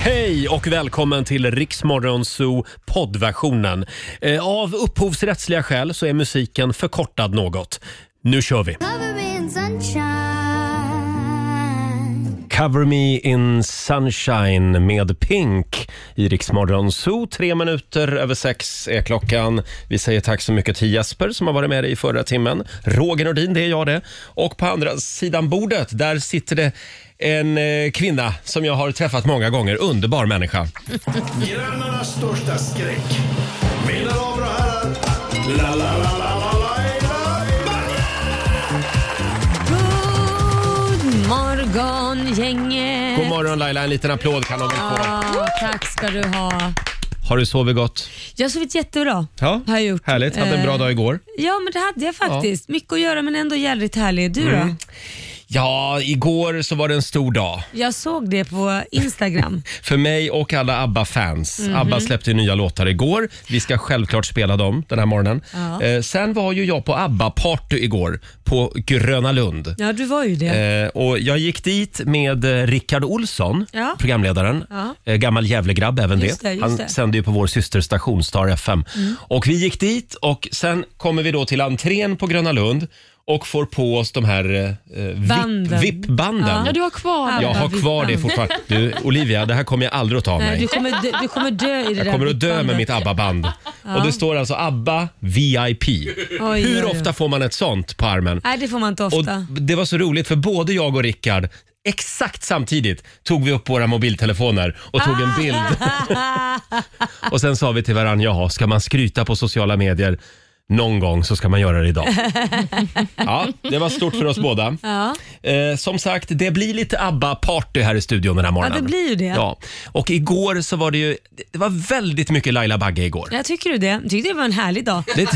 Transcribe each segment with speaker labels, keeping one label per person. Speaker 1: Hej och välkommen till Riksmorgon Zoo poddversionen. Eh, Av upphovsrättsliga skäl så är musiken förkortad något. Nu kör vi!
Speaker 2: Cover me in sunshine.
Speaker 1: Cover Me In Sunshine med Pink i Riksmorgon Zoo. Tre minuter över sex är klockan. Vi säger tack så mycket till Jesper som har varit med dig i förra timmen. Roger Nordin, det är jag det. Och på andra sidan bordet, där sitter det en eh, kvinna som jag har träffat många gånger. Underbar människa.
Speaker 3: Grannarnas största skräck. Mina damer och herrar. La, la, la, la, la, la, la,
Speaker 4: God morgon gänget!
Speaker 1: God morgon Laila, en liten applåd kan de väl få.
Speaker 4: Ja, tack ska du ha.
Speaker 1: Har du sovit gott?
Speaker 4: Jag har sovit jättebra.
Speaker 1: Ja,
Speaker 4: Har jag gjort.
Speaker 1: härligt. Hade en bra
Speaker 4: Eh,
Speaker 1: dag igår.
Speaker 4: Ja, men det hade jag faktiskt. Mycket att göra men ändå jävligt härlig. Du då?
Speaker 1: Mm. Ja, igår så var det en stor dag.
Speaker 4: Jag såg det på Instagram.
Speaker 1: För mig och alla ABBA-fans.
Speaker 4: Mhm.
Speaker 1: ABBA släppte ju nya låtar igår. Vi ska självklart spela dem den här morgonen.
Speaker 4: Ja.
Speaker 1: Eh, sen var ju jag på ABBA-party igår på Gröna Lund.
Speaker 4: Ja, du var ju det.
Speaker 1: Eh, och jag gick dit med eh, Rickard Olsson,
Speaker 4: Ja.
Speaker 1: programledaren.
Speaker 4: Ja.
Speaker 1: Eh, gammal Gävlegrabb även
Speaker 4: Just
Speaker 1: det.
Speaker 4: det, just
Speaker 1: Han
Speaker 4: det. Mm.
Speaker 1: sände ju på vår systerstation Star FM. Och vi gick dit och sen kommer vi då till entrén på Gröna Lund och får på oss de här eh, eh,
Speaker 4: Banden.
Speaker 1: VIP- VIP-banden.
Speaker 4: Ja.
Speaker 5: Ja, du har kvar den.
Speaker 1: Jag har kvar det
Speaker 4: Abba-vippan.
Speaker 1: fortfarande. Du, Olivia, det här kommer jag aldrig att ta av
Speaker 4: Nej,
Speaker 1: mig.
Speaker 4: du, kommer dö, du kommer dö i det
Speaker 1: Jag
Speaker 4: där
Speaker 1: kommer att dö med
Speaker 4: bipbandet.
Speaker 1: mitt ABBA-band. Och det står alltså ABBA VIP.
Speaker 4: oj,
Speaker 1: Hur
Speaker 4: oj.
Speaker 1: ofta får man ett sånt på armen?
Speaker 4: Nej, det får man inte
Speaker 1: Och
Speaker 4: ofta.
Speaker 1: det var så roligt för både jag och Rickard Exakt samtidigt tog vi upp våra mobiltelefoner och tog
Speaker 4: Ah!
Speaker 1: en bild. och sen sa vi till varandra, jaha, ska man skryta på sociala medier någon gång så ska man göra det idag. ja, det var stort för oss båda.
Speaker 4: Ja.
Speaker 1: Eh, som sagt, det blir lite ABBA-party här i studion den här morgonen.
Speaker 4: det blir ju det.
Speaker 1: Ja. Och igår så var det ju, det var väldigt mycket Laila Bagge igår.
Speaker 4: Jag tycker du det? Jag tyckte det var en härlig dag.
Speaker 1: Det,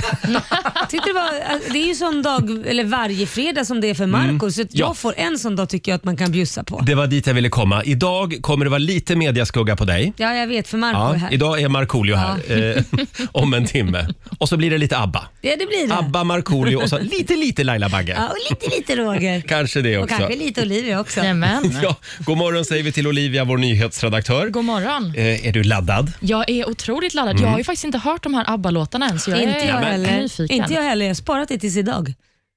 Speaker 4: Tyckte det, var, alltså, det är ju sån dag, eller varje fredag som det är för Marco så att jag
Speaker 1: Mm. Ja.
Speaker 4: får en sån dag tycker jag att man kan bjussa på.
Speaker 1: det var dit jag ville komma. Idag kommer det vara lite mediaskugga på dig.
Speaker 4: Ja, jag vet för Marco är
Speaker 1: Ja,
Speaker 4: här.
Speaker 1: idag är Markoolio här eh, om en timme. Och så blir det lite ABBA.
Speaker 4: Ja, det blir det.
Speaker 1: ABBA, Markoolio och så lite, lite Laila Bagge.
Speaker 4: Ja, och lite, lite Roger.
Speaker 1: Kanske det
Speaker 4: Och
Speaker 1: också.
Speaker 4: kanske lite Olivia också.
Speaker 5: Jajamän.
Speaker 1: Ja, god morgon säger vi till Olivia, vår nyhetsredaktör.
Speaker 5: God morgon.
Speaker 1: Eh, är du laddad?
Speaker 5: Jag är otroligt laddad. Jag har ju faktiskt inte hört de här ABBA-låtarna än, så jag
Speaker 4: Mm. Inte
Speaker 5: är
Speaker 4: jag heller.
Speaker 5: nyfiken.
Speaker 4: Inte jag heller. Jag har sparat det tills idag.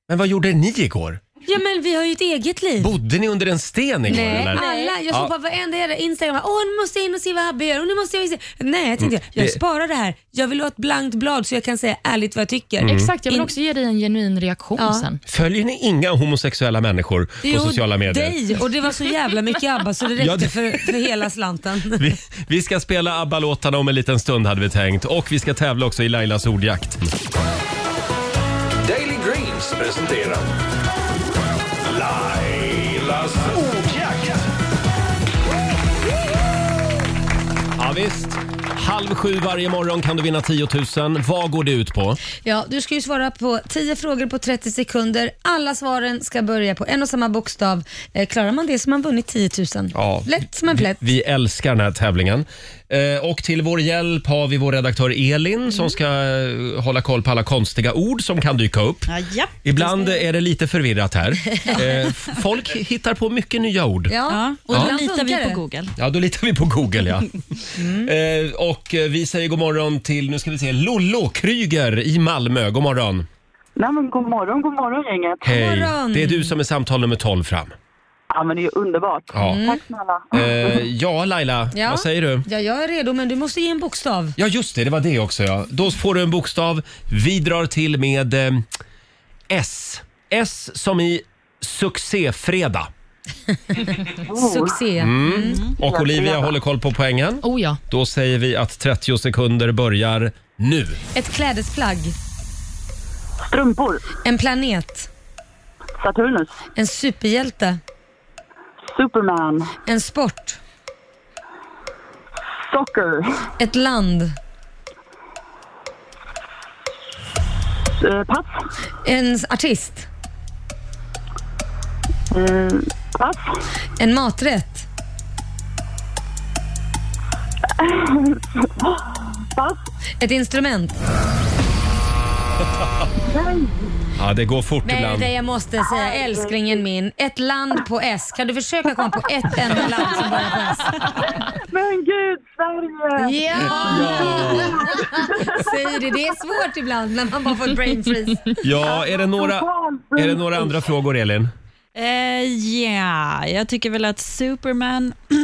Speaker 1: Men vad gjorde ni igår?
Speaker 4: Ja, men vi har ju ett eget liv.
Speaker 1: Bodde ni under en sten igår
Speaker 4: Nej,
Speaker 1: eller?
Speaker 4: alla. Jag
Speaker 1: Ja.
Speaker 4: såg på varenda jävla Instagram. Åh, nu måste jag in och se vad Habbe gör. Och nu måste jag in och se. Nej, tänkte jag.
Speaker 1: Mm. Det-
Speaker 4: Jag sparar det här. Jag vill ha ett blankt blad så jag kan säga ärligt vad jag tycker.
Speaker 1: Mm.
Speaker 5: Exakt, jag vill
Speaker 4: Mm. In-
Speaker 5: också ge dig en genuin reaktion
Speaker 4: Ja.
Speaker 5: sen.
Speaker 1: Följer ni inga homosexuella människor på
Speaker 4: Jo,
Speaker 1: sociala medier?
Speaker 4: Dig. Och det var så jävla mycket ABBA så det
Speaker 1: Ja, det-
Speaker 4: räckte för, för hela slanten.
Speaker 1: Vi, vi ska spela ABBA-låtarna om en liten stund hade vi tänkt och vi ska tävla också i Lailas ordjakt.
Speaker 3: Daily Greens presenterar Lailas ordjakt.
Speaker 1: Ja, visst. Halv sju varje morgon kan du vinna 10 000. Vad går det ut på?
Speaker 4: Ja, du ska ju svara på 10 frågor på 30 sekunder. Alla svaren ska börja på en och samma bokstav. Eh, klarar man det så har man vunnit 10 000.
Speaker 1: Ja.
Speaker 4: Lätt som en plätt.
Speaker 1: Vi älskar den här tävlingen. Eh, och till vår hjälp har vi vår redaktör Elin som ska eh, hålla koll på alla konstiga ord som kan dyka upp.
Speaker 6: Ja, japp.
Speaker 1: Ibland är det lite förvirrat här. Eh, f- folk hittar på mycket nya ord.
Speaker 4: Ja,
Speaker 6: Och
Speaker 4: ibland
Speaker 6: då litar
Speaker 4: funkar
Speaker 6: vi
Speaker 4: det.
Speaker 6: på Google.
Speaker 1: Ja, då litar vi på Google ja. Eh, och eh, vi säger god morgon till, nu ska vi se, Lollo Kryger i Malmö. God morgon.
Speaker 7: Nej men god morgon, god morgon gänget.
Speaker 1: Hej.
Speaker 4: morgon.
Speaker 1: Det är du som är samtal nummer 12 fram.
Speaker 7: Ja men det är ju underbart.
Speaker 1: Ja. Mm.
Speaker 7: Tack snälla.
Speaker 1: Eh, ja, Laila,
Speaker 4: Ja.
Speaker 1: vad säger du?
Speaker 4: Ja, jag är redo men du måste ge en bokstav.
Speaker 1: Ja, just det, det var det också ja. Då får du en bokstav. Vi drar till med eh, S. S som i succéfredag.
Speaker 4: Succé.
Speaker 1: Mm. Och Olivia
Speaker 7: fredag.
Speaker 1: håller koll på poängen.
Speaker 5: Oh ja.
Speaker 1: Då säger vi att 30 sekunder börjar nu.
Speaker 4: Ett klädesplagg.
Speaker 7: Strumpor,
Speaker 4: En planet.
Speaker 7: Saturnus,
Speaker 4: En superhjälte.
Speaker 7: Superman,
Speaker 4: En sport.
Speaker 7: Soccer,
Speaker 4: Ett land.
Speaker 7: eh, pass,
Speaker 4: En artist.
Speaker 7: eh, pass,
Speaker 4: En maträtt.
Speaker 7: pass,
Speaker 4: Ett instrument.
Speaker 7: Nej.
Speaker 1: Ja, det går fort
Speaker 4: Nej,
Speaker 1: ibland.
Speaker 4: det jag måste säga, älsklingen min. Ett land på S. Kan du försöka komma på ett enda land som börjar på S?
Speaker 7: Men gud, Sverige!
Speaker 4: Ja! Säger det. Det är svårt ibland när man bara får brain freeze.
Speaker 1: Ja, är det några, är det några andra frågor, Elin?
Speaker 2: Eh, Ja, jag tycker väl att Superman, det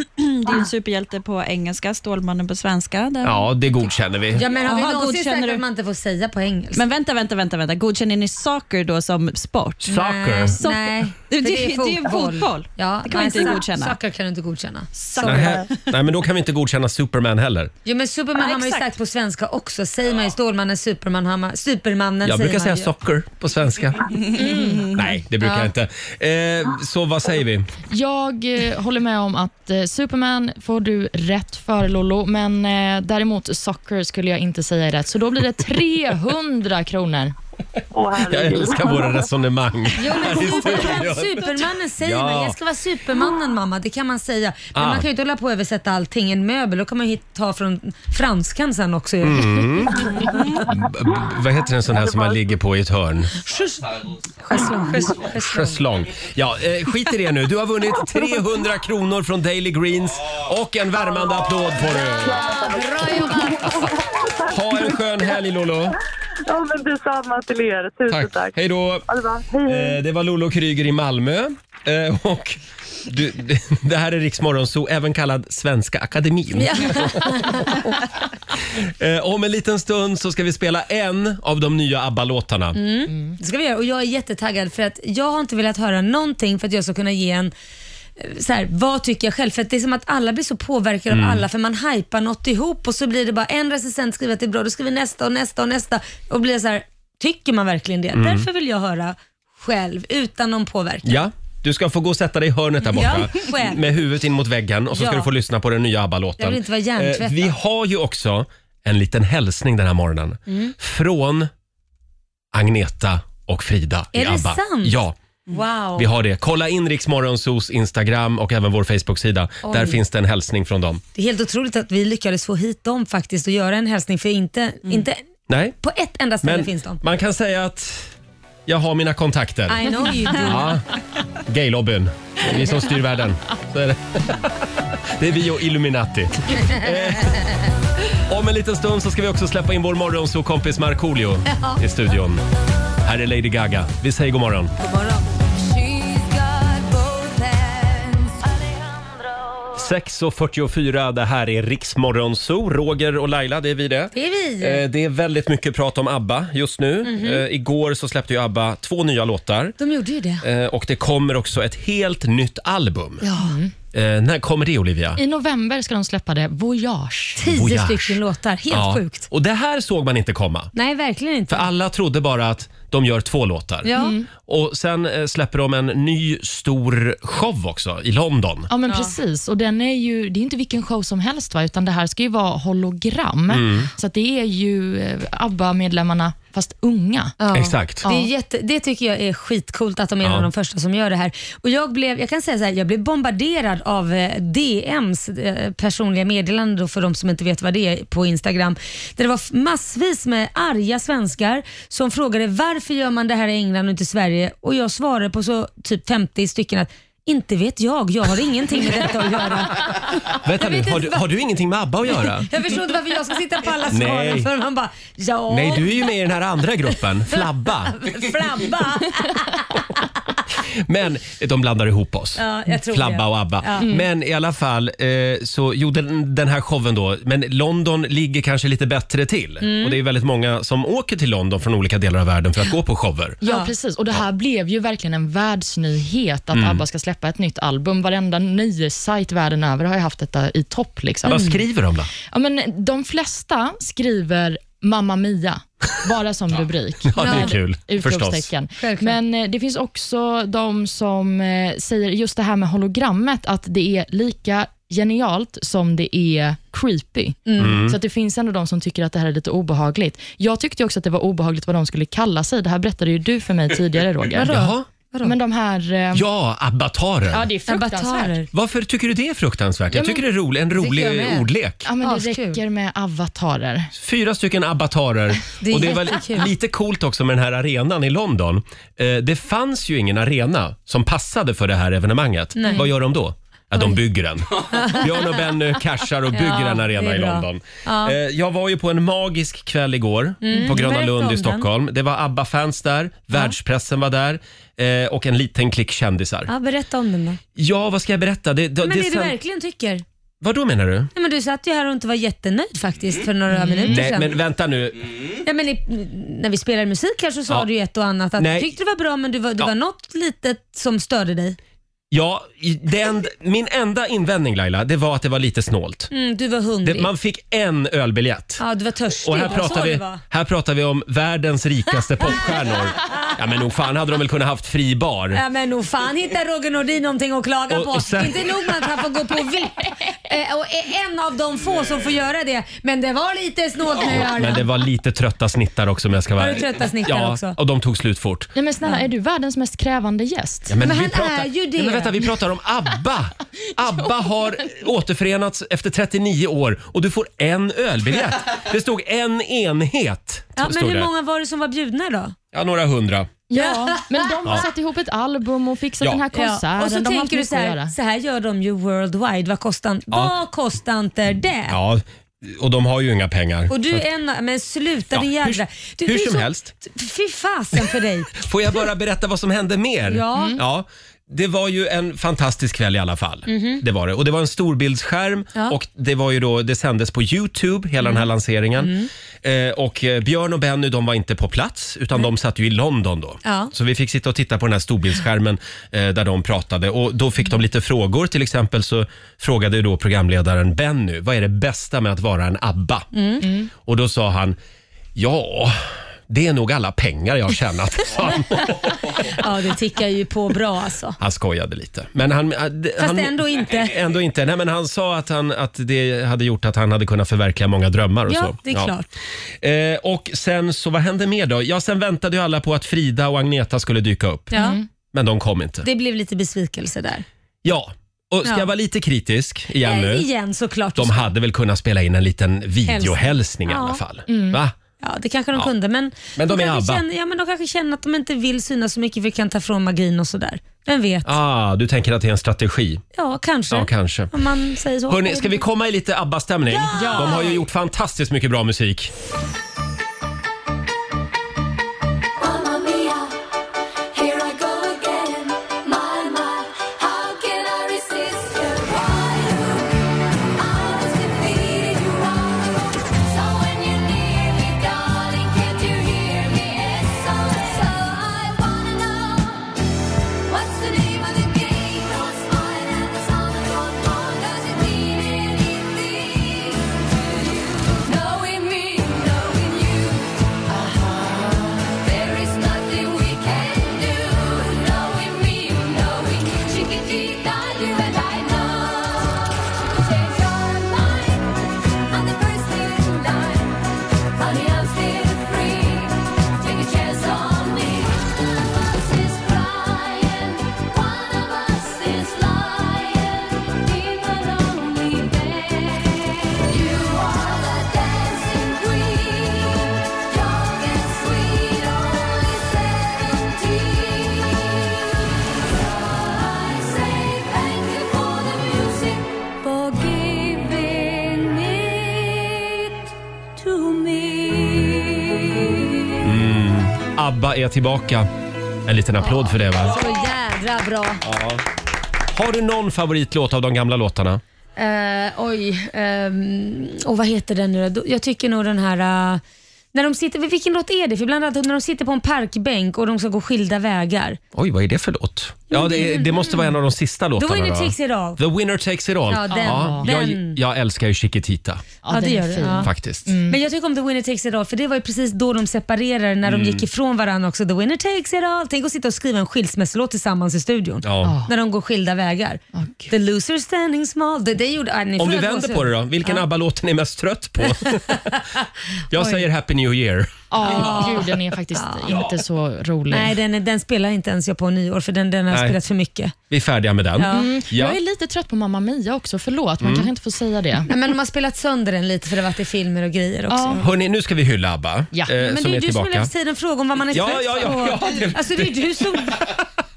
Speaker 2: är ju en superhjälte på engelska, Stålmannen på svenska. Där.
Speaker 1: Ja, det godkänner vi.
Speaker 4: Ja, men har vi
Speaker 2: Jaha,
Speaker 4: någonsin
Speaker 2: godkänner
Speaker 4: sagt
Speaker 2: du?
Speaker 4: att man inte får säga på engelska?
Speaker 2: Men vänta, vänta, vänta, vänta. godkänner ni soccer då som sport?
Speaker 4: eh,
Speaker 1: Soccer.
Speaker 4: Nej, nej
Speaker 2: Det-
Speaker 4: för
Speaker 2: det är ju fotboll.
Speaker 4: Ja,
Speaker 2: Det kan man
Speaker 4: nej,
Speaker 2: inte
Speaker 4: so-
Speaker 2: godkänna.
Speaker 4: Soccer kan du inte godkänna.
Speaker 1: Nej, nej, men då kan vi inte godkänna Superman heller.
Speaker 4: Jo, men Superman
Speaker 2: Ja,
Speaker 4: har man ju
Speaker 2: exakt.
Speaker 4: sagt på svenska också. Säger man ju Stålmannen, Superman, har man, Supermannen
Speaker 1: Jag
Speaker 4: säger
Speaker 1: brukar
Speaker 4: man
Speaker 1: säga
Speaker 4: ju. Mm.
Speaker 1: socker på svenska. Nej, det brukar jag inte. Eh, så vad säger vi?
Speaker 5: Jag eh, håller med om att eh, Superman får du rätt för, Lollo. Men eh, däremot Soccer skulle jag inte säga är rätt, så då blir det 300 kronor.
Speaker 7: Åh,
Speaker 1: Jag
Speaker 7: herregud.
Speaker 1: älskar våra resonemang.
Speaker 4: Jo, men
Speaker 1: Här i
Speaker 4: Superman,
Speaker 1: studion.
Speaker 4: supermannen säger
Speaker 1: Ja.
Speaker 4: man. Jag ska vara Supermannen mamma, det kan man säga. Men
Speaker 1: Ah.
Speaker 4: man kan ju inte hålla på och översätta allting. En möbel, då kan man ju hit- ta från franskan sen också. ju.
Speaker 1: Mm. B- b- vad heter en sån här som man ligger på i ett hörn?
Speaker 2: Schäslong.
Speaker 1: Schäslong. Ja, eh, skit i det nu. Du har vunnit 300 kronor från Daily Greens och en värmande applåd får du.
Speaker 4: Bra jobbat!
Speaker 1: Ha en skön helg Lolo.
Speaker 7: Ja, men detsamma till er. Tusen
Speaker 1: Tack.
Speaker 7: tack.
Speaker 1: Hej då.
Speaker 7: Ha det bra. Hej, hej.
Speaker 1: Eh, Det var Lolo Kryger i Malmö. Eh, Och du, det här är Riks Morgonzoo, även kallad Svenska Akademin. Eh, Om en liten stund så ska vi spela en av de nya ABBA-låtarna.
Speaker 4: Mm. Det ska vi göra och jag är jättetaggad för att jag har inte velat höra någonting för att jag ska kunna ge en eh, så här, vad tycker jag själv? För att det är som att alla blir så påverkade
Speaker 1: Mm.
Speaker 4: av alla för man hypar något ihop och så blir det bara en recensent skriver att det är bra, då skriver nästa och nästa och nästa och blir så här, tycker man verkligen det?
Speaker 1: Mm.
Speaker 4: Därför vill jag höra själv utan någon påverkan.
Speaker 1: Ja, du ska få gå och sätta dig i hörnet där borta
Speaker 4: Ja, själv.
Speaker 1: med huvudet in mot väggen och så ska
Speaker 4: Ja.
Speaker 1: du få lyssna på den nya ABBA-låten.
Speaker 4: Jag vill inte vara hjärntvättad.
Speaker 1: Eh, Vi har ju också en liten hälsning den här morgonen
Speaker 4: Mm.
Speaker 1: från Agneta och Frida i
Speaker 4: Är det
Speaker 1: ABBA.
Speaker 4: sant?
Speaker 1: Ja.
Speaker 4: Wow.
Speaker 1: Vi har det. Kolla in Riksmorgonsos Instagram och även vår Facebook-sida.
Speaker 4: Oj.
Speaker 1: Där finns det en hälsning från dem.
Speaker 4: Det är helt otroligt att vi lyckades få hit dem faktiskt och göra en hälsning för inte, inte
Speaker 1: Nej,
Speaker 4: på ett enda ställe
Speaker 1: men
Speaker 4: finns de.
Speaker 1: man kan säga att jag har mina kontakter.
Speaker 4: I know you do.
Speaker 1: Ja, gaylobbyn. Det är vi som styr världen. Så är det. det är vi och Illuminati. Eh, om en liten stund så ska vi också släppa in vår morgonsåkompis Markoolio i studion. Här är Lady Gaga. Vi säger god morgon.
Speaker 6: Alejandro
Speaker 1: 6.44, det här är Riksmorgonso. Roger och Laila, det är vi det.
Speaker 4: Det är vi.
Speaker 1: Eh, Det är väldigt mycket prat om ABBA just nu. Eh, Igår så släppte ju ABBA två nya låtar.
Speaker 4: De gjorde ju det.
Speaker 1: Eh, Och det kommer också ett helt nytt album. Eh, När kommer det Olivia?
Speaker 5: I november ska de släppa det, Voyage.
Speaker 4: Tio
Speaker 1: Voyage.
Speaker 4: stycken låtar, helt
Speaker 1: Oh, Ja.
Speaker 4: sjukt.
Speaker 1: Och det här såg man inte komma.
Speaker 4: Nej, verkligen inte.
Speaker 1: För Mm. alla trodde bara att de gör två låtar.
Speaker 4: Ja.
Speaker 1: Och sen eh, släpper de en ny stor show också i London.
Speaker 5: Ja, men precis. Och den är ju, det är inte vilken show som helst, va? utan det här ska ju vara hologram.
Speaker 1: Mm.
Speaker 5: Så att det är ju eh, ABBA-medlemmarna, fast unga.
Speaker 4: Ja.
Speaker 1: Exakt.
Speaker 4: Det, är jätte, det tycker jag är skitcoolt att de är en
Speaker 1: Ja.
Speaker 4: av de första som gör det här. Och jag, blev, jag kan säga så här, jag blev bombarderad av eh, DMs, eh, personliga meddelanden då för de som inte vet vad det är på Instagram. Där det var f- massvis med arga svenskar som frågade varför gör man det här i England och inte i Sverige? Och jag svarade på så typ 50 stycken att inte vet jag, jag har ingenting med detta att göra.
Speaker 1: Vänta nu, har du, har du ingenting med ABBA att göra?
Speaker 4: Jag förstår inte varför jag ska sitta på alla
Speaker 1: Nej.
Speaker 4: svaren för man bara, ja,
Speaker 1: Nej, du är ju med i den här andra gruppen, Flabba.
Speaker 4: flabba.
Speaker 1: Men de blandar ihop oss.
Speaker 4: Ja, jag tror
Speaker 1: Flabba
Speaker 4: det.
Speaker 1: och ABBA. Mm. Men i alla fall eh, så gjorde den, den här showen då, men London ligger kanske lite bättre till.
Speaker 4: Mm.
Speaker 1: Och det är väldigt många som åker till London från olika delar av världen för att gå på shower.
Speaker 5: Ja, precis. Och Det här blev ju verkligen en världsnyhet
Speaker 1: Mm.
Speaker 5: att ABBA ska släppa ett nytt album. Varenda nyhetssajt världen över har ju haft detta i topp. Liksom.
Speaker 1: Mm. Vad skriver de då?
Speaker 5: Ja, men de flesta skriver Mamma Mia, bara som rubrik.
Speaker 1: Ja, det är kul. Förstås.
Speaker 5: Utropstecken. Men eh, det finns också de som eh, säger just det här med hologrammet, att det är lika genialt som det är creepy.
Speaker 4: Mm.
Speaker 1: Mm.
Speaker 5: Så att det finns ändå de som tycker att det här är lite obehagligt. Jag tyckte ju också att det var obehagligt vad de skulle kalla sig. Det här berättade ju du för mig tidigare, Roger.
Speaker 1: Jaha.
Speaker 4: Vadå?
Speaker 5: Men de här... eh,
Speaker 1: Ja, abbatarer.
Speaker 5: ja, det är fruktansvärt.
Speaker 4: Avatarer.
Speaker 1: Varför tycker du det är fruktansvärt? Jag
Speaker 5: Ja, men-
Speaker 1: tycker det är rolig, en
Speaker 4: jag
Speaker 1: rolig
Speaker 4: med.
Speaker 1: ordlek.
Speaker 5: Ja, men det
Speaker 4: Askul.
Speaker 5: räcker med avatarer.
Speaker 1: Fyra stycken abbatarer.
Speaker 4: Det är
Speaker 1: och det är väl
Speaker 4: jättekul.
Speaker 1: lite coolt också med den här arenan i London. Eh, det fanns ju ingen arena som passade för det här evenemanget. Vad gör de då? Ja, de bygger den. Björn och Benny cashar och bygger
Speaker 4: Ja,
Speaker 1: en
Speaker 4: det
Speaker 1: arena
Speaker 4: är
Speaker 1: i
Speaker 4: bra.
Speaker 1: London.
Speaker 4: Ja. Mm.
Speaker 1: Eh, jag var ju på en magisk kväll igår på Gröna
Speaker 4: berätta om
Speaker 1: Lund i
Speaker 4: den.
Speaker 1: Stockholm. Det var ABBA-fans där, världspressen var där eh, och en liten klick kändisar.
Speaker 4: Ja, berätta om den då.
Speaker 1: Ja, vad ska jag berätta? Det, det,
Speaker 4: Men det, du
Speaker 1: sen-
Speaker 4: verkligen tycker. Nej,
Speaker 1: Vad då menar du?
Speaker 4: men du satt ju här och inte var jättenöjd faktiskt för några minuter
Speaker 1: Mm. Nej,
Speaker 4: sedan.
Speaker 1: men vänta nu.
Speaker 4: Ja, men i, när vi spelade musik här så sa
Speaker 1: Ja.
Speaker 4: du ju ett och annat att
Speaker 1: Nej.
Speaker 4: du tyckte det var bra men du var, det
Speaker 1: Ja.
Speaker 4: var något litet som störde dig.
Speaker 1: Ja, i- det end, min enda invändning Laila, det var att det var lite snålt.
Speaker 4: Mm, du var hungrig.
Speaker 1: Det, man fick en ölbiljett.
Speaker 4: Ja, du var törstig.
Speaker 1: Och här
Speaker 4: Så
Speaker 1: pratar,
Speaker 4: det
Speaker 1: vi,
Speaker 4: var.
Speaker 1: här pratar vi om världens rikaste popstjärnor. Ja men nog fan hade de väl kunnat haft fri bar.
Speaker 4: Ja, men nog fan hittar Roger Nordin någonting att klaga
Speaker 1: Och-
Speaker 4: på.
Speaker 1: och sen-
Speaker 4: Inte nog med att han får gå på VIP eh, och är en av de få som får göra det. Men det var lite snålt med öronen.
Speaker 1: Men det var lite trötta snittar också om jag ska vara
Speaker 4: Var det trötta snittar
Speaker 1: ja,
Speaker 4: också?
Speaker 1: och de tog slut fort.
Speaker 5: Nej, men snälla, är du världens mest krävande gäst?
Speaker 1: Ja,
Speaker 4: Men han är ju det.
Speaker 1: Ja, men vänta, vi pratar om ABBA. ABBA har återförenats efter 39 år och du får en ölbiljett. Det stod en enhet.
Speaker 4: Ja, men
Speaker 1: stod
Speaker 4: hur
Speaker 1: det.
Speaker 4: många var det som var bjudna då?
Speaker 1: Ja, några hundra.
Speaker 5: Ja, men de har satt ihop ett album och fixat
Speaker 1: Ja.
Speaker 5: den här konserten.
Speaker 4: Och så
Speaker 5: de har haft
Speaker 4: tänker du
Speaker 5: mycket
Speaker 4: så
Speaker 5: att göra.
Speaker 4: här, så här gör de ju worldwide. Vad kostar, vad kostar inte det?
Speaker 1: Ja, och de har ju inga pengar.
Speaker 4: Och du är en av- Men sluta
Speaker 1: Ja,
Speaker 4: din
Speaker 1: hur-
Speaker 4: jävla... Du,
Speaker 1: hur
Speaker 4: du är
Speaker 1: som
Speaker 4: så-
Speaker 1: helst.
Speaker 4: Fy fasen för dig.
Speaker 1: Får jag bara berätta vad som hände mer? Mm.
Speaker 4: Ja.
Speaker 1: ja. Det var ju en fantastisk kväll i alla fall. Det var det. Och det var en storbildsskärm
Speaker 4: Mhm. Ja. Mm.
Speaker 1: och det, var ju då, det sändes på Youtube, hela den här lanseringen. Eh, och eh, Björn och Benny de var inte på plats utan de satt ju i London då.
Speaker 4: Ja.
Speaker 1: Så vi fick sitta och titta på den här storbildsskärmen eh, där de pratade och då fick de lite frågor. Till exempel så frågade ju då programledaren Benny, vad är det bästa med att vara en ABBA?
Speaker 4: Mm.
Speaker 1: Och då sa han, ja, det är nog alla pengar jag har tjänat. sa han.
Speaker 4: Ja, det tickar ju på bra alltså.
Speaker 1: Han skojade lite. Men han, Fast han,
Speaker 4: ändå inte.
Speaker 1: Ändå inte. Nej, men han sa att, han, att det hade gjort att han hade kunnat förverkliga många drömmar. Och
Speaker 4: Ja,
Speaker 1: så.
Speaker 4: det är klart.
Speaker 1: Eh, och sen så, vad hände mer då? Ja, sen väntade ju alla på att Frida och Agneta skulle dyka upp.
Speaker 4: Ja,
Speaker 1: Men de kom inte.
Speaker 4: Mm. Det blev lite besvikelse där.
Speaker 1: Ja, och ska
Speaker 4: Ja.
Speaker 1: jag vara lite kritisk igen
Speaker 4: Äh,
Speaker 1: nu?
Speaker 4: igen såklart.
Speaker 1: De hade väl kunnat spela in en liten videohälsning i
Speaker 4: Ja. Mm.
Speaker 1: alla fall. Va?
Speaker 4: Ja, det kanske de kunde. Men,
Speaker 1: Men de är
Speaker 4: kanske
Speaker 1: ABBA.
Speaker 4: Känner, ja, men de kanske känner att de inte vill synas så mycket för det kan ta från magin och sådär. Vem vet? Ja,
Speaker 1: Ah, du tänker att det är en strategi?
Speaker 4: kanske.
Speaker 1: Ja, kanske.
Speaker 4: Om man säger så.
Speaker 1: Hörrni, ska vi komma i lite ABBA-stämning? De har ju gjort fantastiskt mycket bra musik.
Speaker 6: Mamma mia, here I go again. My, my, how can I resist your fire? I was defeated, you wrong. So when you're near me, darling, can't you hear me? SOS. So I wanna know, what's the name of the game? Don't smile at the song I don't know. Does it mean anything to you? Knowing me, knowing you. There is nothing we can do, knowing me, knowing Chiquitita, you and I know. Change your mind on the first in line. Honey, I'm still free. Take a chance on me. One of us is crying, one of us is lying. Deep and lonely You are the dancing queen. Young and sweet, only seventeen. I say thank you for the music, for giving it to me.
Speaker 1: ABBA är tillbaka. En liten applåd för det va?
Speaker 4: Så jädra bra.
Speaker 1: Har du någon favoritlåt av de gamla låtarna?
Speaker 4: Eh, oj, ehm, och vad heter den nu då? Jag tycker nog den här... eh, när de sitter, vilken låt är det? E För ibland att när de sitter på en parkbänk och de ska gå skilda vägar.
Speaker 1: Oj, vad är det för låt? Ja, det, det måste vara en av de sista
Speaker 4: Mm. The
Speaker 1: låtarna
Speaker 4: winner
Speaker 1: va?
Speaker 4: takes it all.
Speaker 1: The winner takes it all.
Speaker 4: Ja, den-
Speaker 1: jag,
Speaker 4: den.
Speaker 1: jag älskar ju Chiquitita
Speaker 4: Ja,
Speaker 5: den
Speaker 4: det
Speaker 5: är
Speaker 4: gör det,
Speaker 5: fin.
Speaker 4: ja. Mm.
Speaker 1: faktiskt.
Speaker 4: Men jag tycker om The Winner Takes It All för det var ju precis då de separerade när
Speaker 1: Mm.
Speaker 4: de gick ifrån varandra också. The Winner Takes It All. Tänk att sitta och skriva en skilsmässolåt tillsammans i studion.
Speaker 1: Ja.
Speaker 4: När de går skilda vägar.
Speaker 5: gud.
Speaker 4: The loser standing small. Det, det gjorde, ah, ni
Speaker 1: Om
Speaker 4: får
Speaker 1: vi
Speaker 4: att
Speaker 1: vänder
Speaker 4: gåshud.
Speaker 1: på det då, vilken ABBA-låt är ni mest trött på? jag säger Happy New New Year.
Speaker 5: Ja, gud, den är faktiskt inte så rolig.
Speaker 4: Nej, den, den spelar inte ens jag på nyår för den, den har
Speaker 1: Nej.
Speaker 4: spelat för mycket.
Speaker 1: Vi är färdiga med den.
Speaker 4: Mm.
Speaker 1: Ja. Mm.
Speaker 5: Jag är lite trött på Mamma Mia också, förlåt. Man kanske inte får säga det.
Speaker 4: Nej, men de har spelat sönder den lite för det har varit i filmer och grejer också.
Speaker 5: Ja.
Speaker 1: Hörni, nu ska vi hylla ABBA
Speaker 5: Ja.
Speaker 1: eh,
Speaker 4: Men
Speaker 1: som
Speaker 4: det
Speaker 1: är
Speaker 4: är du som hela
Speaker 1: tillbaka.
Speaker 4: tiden frågar om vad man är
Speaker 1: Ja,
Speaker 4: trött
Speaker 1: ja, ja,
Speaker 4: på.
Speaker 1: ja, det-
Speaker 4: alltså det är du som...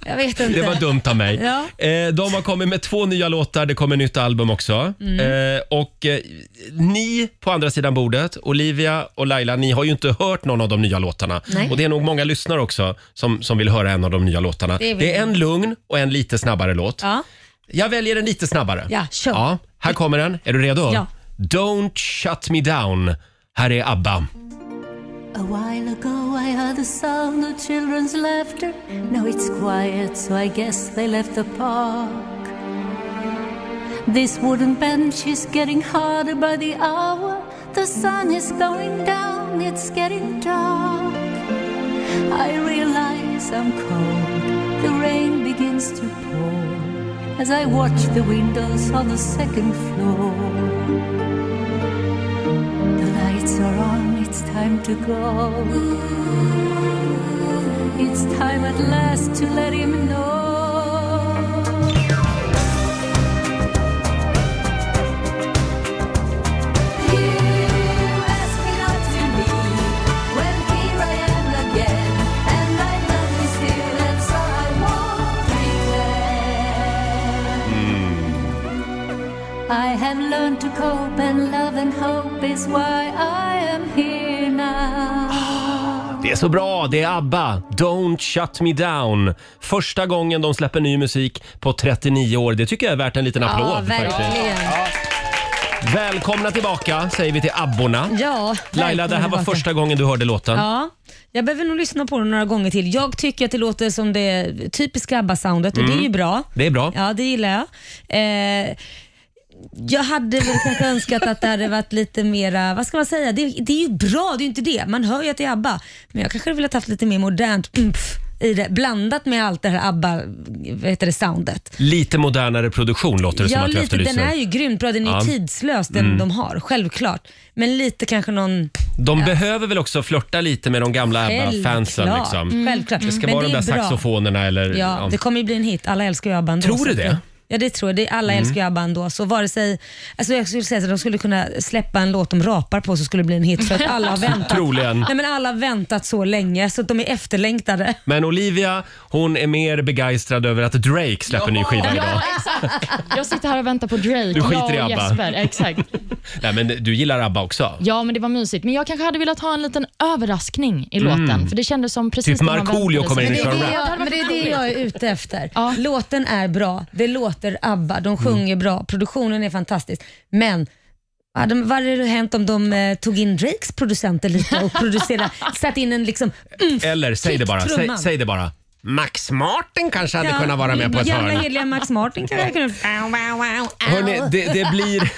Speaker 4: Jag vet inte.
Speaker 1: Det var dumt av mig.
Speaker 4: Ja.
Speaker 1: Eh, De har kommit med två nya låtar, det kommer nytt album också.
Speaker 4: Mm.
Speaker 1: Eh, Och eh, ni på andra sidan bordet, Olivia och Laila, ni har ju inte hört någon av de nya låtarna.
Speaker 4: Nej.
Speaker 1: Och det är nog många lyssnare också som, som vill höra en av de nya låtarna.
Speaker 4: Det
Speaker 1: Det
Speaker 4: är
Speaker 1: är,
Speaker 4: väl-
Speaker 1: en lugn och en lite snabbare låt.
Speaker 4: Ja.
Speaker 1: Jag väljer en lite snabbare.
Speaker 4: Ja, kör.
Speaker 1: Ja, här kommer den. Är du redo?
Speaker 4: Ja.
Speaker 1: Don't shut me down. Här är ABBA.
Speaker 8: A while ago I heard the sound of children's laughter. Now it's quiet, so I guess they left the park. This wooden bench is getting harder by the hour. The sun is going down, it's getting dark. I realize I'm cold, the rain begins to pour as I watch the windows on the second floor. The lights are on, it's time to go. It's time at last to let him know. I have learned to cope, and love and hope is why I am here now.
Speaker 1: Det är så bra, det är ABBA. Don't shut me down. Första gången de släpper ny musik på 39 år. Det tycker jag är värt en liten applåd.
Speaker 4: Ja,
Speaker 1: faktiskt.
Speaker 4: verkligen.
Speaker 1: Välkomna tillbaka säger vi till ABBORna.
Speaker 4: Ja,
Speaker 1: Laila, det här var
Speaker 4: välkommen tillbaka.
Speaker 1: första gången du hörde låten.
Speaker 4: Ja, jag behöver nog lyssna på den några gånger till. Jag tycker att det låter som det typiska ABBA-soundet och
Speaker 1: Mm.
Speaker 4: det är ju bra.
Speaker 1: Det är bra.
Speaker 4: Ja, det gillar jag. Eh, jag hade väl kanske önskat att det hade varit lite mera, vad ska man säga, det, det är ju bra, det är ju inte det. Man hör ju att det är ABBA. Men jag kanske hade velat haft lite mer modernt umf i det, blandat med allt det här ABBA, vad heter det, soundet.
Speaker 1: Lite modernare produktion låter det som
Speaker 4: Ja,
Speaker 1: att du
Speaker 4: lite, den
Speaker 1: efterlyser.
Speaker 4: är ju grymt bra, den är ju
Speaker 1: Ja. Mm.
Speaker 4: tidslös den de har, självklart. Men lite kanske någon
Speaker 1: De behöver väl också flirta lite med de gamla ABBA-fansen.
Speaker 4: Självklart.
Speaker 1: Liksom.
Speaker 4: Självklart.
Speaker 1: Det ska
Speaker 4: Men
Speaker 1: vara de
Speaker 4: är
Speaker 1: där
Speaker 4: bra.
Speaker 1: saxofonerna eller...
Speaker 4: Ja,
Speaker 1: ja.
Speaker 4: det kommer ju bli en hit. Alla älskar ju ABBA ändå.
Speaker 1: Tror du
Speaker 4: så att
Speaker 1: det? Mm.
Speaker 4: Ja, det tror jag. Det, alla älskar ju ABBA ändå. Så vare sig, alltså jag skulle säga att de skulle kunna släppa en låt om rapar på så skulle det bli en hit för att alla har väntat.
Speaker 1: Troligen.
Speaker 4: Nej, men alla har väntat så länge så att de är efterlängtade.
Speaker 1: Men Olivia, hon är mer begeistrad över att Drake släpper ny skiva idag.
Speaker 5: Ja, exakt. Jag sitter här och väntar på Drake.
Speaker 1: Du skiter
Speaker 5: jag och
Speaker 1: i ABBA.
Speaker 5: Jesper, exakt.
Speaker 1: Nej, men du gillar ABBA också?
Speaker 5: Ja, men det var mysigt. Men jag kanske hade velat ha en liten överraskning i låten. För det kändes som precis
Speaker 1: Mm. Typ
Speaker 5: det man
Speaker 1: Markoolio
Speaker 5: väntade
Speaker 1: kommer
Speaker 5: sig.
Speaker 1: in
Speaker 4: Men
Speaker 1: och
Speaker 4: det, är
Speaker 1: kör
Speaker 4: det
Speaker 1: rap.
Speaker 4: jag, men det är det jag är ute efter.
Speaker 5: Ja.
Speaker 4: Låten är bra, det låter ABBA,
Speaker 1: Mm.
Speaker 4: de sjunger bra, produktionen är fantastisk. Men vad hade- vad hade hänt om de eh, tog in Drakes producenter lite och producerade, satt in en liksom
Speaker 1: Eller säg
Speaker 4: Kick
Speaker 1: det bara. Säg,
Speaker 4: Typ trumman.
Speaker 1: säg det bara. Max Martin kanske hade
Speaker 4: Ja,
Speaker 1: kunnat vara med på ett
Speaker 4: Gamla
Speaker 1: hörn.
Speaker 4: hederliga Max Martin kanske kunde... Wow, wow, wow, ow.
Speaker 1: Hörrni, det, det, blir,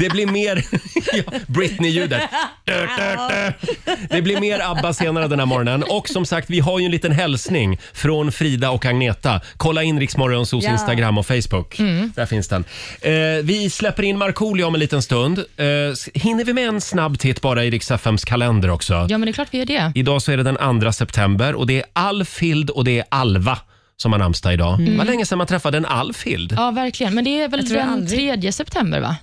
Speaker 1: det blir mer ja, Britney-ljudet. Dö, dö, dö. Det blir mer ABBA senare den här morgonen. Och som sagt, vi har ju en liten hälsning från Frida och Agneta. Kolla in Riksmorgonsos Instagram och Facebook.
Speaker 4: Mm.
Speaker 1: Där finns den. Eh, vi släpper in Markoolio om en liten stund. Eh, s- hinner vi med en snabb titt bara i Rix FMs kalender också?
Speaker 5: Ja, men det är klart vi gör det.
Speaker 1: Idag så är det den 2 september och det är Alfhild och det är Alva som har namnsdag idag. Det var länge sedan man träffade en Alfhild.
Speaker 5: Ja, verkligen. Men det är väl
Speaker 4: tror jag
Speaker 5: den
Speaker 4: aldrig-
Speaker 5: tredje september, va?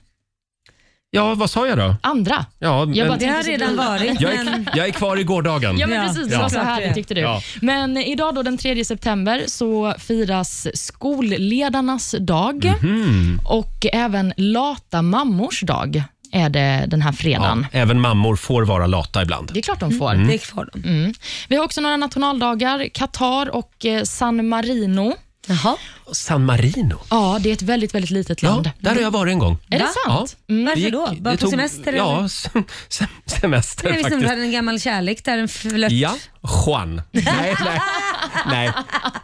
Speaker 1: Ja, vad sa jag då?
Speaker 5: Andra.
Speaker 1: Ja,
Speaker 5: Jag
Speaker 1: men,
Speaker 5: bara-
Speaker 4: Det har redan varit,
Speaker 1: jag,
Speaker 4: men
Speaker 1: är, Mm. jag är kvar i gårdagen.
Speaker 5: Ja, men
Speaker 4: Ja,
Speaker 5: precis.
Speaker 4: ja.
Speaker 5: Det var så
Speaker 4: Klart det.
Speaker 5: härligt tyckte du.
Speaker 1: Mm. Ja.
Speaker 5: Men idag då den 3 september så firas skolledarnas dag
Speaker 1: Mhm.
Speaker 5: och även lata mammors dag är det den här fredagen.
Speaker 1: Ja, även mammor får vara lata ibland.
Speaker 5: Det är klart de får.
Speaker 4: det är kvar dem.
Speaker 5: Mm. Vi har också några nationaldagar, Qatar och eh, San Marino.
Speaker 4: Jaha.
Speaker 1: San Marino.
Speaker 5: Ja, det är ett väldigt, väldigt litet
Speaker 1: Ja,
Speaker 5: land.
Speaker 1: där har jag varit en gång.
Speaker 5: Är det
Speaker 4: Va?
Speaker 5: sant? Mm.
Speaker 4: Varför
Speaker 1: gick-
Speaker 4: då? Bara
Speaker 1: det
Speaker 4: på
Speaker 1: tog-
Speaker 4: semester?
Speaker 1: Ja,
Speaker 4: eller?
Speaker 1: sem, sem, semester
Speaker 4: Det är liksom som
Speaker 1: faktiskt.
Speaker 4: hade en gammal kärlek där, en flört.
Speaker 1: Ja, Juan. Nej, nej. nej.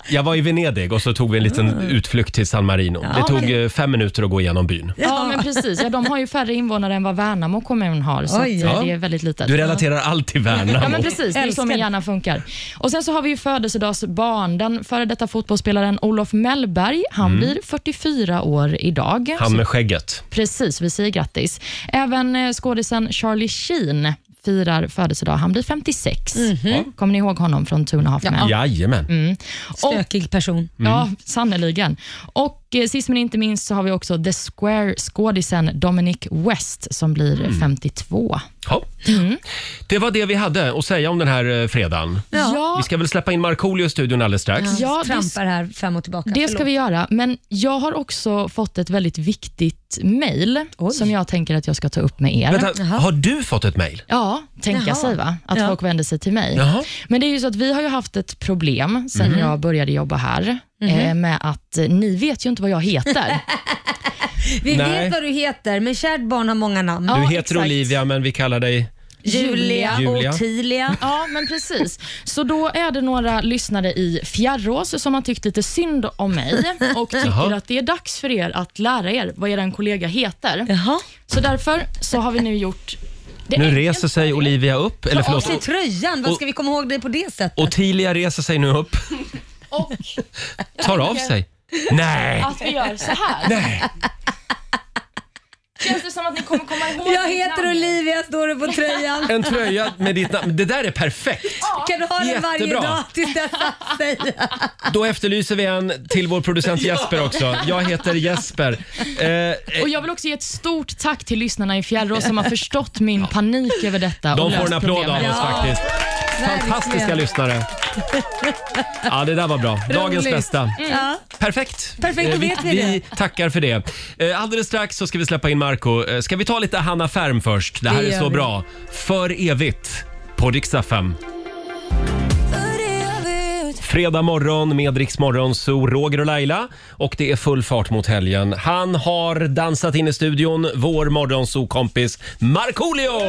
Speaker 1: Jag var i Venedig och så tog vi en liten utflykt till San Marino. det tog
Speaker 5: men-
Speaker 1: eh, fem minuter att gå igenom byn.
Speaker 5: Ja, men precis. Ja, de har ju färre invånare än vad Värnamo kommun har, så att,
Speaker 4: Oj.
Speaker 5: eh, det är väldigt litet.
Speaker 1: Du relaterar allt till Värnamo.
Speaker 5: Ja, men precis. Det är så
Speaker 4: Älskar
Speaker 5: min
Speaker 4: det.
Speaker 5: hjärna funkar. Och Sen så har vi ju födelsedagsbarn. Den före detta fotbollsspelaren Olof Mellberg, han blir 44 år idag.
Speaker 1: Mm. Han med skägget.
Speaker 5: Precis, vi säger grattis. Även eh, skådisen Charlie Sheen firar födelsedag. Han blir 56. Kommer ni ihåg honom från Two and a half men?
Speaker 1: Jajamän.
Speaker 4: Stökig person.
Speaker 5: Ja,
Speaker 1: Mm.
Speaker 5: sannerligen. Och eh, sist men inte minst så har vi också The Square-skådisen Dominic West som blir
Speaker 1: Mm.
Speaker 5: 52.
Speaker 1: Ja. Det var det vi hade att säga om den här eh, fredagen.
Speaker 5: Ja,
Speaker 1: Vi ska väl släppa in Markoolio i studion alldeles strax.
Speaker 5: ja det,
Speaker 4: Trampar här fram och tillbaka.
Speaker 5: det ska vi göra. Men jag har också fått ett väldigt viktigt mejl som jag tänker att jag ska ta upp med er.
Speaker 1: Vänta, har du fått ett mejl?
Speaker 5: Ja, tänka
Speaker 4: Jaha.
Speaker 5: sig va? att
Speaker 4: Ja.
Speaker 5: folk vänder sig till mig.
Speaker 1: Jaha. Mhm.
Speaker 5: Men det är ju så att vi har ju haft ett problem sen jag började jobba här eh, med att eh, ni vet ju inte vad jag heter.
Speaker 4: Vi
Speaker 1: Nej.
Speaker 4: vet vad du heter, men kärt barn har många namn.
Speaker 1: Du
Speaker 5: Ja,
Speaker 1: heter
Speaker 5: exakt.
Speaker 1: Olivia, men vi kallar dig...
Speaker 4: Julia,
Speaker 1: Julia.
Speaker 4: Ottilia.
Speaker 5: Ja, men precis. Så då är det några lyssnare i Fjärrås som har tyckt lite synd om mig och tycker
Speaker 1: Jaha.
Speaker 5: att det är dags för er att lära er vad er kollega heter.
Speaker 4: Jaha.
Speaker 5: Så därför så har vi nu gjort det
Speaker 1: Nu
Speaker 5: enkelt
Speaker 1: reser sig
Speaker 5: för er.
Speaker 1: Olivia upp. Eller
Speaker 4: Av
Speaker 1: förlåt,
Speaker 4: sig tröjan, vad
Speaker 1: Och-
Speaker 4: ska vi komma ihåg det på det sättet?
Speaker 1: Ottilia reser sig nu upp.
Speaker 5: Och
Speaker 1: Tar av sig. Nej!
Speaker 5: att vi gör så här.
Speaker 1: Nej!
Speaker 5: Känns det som att ni kommer komma ihåg
Speaker 4: Jag
Speaker 5: mitt
Speaker 4: heter
Speaker 5: namn?
Speaker 4: Olivia, står det på tröjan.
Speaker 1: En tröja med ditt namn. Det där är perfekt!
Speaker 4: Kan du ha den varje
Speaker 1: Jättebra.
Speaker 4: dag tills dess att säga?
Speaker 1: Då efterlyser vi en till vår producent Jesper också. Jag heter Jesper. Eh, eh,
Speaker 5: Och Jag vill också ge ett stort tack till lyssnarna i Fjärrås som har förstått min panik över detta. och
Speaker 1: de får
Speaker 5: löst
Speaker 1: en applåd av
Speaker 5: problemet.
Speaker 1: oss faktiskt. Fantastiska
Speaker 4: Verkligen.
Speaker 1: lyssnare. Ja, det där var bra. Dagens
Speaker 4: Roligt.
Speaker 1: bästa.
Speaker 4: Ja.
Speaker 1: Perfekt.
Speaker 4: Perfekt, då
Speaker 1: Eh,
Speaker 4: vet vi
Speaker 1: vi tackar för det. Eh, Alldeles strax så ska vi släppa in Marco. Eh, Ska vi ta lite Hanna Färm först? Det här
Speaker 4: Det
Speaker 1: är
Speaker 4: gör
Speaker 1: så
Speaker 4: vi.
Speaker 1: bra. För evigt på riksdag 5. Fredag morgon med Rix Morgon, så Roger och Laila. Och det är full fart mot helgen. Han har dansat in i studion, vår morgonsokompis Markoolio!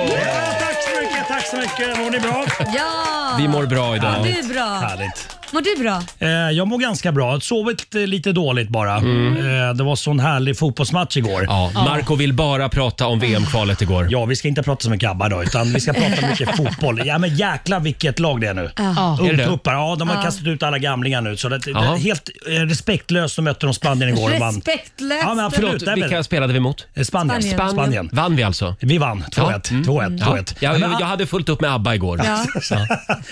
Speaker 3: Tack så mycket, tack så mycket. Mår ni bra?
Speaker 4: Ja!
Speaker 1: Vi mår bra
Speaker 4: Mår
Speaker 1: idag.
Speaker 4: du bra?
Speaker 3: Härligt.
Speaker 4: Mår du bra?
Speaker 3: Eh, Jag mår ganska bra. Jag har Sovit eh, lite dåligt bara. Eh, Det var sån härlig fotbollsmatch igår.
Speaker 1: Mm. Ja, Marco vill bara prata om VM-kvalet igår.
Speaker 3: Ja, vi ska inte prata så mycket ABBA idag, utan vi ska prata mycket fotboll. Ja, men jäklar vilket lag det är nu.
Speaker 5: Ja.
Speaker 1: Är det det?
Speaker 3: Ungtuppar, ja de har kastat ut alla gamlingar nu. Så det, det,
Speaker 1: Ja.
Speaker 3: helt eh, respektlöst, de mötte de Spanien igår och vann.
Speaker 4: Respektlöst.
Speaker 3: Ja, men absolut.
Speaker 1: Förlåt,
Speaker 3: det är väl-
Speaker 1: vilka spelade vi mot?
Speaker 3: Eh, Spanien.
Speaker 4: Spanien.
Speaker 3: Spanien.
Speaker 1: Vann vi alltså?
Speaker 3: Vi vann 2-1.
Speaker 1: Mm.
Speaker 3: 2-1.
Speaker 1: Ja.
Speaker 3: 2-1.
Speaker 1: Jag,
Speaker 3: Men ah.
Speaker 1: jag,
Speaker 3: han-
Speaker 1: jag hade fullt upp med ABBA igår.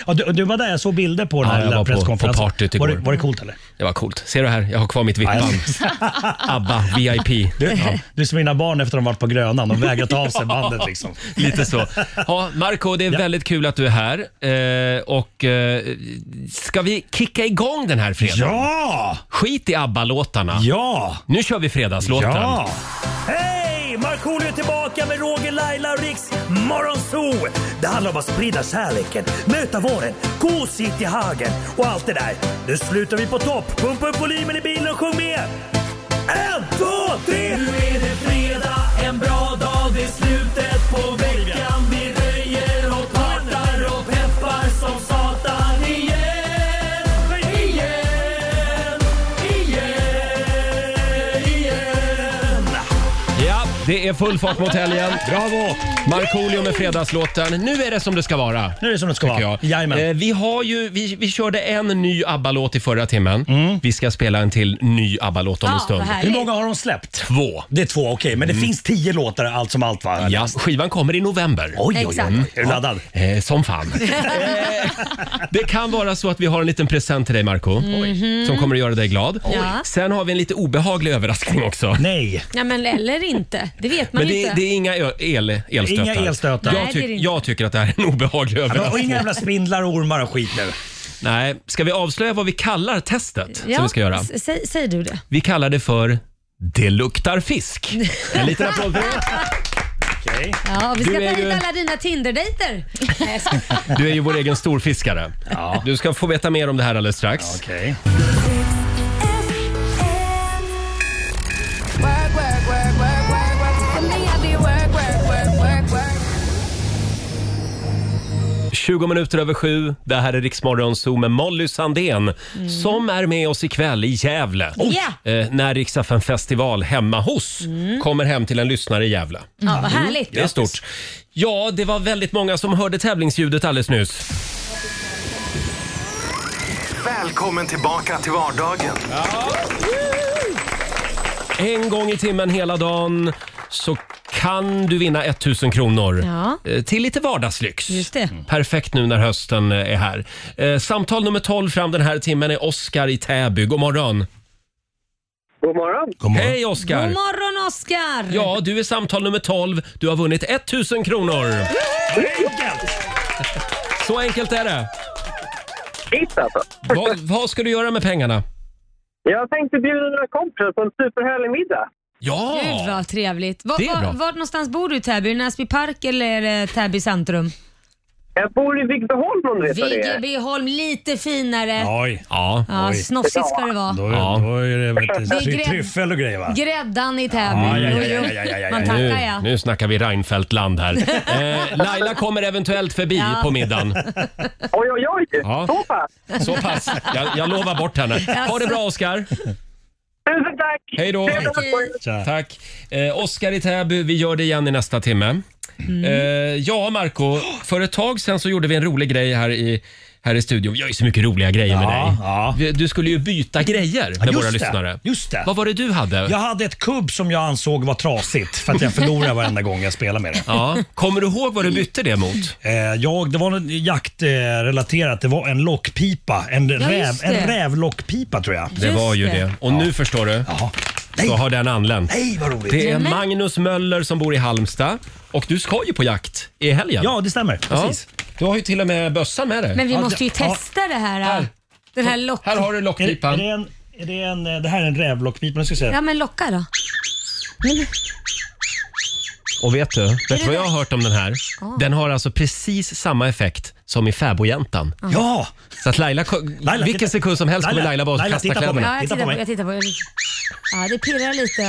Speaker 3: Ja, du, du var där, jag såg bilder på den
Speaker 1: Ja,
Speaker 3: här
Speaker 1: jag
Speaker 3: lilla
Speaker 1: var på- på
Speaker 3: presskonferensen.
Speaker 1: partyt
Speaker 3: var, det,
Speaker 1: igår.
Speaker 3: var det coolt eller?
Speaker 1: Det var coolt. Ser du här? Jag har kvar mitt vippband. ABBA VIP.
Speaker 3: Du, du är som mina barn efter de varit på Grönan. De vägrar ta av sig bandet liksom.
Speaker 1: Lite så. Ja, Marco, det är väldigt kul att du är här. Eh, och, eh, ska vi kicka igång den här fredagen?
Speaker 3: Ja!
Speaker 1: Skit i ABBA-låtarna.
Speaker 3: Ja!
Speaker 1: Nu kör vi fredagslåten.
Speaker 3: Ja! Hej! Markoolio är tillbaka med Roger, Laila och Riks Morgonzoo! Det handlar om att sprida kärleken, möta våren, gosigt i hagen och allt det där. Nu slutar vi på topp! Pumpa upp volymen i bilen och sjung med! En, två, tre! Nu är det fredag, en bra dag, det är slutet på veckan. Vi röjer och partar och peppar som satan igen, igen, igen, igen.
Speaker 1: Ja, det är full fart mot helgen.
Speaker 3: Bravo!
Speaker 1: Markoolio med fredagslåten. Nu är det som det ska vara.
Speaker 3: Nu är det som det ska
Speaker 1: tycker
Speaker 3: vara.
Speaker 1: jag.
Speaker 3: Jajamän.
Speaker 1: Eh, vi, har ju, vi, vi körde en ny ABBA-låt i förra timmen.
Speaker 3: Mm.
Speaker 1: Vi ska spela en till ny ABBA-låt om en
Speaker 4: Ja,
Speaker 1: stund.
Speaker 4: vad
Speaker 3: Hur
Speaker 4: härligt.
Speaker 3: många har de släppt?
Speaker 1: Två.
Speaker 3: Det är två, okej. Men det finns tio låtar allt som allt va?
Speaker 1: Mm. Ja, skivan kommer i november.
Speaker 3: Oj, oj, oj.
Speaker 4: Exakt.
Speaker 3: Är du laddad?
Speaker 1: Eh, som fan. Eh, Det kan vara så att vi har en liten present till dig, Marco som kommer att göra dig glad.
Speaker 4: Mhm. Ja.
Speaker 1: Sen har vi en lite obehaglig överraskning också.
Speaker 3: Nej.
Speaker 4: Ja, men eller inte. Det vet man
Speaker 1: Men
Speaker 4: ju
Speaker 1: det,
Speaker 4: inte.
Speaker 1: det är inga ö- el, elstötar.
Speaker 3: Inga elstötar.
Speaker 1: Jag,
Speaker 4: Nej, det är
Speaker 1: tyck-
Speaker 4: det inte.
Speaker 1: jag tycker att det här är en obehaglig
Speaker 3: Och
Speaker 1: överraskning.
Speaker 3: inga jävla spindlar och ormar och skit nu.
Speaker 1: Nej, ska vi avslöja vad vi kallar testet
Speaker 4: Ja,
Speaker 1: som vi ska göra?
Speaker 4: s- Säg, säg du det.
Speaker 1: Vi kallar det för “Det luktar fisk”. En liten applåd för det.
Speaker 3: Okej.
Speaker 4: Ja, vi ska
Speaker 1: Du
Speaker 4: ta
Speaker 1: är
Speaker 4: hit
Speaker 1: ju-
Speaker 4: alla dina Tinder-dejter. Nej, jag skojar.
Speaker 1: Du är ju vår egen storfiskare.
Speaker 3: Ja.
Speaker 1: Du ska få veta mer om det här alldeles strax.
Speaker 3: Okej.
Speaker 6: Work,
Speaker 1: 20 minuter över sju. Det här är Riksmorgon Zoo med Molly Sandén som är med oss ikväll i Gävle.
Speaker 4: Ja.
Speaker 1: Eh, när Riksaffen festival hemma hos kommer hem till en lyssnare i Gävle.
Speaker 4: Ja, vad härligt.
Speaker 1: Det är stort. Ja, det var väldigt många som hörde tävlingsljudet alldeles nyss.
Speaker 9: Välkommen tillbaka till vardagen.
Speaker 1: En gång i timmen hela dagen så kan du vinna 1000 kronor
Speaker 4: Ja.
Speaker 1: eh, till lite vardagslyx.
Speaker 4: Just det.
Speaker 1: Perfekt nu när hösten eh, är här. Eh, Samtal nummer 12 fram den här timmen är Oskar i Täby. God morgon!
Speaker 7: God morgon.
Speaker 1: Hej
Speaker 4: God
Speaker 1: Oskar!
Speaker 4: morgon Oscar!
Speaker 1: Ja, du är samtal nummer 12. Du har vunnit 1000 kronor.
Speaker 3: Enkelt!
Speaker 1: Så enkelt är det.
Speaker 7: Shit alltså.
Speaker 1: Vad, vad ska du göra med pengarna?
Speaker 7: Jag tänkte bjuda mina kompisar på en superhärlig middag.
Speaker 1: Ja!
Speaker 4: Gud vad trevligt. Var,
Speaker 1: Det är
Speaker 4: var,
Speaker 1: bra.
Speaker 4: var någonstans bor du i Täby? Näsby park eller eh, Täby centrum?
Speaker 7: Jag bor i Vigbyholm om du vet vad det är.
Speaker 4: Viggebyholm, lite finare. Ja,
Speaker 3: Oj,
Speaker 1: Ja.
Speaker 4: snofsigt ska det vara.
Speaker 3: då,
Speaker 1: Ja.
Speaker 3: då är det vet du,
Speaker 4: Det är
Speaker 3: try-
Speaker 4: grädd-
Speaker 3: tryffel och grejer va?
Speaker 4: Gräddan i Täby.
Speaker 3: Ja, ja, ja,
Speaker 4: Jo,
Speaker 3: ja,
Speaker 4: jo.
Speaker 3: ja, ja, ja,
Speaker 4: Man
Speaker 3: ja.
Speaker 1: Nu,
Speaker 4: tackar ja.
Speaker 1: nu snackar vi Reinfeldt-land här. Eh, Laila kommer eventuellt förbi
Speaker 4: Ja.
Speaker 1: på middagen.
Speaker 7: Oj, oj, oj!
Speaker 1: Ja.
Speaker 7: Så pass!
Speaker 1: Så pass. Jag, jag lovar bort henne. Ha det bra Oskar!
Speaker 7: Tusen tack!
Speaker 1: Hej då.
Speaker 7: Trevligt att få er.
Speaker 3: Tja.
Speaker 1: Tack. Eh, Oskar i Täby, vi gör det igen i nästa timme.
Speaker 4: Mm.
Speaker 1: Eh, ja, Marco, för ett tag sedan så gjorde vi en rolig grej här i, här i studion. Vi gör ju så mycket roliga grejer med
Speaker 3: Ja,
Speaker 1: dig.
Speaker 3: ja.
Speaker 1: Vi- Du skulle ju byta grejer med
Speaker 3: just
Speaker 1: våra
Speaker 3: det,
Speaker 1: lyssnare.
Speaker 3: just det.
Speaker 1: Vad var det du hade?
Speaker 3: Jag hade ett kubb som jag ansåg var trasigt för att jag förlorade varenda gång jag spelade med det.
Speaker 1: Ja. Kommer du ihåg vad du bytte det mot?
Speaker 3: Eh, jag, det var något jaktrelaterat. Det var en lockpipa. En, räv,
Speaker 4: just det.
Speaker 3: en rävlockpipa tror jag.
Speaker 1: Det
Speaker 4: Just
Speaker 1: var ju
Speaker 4: det.
Speaker 1: det. Och nu förstår du,
Speaker 3: Jaha. Nej,
Speaker 1: så har den anlänt.
Speaker 3: nej vad roligt.
Speaker 1: Det är
Speaker 4: Nämen.
Speaker 1: Magnus Möller som bor i Halmstad och du ska ju på jakt i helgen.
Speaker 3: Ja, det stämmer. Precis.
Speaker 1: Du har ju till och med bössa med dig.
Speaker 4: Men vi
Speaker 3: Ja,
Speaker 4: måste ju
Speaker 3: ja.
Speaker 4: testa det här.
Speaker 1: Här.
Speaker 4: Den här lock...
Speaker 1: Här
Speaker 3: Är,
Speaker 1: har du
Speaker 3: det- är,
Speaker 1: lockpipan.
Speaker 3: det en, är det en... eh, Det här är en rävlockpipa. Nu ska jag se.
Speaker 4: Ja men locka då.
Speaker 1: Och vet du, vet du vad jag har hört om den här?
Speaker 4: Ah.
Speaker 1: Den har alltså precis samma effekt som i fäbodjäntan.
Speaker 3: Ja!
Speaker 1: Så att Laila,
Speaker 3: Laila,
Speaker 1: vilken
Speaker 3: titta.
Speaker 1: sekund som helst kommer
Speaker 3: Laila,
Speaker 1: Laila bara
Speaker 3: Laila,
Speaker 1: kasta
Speaker 3: titta på mig.
Speaker 1: kläderna.
Speaker 4: Ja, jag
Speaker 3: Titta på
Speaker 4: tittar på,
Speaker 3: mig.
Speaker 4: jag tittar på. Ja, det pirrar lite.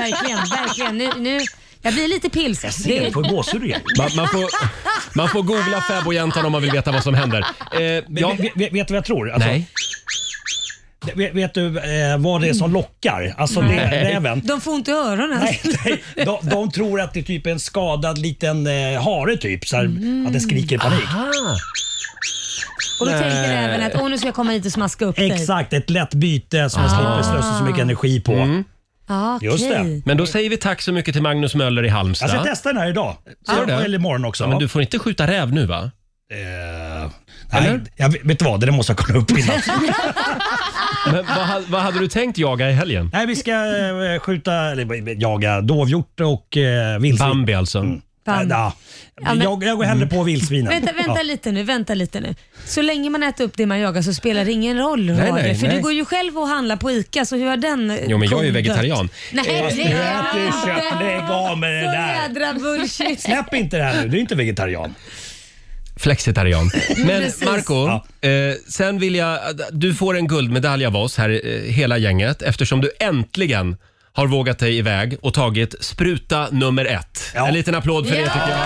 Speaker 4: verkligen, verkligen. Nu, nu, jag blir lite pilsk.
Speaker 3: Ser
Speaker 4: Det,
Speaker 3: du? Får gåshud igen.
Speaker 1: Man, man, får, man får googla fäbodjäntan om man vill veta vad som händer. Eh, ja,
Speaker 3: Vet, vet, vet du vad jag tror? Alltså,
Speaker 1: nej.
Speaker 3: Vet, vet du eh, vad det är som lockar? Alltså det är räven.
Speaker 4: de får inte i öronen.
Speaker 3: Nej, nej. De, de tror att det är typ en skadad liten eh, hare typ. Så här, Att den skriker i panik.
Speaker 1: Mm. Ah,
Speaker 4: Och då tänker även att åh, nu ska jag komma hit och smaska upp dig.
Speaker 3: Exakt, ett lätt byte som man
Speaker 1: Ah.
Speaker 3: slipper slösa så mycket energi på.
Speaker 1: Mm.
Speaker 4: Ja, okej.
Speaker 3: Just det.
Speaker 1: men då säger vi tack så mycket till Magnus Möller i
Speaker 3: Jag ska
Speaker 1: Halmstad.
Speaker 3: testa den här idag.
Speaker 1: Gör
Speaker 3: Så,
Speaker 1: det.
Speaker 3: Eller imorgon också.
Speaker 1: Ja, men du får inte skjuta räv nu va?
Speaker 3: Eh,
Speaker 1: Eller?
Speaker 3: nej, jag, vet- vet du vad? Det där måste jag kolla upp innan.
Speaker 1: Men vad, ha- vad hade du tänkt jaga i helgen?
Speaker 3: nej, vi ska eh, skjuta, eller eh, jaga dovhjort och eh, vildsvin.
Speaker 1: Bambi alltså.
Speaker 3: Eh, ja.
Speaker 4: men-
Speaker 3: jag, jag går hellre på vildsvinen.
Speaker 4: Vänta, vänta lite nu, vänta lite nu. Så länge man äter upp det man jagar så spelar det ingen roll Roger.
Speaker 1: nej,
Speaker 4: För
Speaker 1: nej.
Speaker 4: du går ju själv och handlar på ICA så hur har den eh,
Speaker 1: Jo men jag är ju
Speaker 4: kon dött?
Speaker 1: vegetarian.
Speaker 4: Nej, det
Speaker 3: Fast
Speaker 4: är
Speaker 3: du äter ju
Speaker 4: jag
Speaker 3: kött.
Speaker 4: inte.
Speaker 3: Lägg av med det
Speaker 4: Så
Speaker 3: där.
Speaker 4: jädra bullshit.
Speaker 3: Släpp inte det här nu. Du är inte vegetarian.
Speaker 1: Flexitarian. Men
Speaker 4: Precis.
Speaker 1: Marco, eh, sen vill jag... Du får en guldmedalj av oss, här, eh, hela gänget, eftersom du äntligen har vågat dig iväg och tagit spruta nummer ett.
Speaker 3: Ja.
Speaker 1: En liten applåd för det tycker jag.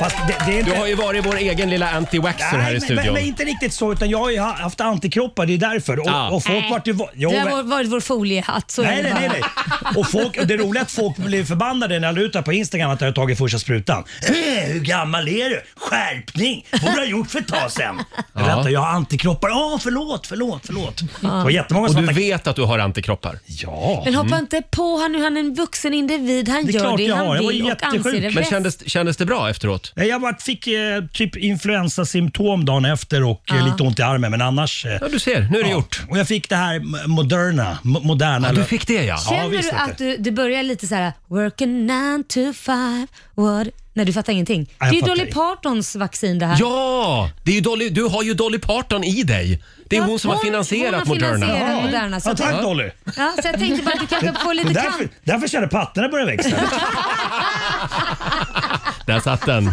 Speaker 3: Fast det, det är inte...
Speaker 1: Du har ju varit vår egen lilla anti-waxer här i
Speaker 3: men, men,
Speaker 1: studion.
Speaker 3: men inte riktigt så, utan jag har ju ha- haft antikroppar, det är därför. Och,
Speaker 1: Ah.
Speaker 3: och folk vart ju... va- Jo,
Speaker 4: Det
Speaker 3: men-
Speaker 4: har varit vår foliehatt. Så är
Speaker 3: Nej,
Speaker 4: det
Speaker 3: nej, nej.
Speaker 4: bara.
Speaker 3: nej. Och folk, och det roliga är att folk blev förbannade när jag la ut det här på Instagram att jag hade tagit första sprutan. Eh, hur gammal är du? Skärpning! borde ha gjort för ett tag sedan. Jag
Speaker 1: Ja.
Speaker 3: berättar, jag har antikroppar. Ja, förlåt, förlåt, förlåt. Det var jättemånga
Speaker 1: Och
Speaker 3: som
Speaker 1: du
Speaker 3: attack-
Speaker 1: vet att du har antikroppar.
Speaker 3: Ja.
Speaker 4: Men hoppa inte på han nu, han är en vuxen individ. Han
Speaker 3: Mm. Det är
Speaker 4: gör
Speaker 3: klart
Speaker 4: det
Speaker 3: jag
Speaker 4: han
Speaker 3: har. Jag var
Speaker 4: vill och
Speaker 3: jättesjuk.
Speaker 4: anser det
Speaker 1: Men
Speaker 4: bäst.
Speaker 1: kändes, kändes det bra efteråt?
Speaker 3: Nej, Jag vart- fick eh, typ influensasymptom dagen efter och eh, lite ont i armen, men annars... Eh,
Speaker 1: Ja, du ser. Nu är det gjort.
Speaker 3: Och jag fick det här m- moderna. mo- moderna
Speaker 1: Ja, du fick det ja.
Speaker 3: Ja,
Speaker 4: Känner
Speaker 3: visst,
Speaker 4: du
Speaker 3: vet
Speaker 4: att du, du börjar lite så här working nine to five, what? Nej, du fattar ingenting. Det
Speaker 3: jag
Speaker 4: är ju
Speaker 3: fattar
Speaker 4: Dolly
Speaker 3: inte.
Speaker 4: Partons vaccin det här.
Speaker 1: Ja! Det är ju Dolly, du har ju Dolly Parton i dig. Det är hon som har finansierat
Speaker 4: hon har
Speaker 1: Moderna.
Speaker 4: finansierat Moderna, så,
Speaker 1: alltså,
Speaker 3: Ja, tack Dolly.
Speaker 4: ja, så jag tänkte bara att du kanske får
Speaker 3: Det
Speaker 4: lite
Speaker 3: är
Speaker 4: kan.
Speaker 3: därför, därför känner pattarna börjar växa.
Speaker 1: Där satt den.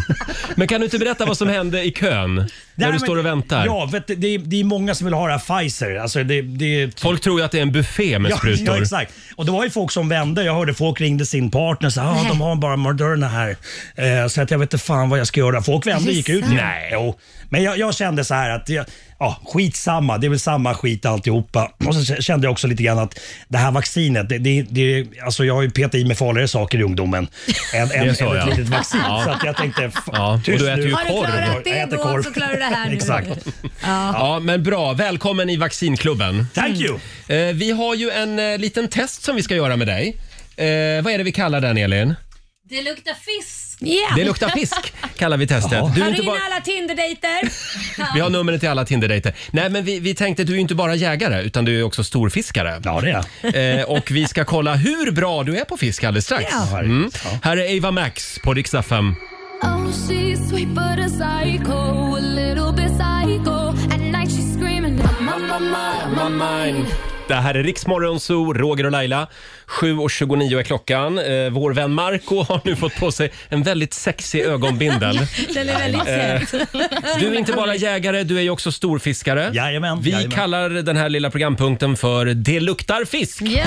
Speaker 1: Men kan du inte berätta vad som hände i kön? när
Speaker 3: Nej,
Speaker 1: du
Speaker 3: men-
Speaker 1: står och väntar.
Speaker 3: Ja, vet du, det, är, det är många som vill ha det här Pfizer. Alltså det, det,
Speaker 1: Folk tror ju att det är en buffé med
Speaker 3: ja,
Speaker 1: sprutor.
Speaker 3: ja, exakt. Och det var ju folk som vände. Jag hörde folk ringde sin partner och sa ah, de har bara Moderna här. Eh, så att jag vet inte fan vad jag ska göra. Folk vände och gick ut.
Speaker 1: Nej.
Speaker 3: Jo. Men jag, jag kände så här att jag, ja, skitsamma, det är väl samma skit alltihopa. Och så k- kände jag också lite grann att det här vaccinet, det, det, det, alltså jag har ju petat i mig farligare saker i ungdomen än, än,
Speaker 1: är så,
Speaker 3: än ett
Speaker 1: ja.
Speaker 3: litet vaccin.
Speaker 1: Ja.
Speaker 3: Så att jag tänkte, f-
Speaker 1: Ja, och
Speaker 3: tyst
Speaker 1: du äter
Speaker 3: nu.
Speaker 1: ju
Speaker 4: Har du
Speaker 1: korv.
Speaker 4: klarat
Speaker 3: Jag
Speaker 4: det
Speaker 3: äter
Speaker 4: då
Speaker 3: korv.
Speaker 4: så klarar du det här nu.
Speaker 3: Exakt.
Speaker 1: Ja, men bra. Välkommen i vaccinklubben.
Speaker 3: Thank you.
Speaker 1: Eh, vi har ju en eh, liten test som vi ska göra med dig. Eh, vad är det vi kallar den, Elin?
Speaker 8: Det luktar fisk.
Speaker 4: Yeah.
Speaker 1: Det luktar fisk kallar vi testet. Du är
Speaker 4: Tar
Speaker 1: inte
Speaker 4: in
Speaker 1: bara...
Speaker 4: alla Tinder-dejter.
Speaker 1: Vi har numret till alla Tinder-dejter. Nej, men vi, vi tänkte att du är inte bara jägare utan du är också storfiskare.
Speaker 3: Ja, det är jag.
Speaker 1: Eh, och vi ska kolla hur bra du är på fisk alldeles strax.
Speaker 3: Ja.
Speaker 1: Mm.
Speaker 3: Ja.
Speaker 1: Här är Ava Max på riksdag 5.
Speaker 6: Oh, she's sweet but a psycho, a little bit psycho. At night she's screaming, I'm on my mind, I'm on my mind.
Speaker 1: Det här är Riksmorgon Zoo, Roger och Laila. 7.29 är klockan. Eh, vår vän Marco har nu fått på sig en väldigt sexig ögonbindel. Eh,
Speaker 4: Den är väldigt söt.
Speaker 1: Du är inte bara jägare, du är ju också storfiskare.
Speaker 3: Jajamän,
Speaker 1: Vi
Speaker 3: jajamän.
Speaker 1: kallar den här lilla programpunkten för Det luktar fisk.
Speaker 4: Ja.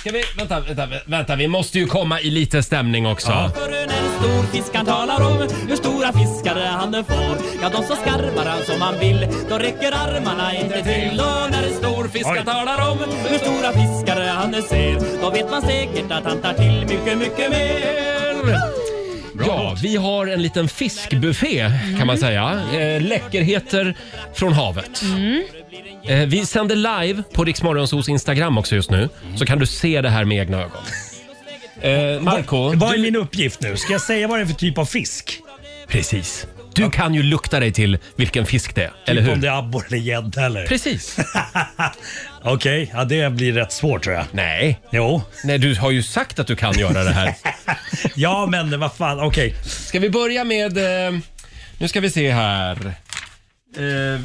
Speaker 1: Ska vi, vänta, vänta, vänta, vi måste ju komma i lite stämning också.
Speaker 10: Förrän en stor fisk han talar om hur stora fiskar han får Ja, de så skarvar han som han vill Då räcker armarna inte till Och när en stor fisk han
Speaker 3: Oj.
Speaker 10: talar om hur stora fiskar han ser Då vet man säkert att han tar till mycket, mycket mer
Speaker 1: Ja, vi har en liten fiskbuffé kan man säga. Eh, läckerheter från havet. Eh, vi sänder live på Riksmorgonsos Instagram också just nu. Så kan du se det här med egna ögon. Eh, Marco,
Speaker 3: Vad är
Speaker 1: du,
Speaker 3: min uppgift nu? Ska jag säga vad det är för typ av fisk?
Speaker 1: precis. Du kan ju lukta dig till vilken fisk det är, eller
Speaker 3: Typ Om det
Speaker 1: hur?
Speaker 3: är abborre eller gädda eller?
Speaker 1: Precis.
Speaker 3: Okej, ja, det blir rätt svårt tror jag.
Speaker 1: Nej.
Speaker 3: Jo.
Speaker 1: Nej, du har ju sagt att du kan göra det här.
Speaker 3: Ja men vad fan, okej.
Speaker 1: Ska vi börja med... Eh, nu ska vi se här. Eh,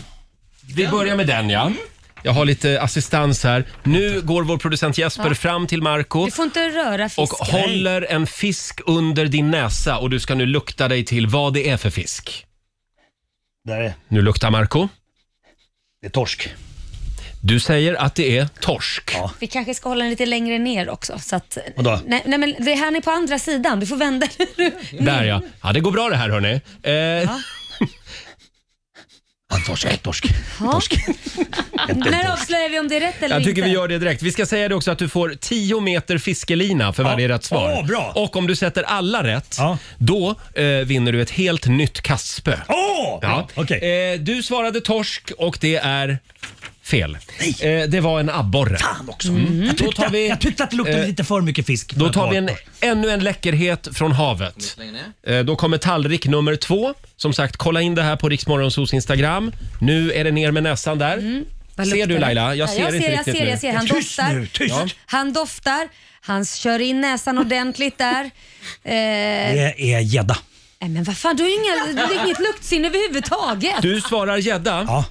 Speaker 1: vi börjar med den, ja. Jag har lite assistans här. Nu går vår producent Jesper fram till Marco
Speaker 4: Du får inte röra fisken.
Speaker 1: och håller en fisk under din näsa och du ska nu lukta dig till vad det är för fisk.
Speaker 3: Där är
Speaker 1: Nu luktar Marco.
Speaker 3: det är torsk.
Speaker 1: Du säger att det är torsk.
Speaker 3: Ja.
Speaker 4: Vi kanske ska hålla den lite längre ner också. Så att,
Speaker 3: Vadå?
Speaker 4: nej, nej, men det här är på andra sidan. Du får vända dig
Speaker 1: Där ja. Ja, det går bra det här hörni. Eh,
Speaker 3: Ja, torsk, torsk.
Speaker 4: När avslöjar vi om det är rätt eller
Speaker 1: Jag tycker
Speaker 4: inte?
Speaker 1: vi gör det direkt. Vi ska säga det också att du får 10 meter fiskelina för varje rätt svar.
Speaker 3: Åh, bra.
Speaker 1: Och om du sätter alla rätt,
Speaker 3: Ja.
Speaker 1: då eh, vinner du ett helt nytt kastspö.
Speaker 3: Åh!
Speaker 1: Ja.
Speaker 3: Okej.
Speaker 1: Eh, du svarade torsk och det är fel. Eh, det var en abborre.
Speaker 3: Fan också. Jag, tyckte,
Speaker 1: mm. Då tar vi-
Speaker 3: jag tyckte att det luktade
Speaker 1: eh,
Speaker 3: lite för mycket fisk.
Speaker 1: Då tar vi en, ännu en läckerhet från havet. Eh, Då kommer tallrik nummer två. Som sagt, kolla in det här på Riksmorgonsos Instagram. Nu är det ner med näsan där.
Speaker 3: Mm.
Speaker 4: Vad
Speaker 1: Ser
Speaker 4: luktar
Speaker 1: du
Speaker 4: det?
Speaker 1: Laila? Jag
Speaker 4: Ja,
Speaker 1: ser
Speaker 4: jag
Speaker 1: inte
Speaker 4: ser, jag
Speaker 1: riktigt
Speaker 4: ser,
Speaker 1: nu.
Speaker 4: jag ser. Han
Speaker 3: Tyst
Speaker 4: doftar.
Speaker 3: nu, tyst!
Speaker 4: Han doftar. Han kör in näsan ordentligt där. Eh, nej,
Speaker 3: Det är gädda.
Speaker 4: men vad fan, du har ju inga, du har inget luktsinne överhuvudtaget.
Speaker 1: Du svarar gädda.
Speaker 3: Ja.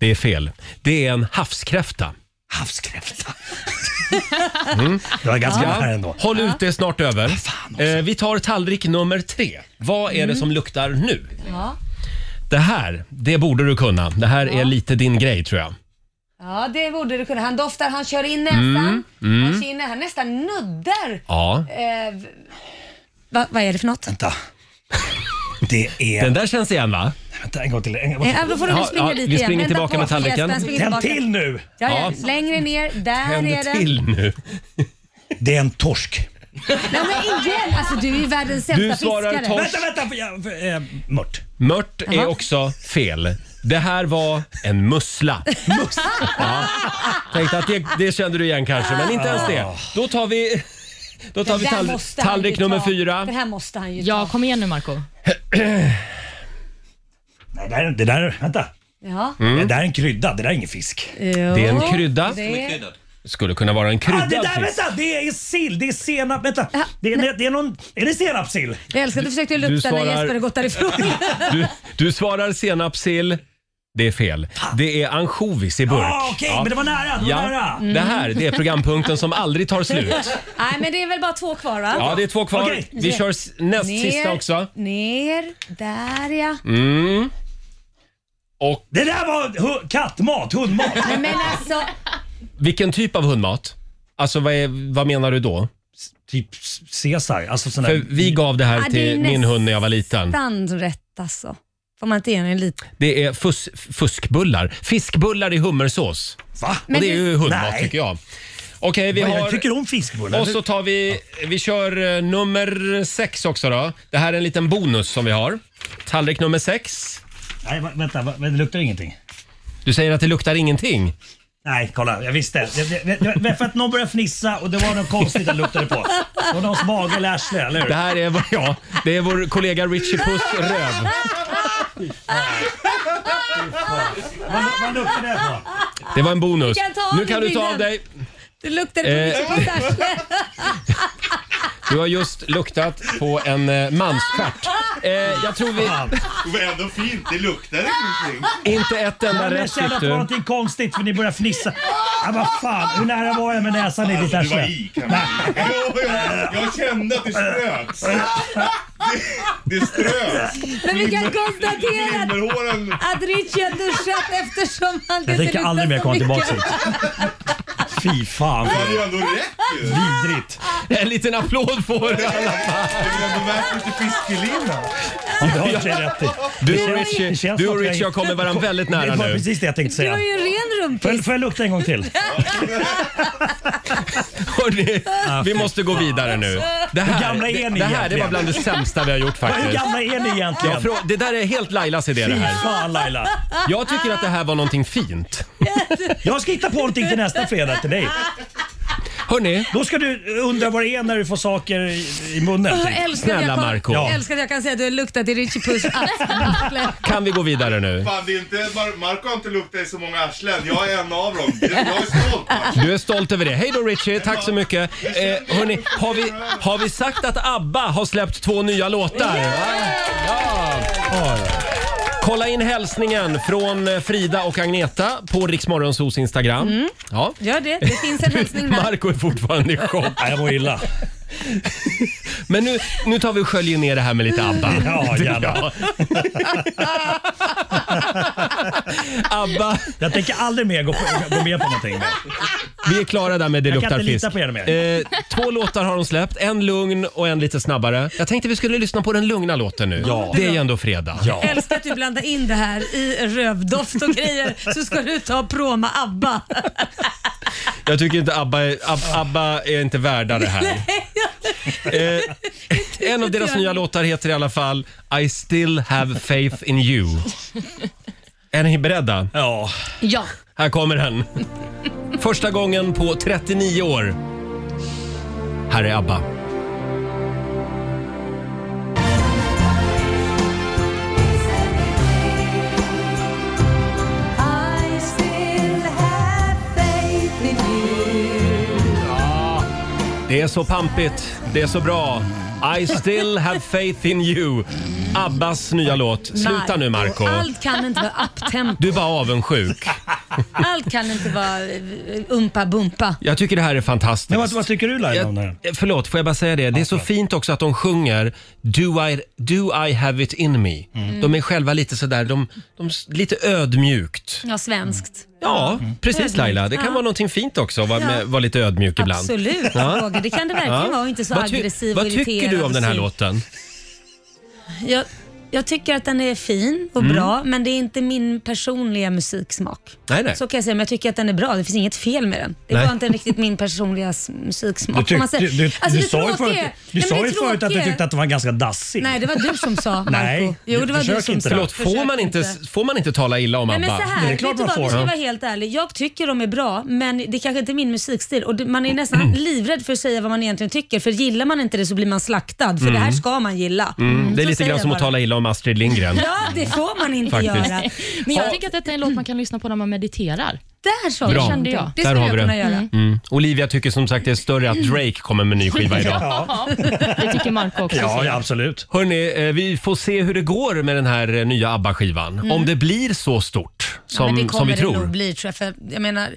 Speaker 1: Det är fel. Det är en havskräfta.
Speaker 3: Havskräfta. Mm. Det var ganska nära ändå.
Speaker 1: Håll ut, det är snart över. Eh, vi tar tallrik nummer tre. Vad är det som luktar nu?
Speaker 4: Mm. Ja.
Speaker 1: Det här, det borde du kunna. Det här är lite din grej tror jag.
Speaker 4: Ja, det borde du kunna. Han doftar, han kör in näsan.
Speaker 1: Mm,
Speaker 4: Han, kör in, han nästan nuddar.
Speaker 1: Ja.
Speaker 4: Eh, v- va, vad är det för något?
Speaker 3: Vänta. Det är...
Speaker 1: Den där känns igen va?
Speaker 3: Vänta, en gång till. En gång
Speaker 4: Eh,
Speaker 3: till.
Speaker 4: då får du
Speaker 1: Ja,
Speaker 4: väl springa
Speaker 1: ja,
Speaker 4: dit
Speaker 1: vi
Speaker 4: igen.
Speaker 1: springer
Speaker 4: Vänta
Speaker 1: tallriken.
Speaker 4: på, Jesper, spring
Speaker 3: Tänd
Speaker 4: tillbaka.
Speaker 3: till nu!
Speaker 4: Ja, ja.
Speaker 1: Ja.
Speaker 4: Längre ner, där är
Speaker 1: Tänd
Speaker 4: den.
Speaker 1: till nu.
Speaker 3: Det är en torsk.
Speaker 4: Nej men igen, alltså du är ju världens sämsta
Speaker 1: Du svarar
Speaker 4: fiskare.
Speaker 1: torsk.
Speaker 3: Vänta, vänta! För jag, för, eh, mört.
Speaker 1: Mört är
Speaker 4: Jaha.
Speaker 1: också fel. Det här var en mussla. Mussla? Ja. Tänkte att det, det kände du igen kanske, men inte ens det. Då tar vi, då tar vi
Speaker 4: Den Ah. där
Speaker 1: tall,
Speaker 4: måste han ju
Speaker 1: tallrik
Speaker 4: ta.
Speaker 1: nummer fyra.
Speaker 4: Den här måste han ju
Speaker 5: Ja,
Speaker 4: ta.
Speaker 5: kom igen nu Marco
Speaker 3: Nej, det där, det där, vänta.
Speaker 4: Ja.
Speaker 1: Mm.
Speaker 3: Det där är en krydda, det där är ingen fisk.
Speaker 1: Det är en krydda.
Speaker 4: Det är...
Speaker 1: Skulle kunna vara en
Speaker 3: Ah, det
Speaker 1: kryddad
Speaker 3: där,
Speaker 1: fisk.
Speaker 3: vänta! Det är sill, det är senap, vänta. Det är, det är någon, är det senapssill?
Speaker 4: Jag älskar att du försökte lukta
Speaker 1: svarar-
Speaker 4: när Jesper har gått därifrån.
Speaker 1: Du, du svarar senapssill. Det är fel. Det är ansjovis i burk.
Speaker 3: Ah, Okej,
Speaker 1: Ja.
Speaker 3: men det var nära, det var
Speaker 1: Ja,
Speaker 3: nära.
Speaker 1: det här det är programpunkten som aldrig tar slut.
Speaker 4: Nej men det är väl bara två kvar va?
Speaker 1: Ja, det är två kvar.
Speaker 3: Okej.
Speaker 1: Vi kör s- näst sista också.
Speaker 4: Ner, där ja.
Speaker 1: Mm. Och
Speaker 3: Det där var hu- kattmat, hundmat.
Speaker 4: Nej, men alltså,
Speaker 1: vilken typ av hundmat? Alltså vad, är, vad menar du då?
Speaker 3: typ s- Caesar, alltså sån
Speaker 1: För
Speaker 3: där.
Speaker 1: vi gav det
Speaker 4: ja,
Speaker 1: här
Speaker 4: Ah, det är
Speaker 1: till min hund när jag var liten.
Speaker 4: nästan rätt alltså. Får man inte ge en liten?
Speaker 1: Det är fus, fuskbullar. Fiskbullar i hummersås.
Speaker 3: Va?
Speaker 1: Och det är ju hundmat
Speaker 3: Nej.
Speaker 1: tycker jag. Okej, vi
Speaker 3: Vad,
Speaker 1: har...
Speaker 3: Jag tycker om fiskbullar.
Speaker 1: Och så tar vi, vi kör eh, nummer sex också då. Det här är en liten bonus som vi har. Tallrik nummer sex.
Speaker 3: Nej, va- vänta, va- men det luktar ingenting.
Speaker 1: Du säger att det luktar ingenting.
Speaker 3: Nej, kolla. Jag visste. Det, det, det, det, för att någon började fnissa och det var något konstigt den luktade på. Det var någons mage eller arsle, eller hur?
Speaker 1: Det här är, ja, det är vår kollega Richie Puss röv.
Speaker 3: Vad, vad luktar det på?
Speaker 1: Det var en bonus.
Speaker 4: Du kan ta av
Speaker 1: nu
Speaker 4: dig
Speaker 1: kan du ta
Speaker 4: bryllan.
Speaker 1: av dig.
Speaker 4: Det luktar
Speaker 1: Eh.
Speaker 4: på mitt arsle.
Speaker 1: Du har just luktat på en eh, mansstjärt. Eh, jag tror vi...
Speaker 11: Det var ändå fint, det luktade ingenting.
Speaker 1: Inte ett enda
Speaker 3: Men
Speaker 1: rätt
Speaker 3: jag kände
Speaker 1: fick
Speaker 3: att det var
Speaker 1: du.
Speaker 3: någonting konstigt för ni började fnissa. Ja, vad fan, hur nära var jag med näsan i ditt
Speaker 11: Alltså, du var
Speaker 3: arsle?
Speaker 11: i kan man säga. Jo, jo, Jag kände att det ströks. Det, det ströks.
Speaker 4: Men vi kan konstatera att-
Speaker 11: Glimmerhåren
Speaker 4: att Richie har duschat eftersom han
Speaker 3: Jag tänker
Speaker 4: luktar
Speaker 3: aldrig mer
Speaker 4: så
Speaker 3: komma
Speaker 4: mycket.
Speaker 3: tillbaka hit. Fy fan.
Speaker 11: hade ju ändå rätt ju. Det
Speaker 3: Vidrigt.
Speaker 1: En liten applåd får du.
Speaker 11: är väl ändå värt lite fiskelina.
Speaker 3: Ja, det har i och för sig rätt i.
Speaker 1: Du och
Speaker 3: Det känns- det
Speaker 1: Richie,
Speaker 3: känns
Speaker 1: du
Speaker 3: som
Speaker 1: och
Speaker 3: att jag-
Speaker 1: Richie har kommit varandra väldigt
Speaker 3: Det
Speaker 1: nära
Speaker 3: var
Speaker 1: nu.
Speaker 3: precis det jag tänkte
Speaker 4: Du
Speaker 3: säga.
Speaker 4: har ju en ren
Speaker 3: Får jag-
Speaker 4: rumpis.
Speaker 3: får jag lukta en gång till?
Speaker 1: Hörrni, vi måste gå vidare nu. Det
Speaker 3: Hur
Speaker 1: här,
Speaker 3: gamla är
Speaker 1: det,
Speaker 3: ni
Speaker 1: det här det var
Speaker 3: egentligen?
Speaker 1: bland det sämsta vi har gjort
Speaker 3: Hur
Speaker 1: faktiskt.
Speaker 3: gamla är ni egentligen?
Speaker 1: Frå- Det där är helt Lailas idé det
Speaker 3: Fy
Speaker 1: här.
Speaker 3: fan Laila.
Speaker 1: Jag tycker att det här var någonting fint.
Speaker 3: Jag ska hitta på någonting till nästa fredag till dig.
Speaker 1: Hörrni,
Speaker 3: Då ska du undra vad det är när du får saker i, i munnen.
Speaker 4: Jag
Speaker 3: Typ.
Speaker 4: älskar att
Speaker 1: Snälla,
Speaker 4: jag kan-
Speaker 1: Marco.
Speaker 4: Jag älskar att jag kan säga att du har luktat i Richie Puss arsle.
Speaker 1: kan vi gå vidare nu?
Speaker 11: Fan, det är inte, Mar- Marco har inte luktat i så många arslen. Jag är en av dem. Jag är stolt. Marco.
Speaker 1: Du är stolt över det. Hej då Richie, tack så mycket. Eh, hörni, har vi, har vi sagt att ABBA har släppt två nya låtar? Va? Ja. Kolla in hälsningen från eh, Frida och Agneta på Riksmorgonsos Instagram. Ja.
Speaker 4: Gör det. Det finns en hälsning där.
Speaker 1: Marco är fortfarande i chock.
Speaker 3: Nej, jag mår illa.
Speaker 1: Men nu, nu tar vi och sköljer ner det här med lite ABBA.
Speaker 3: Ja, gärna.
Speaker 1: ABBA,
Speaker 3: Jag tänker aldrig mer gå, på, gå med på någonting. Mer.
Speaker 1: vi är klara där med Det
Speaker 3: Jag kan
Speaker 1: luktar
Speaker 3: inte
Speaker 1: fisk.
Speaker 3: lita på er mer.
Speaker 1: Eh, två låtar har de släppt, en lugn och en lite snabbare. Jag tänkte vi skulle lyssna på den lugna låten nu.
Speaker 3: Ja.
Speaker 1: Det är ju ändå fredag.
Speaker 3: Ja.
Speaker 4: Älskar att du blandar in det här i rövdoft och grejer så ska du ta och proma ABBA.
Speaker 1: Jag tycker inte ABBA är, Ab, ABBA är inte värda det här. Eh, en av deras nya låtar heter i alla fall I still have faith in you. Är ni beredda?
Speaker 3: Ja.
Speaker 4: Ja.
Speaker 1: Här kommer den. Första gången på 39 år. Här är ABBA.
Speaker 8: I still have faith in you.
Speaker 1: Det är så pampigt, det är så bra. I still have faith in you. Abbas nya låt. Sluta nu Marco.
Speaker 4: Allt kan inte vara uptempo.
Speaker 1: Du är bara avundsjuk.
Speaker 4: Allt kan inte vara eh, umpa-bumpa.
Speaker 1: Jag tycker det här är fantastiskt.
Speaker 3: Men vad, vad tycker du Laila om det här?
Speaker 1: Jag- eh, Förlåt, får jag bara säga det? Det är så fint också att de sjunger Do I, do I have it in me.
Speaker 4: Mm.
Speaker 1: De är själva lite sådär, de, de, s- lite ödmjukt.
Speaker 4: Ja, svenskt.
Speaker 1: Ja, precis Laila. Det kan
Speaker 4: Mm. Ja.
Speaker 1: vara någonting fint också att vara,
Speaker 4: Ja.
Speaker 1: med- vara lite ödmjuk ibland.
Speaker 4: Absolut, Roger. Det kan det verkligen
Speaker 1: Ja.
Speaker 4: vara. och Inte så
Speaker 1: vad, ty-
Speaker 4: aggressiv och
Speaker 1: vad tycker du
Speaker 4: irriterad
Speaker 1: om den här
Speaker 4: och sur.
Speaker 1: låten?
Speaker 4: Jag, jag tycker att den är fin
Speaker 1: Mm.
Speaker 4: och bra, men det är inte min personliga musiksmak.
Speaker 1: Nej, nej.
Speaker 4: Så kan jag säga, men jag tycker att den är bra. Det finns inget fel med den. Det är
Speaker 1: Nej.
Speaker 4: bara inte riktigt min personliga s- musiksmak.
Speaker 3: Du, tyck,
Speaker 4: om man säger-
Speaker 3: du, du,
Speaker 4: Alltså,
Speaker 3: du
Speaker 4: det
Speaker 3: sa ju
Speaker 4: tråkiga-
Speaker 3: förut,
Speaker 4: Nej,
Speaker 3: du
Speaker 4: men
Speaker 3: sa
Speaker 4: det
Speaker 3: ju förut att du
Speaker 4: tråkiga-
Speaker 3: tyckte att det var ganska dassig.
Speaker 4: Nej, det var du som sa, Marco.
Speaker 3: Nej,
Speaker 4: jo, det var du
Speaker 3: försök
Speaker 4: som
Speaker 3: inte.
Speaker 4: sa.
Speaker 1: Förlåt, får
Speaker 4: Försök
Speaker 1: man inte, får man inte tala illa om
Speaker 4: Nej,
Speaker 1: ABBA?
Speaker 4: men så här,
Speaker 3: Det är
Speaker 4: vet
Speaker 3: klart
Speaker 4: du
Speaker 3: man
Speaker 4: vad, nu
Speaker 3: får.
Speaker 4: ska
Speaker 3: Ja.
Speaker 4: jag vara helt ärlig. Jag tycker de är bra, men det kanske inte är min musikstil. Och det, man är
Speaker 1: Mm.
Speaker 4: nästan livrädd för att säga vad man egentligen tycker, för gillar man inte det så blir man slaktad. För det här ska man gilla.
Speaker 1: Mm, det är
Speaker 4: Så
Speaker 1: lite
Speaker 4: säger
Speaker 1: grann
Speaker 4: jag
Speaker 1: som att
Speaker 4: bara.
Speaker 1: tala illa om Astrid Lindgren.
Speaker 4: Ja, det får man inte
Speaker 1: Faktiskt.
Speaker 4: göra.
Speaker 5: Men jag tycker att detta är en låt man kan lyssna på när man mediterar.
Speaker 4: Där sa
Speaker 1: Bra.
Speaker 4: du
Speaker 5: kände jag.
Speaker 4: Det
Speaker 1: Där
Speaker 4: skulle
Speaker 1: har
Speaker 4: jag
Speaker 1: vi
Speaker 4: kunna
Speaker 1: det.
Speaker 4: göra.
Speaker 1: Mm. Olivia tycker som sagt det är större att Drake kommer med en ny skiva idag.
Speaker 5: Det tycker Marco också.
Speaker 3: Ja,
Speaker 5: säger.
Speaker 3: ja, absolut.
Speaker 1: Hörni, eh, vi får se hur det går med den här eh, nya ABBA-skivan. Om det blir så stort
Speaker 4: Mm. Ja, men
Speaker 1: som,
Speaker 4: det
Speaker 1: som vi
Speaker 4: kommer det
Speaker 1: tror.
Speaker 4: nog bli tror jag. För jag menar,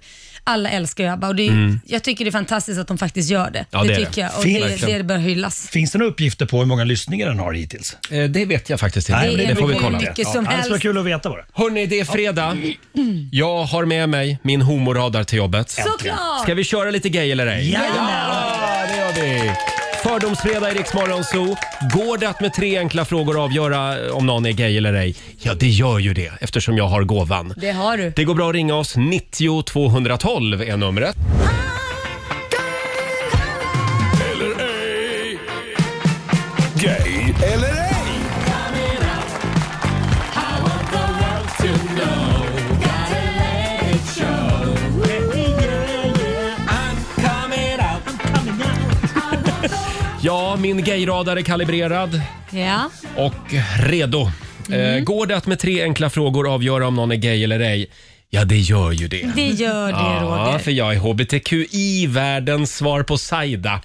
Speaker 4: alla älskar ju ABBA och det är, jag tycker det är fantastiskt att de faktiskt gör det.
Speaker 1: Mm. Ja, det är
Speaker 4: tycker
Speaker 1: det.
Speaker 4: jag och
Speaker 3: Fint.
Speaker 4: det,
Speaker 1: Verkligen.
Speaker 4: det bör hyllas.
Speaker 3: Finns det några uppgifter på hur många lyssningar den har hittills?
Speaker 1: Eh, Det vet jag faktiskt inte.
Speaker 4: men
Speaker 1: det,
Speaker 4: det
Speaker 1: får vi
Speaker 4: blir
Speaker 1: kolla.
Speaker 4: mycket som
Speaker 3: ja, det skulle vara
Speaker 4: helst.
Speaker 3: kul att veta bara.
Speaker 1: Hörni, det är fredag. Jag har med mig min homoradar till jobbet.
Speaker 4: Såklart!
Speaker 1: Ska vi köra lite gay eller ej?
Speaker 3: Ja!
Speaker 1: ja det gör vi! Fördomsfredag i Rix Morgon Zoo. Går det att med tre enkla frågor avgöra eh, om någon är gay eller ej? Ja, det gör ju det eftersom jag har gåvan.
Speaker 4: Det har du.
Speaker 1: Det går bra att ringa oss. 90 212 är numret.
Speaker 9: Gay eller ej?
Speaker 6: Gay
Speaker 1: Ja, min gayradar är kalibrerad
Speaker 4: Ja.
Speaker 1: och redo. Eh, går det att med tre enkla frågor avgöra om någon är gay eller ej? Ja, det gör ju det.
Speaker 4: Det gör det Roger.
Speaker 1: för jag är hbtqi-världens svar på Saida.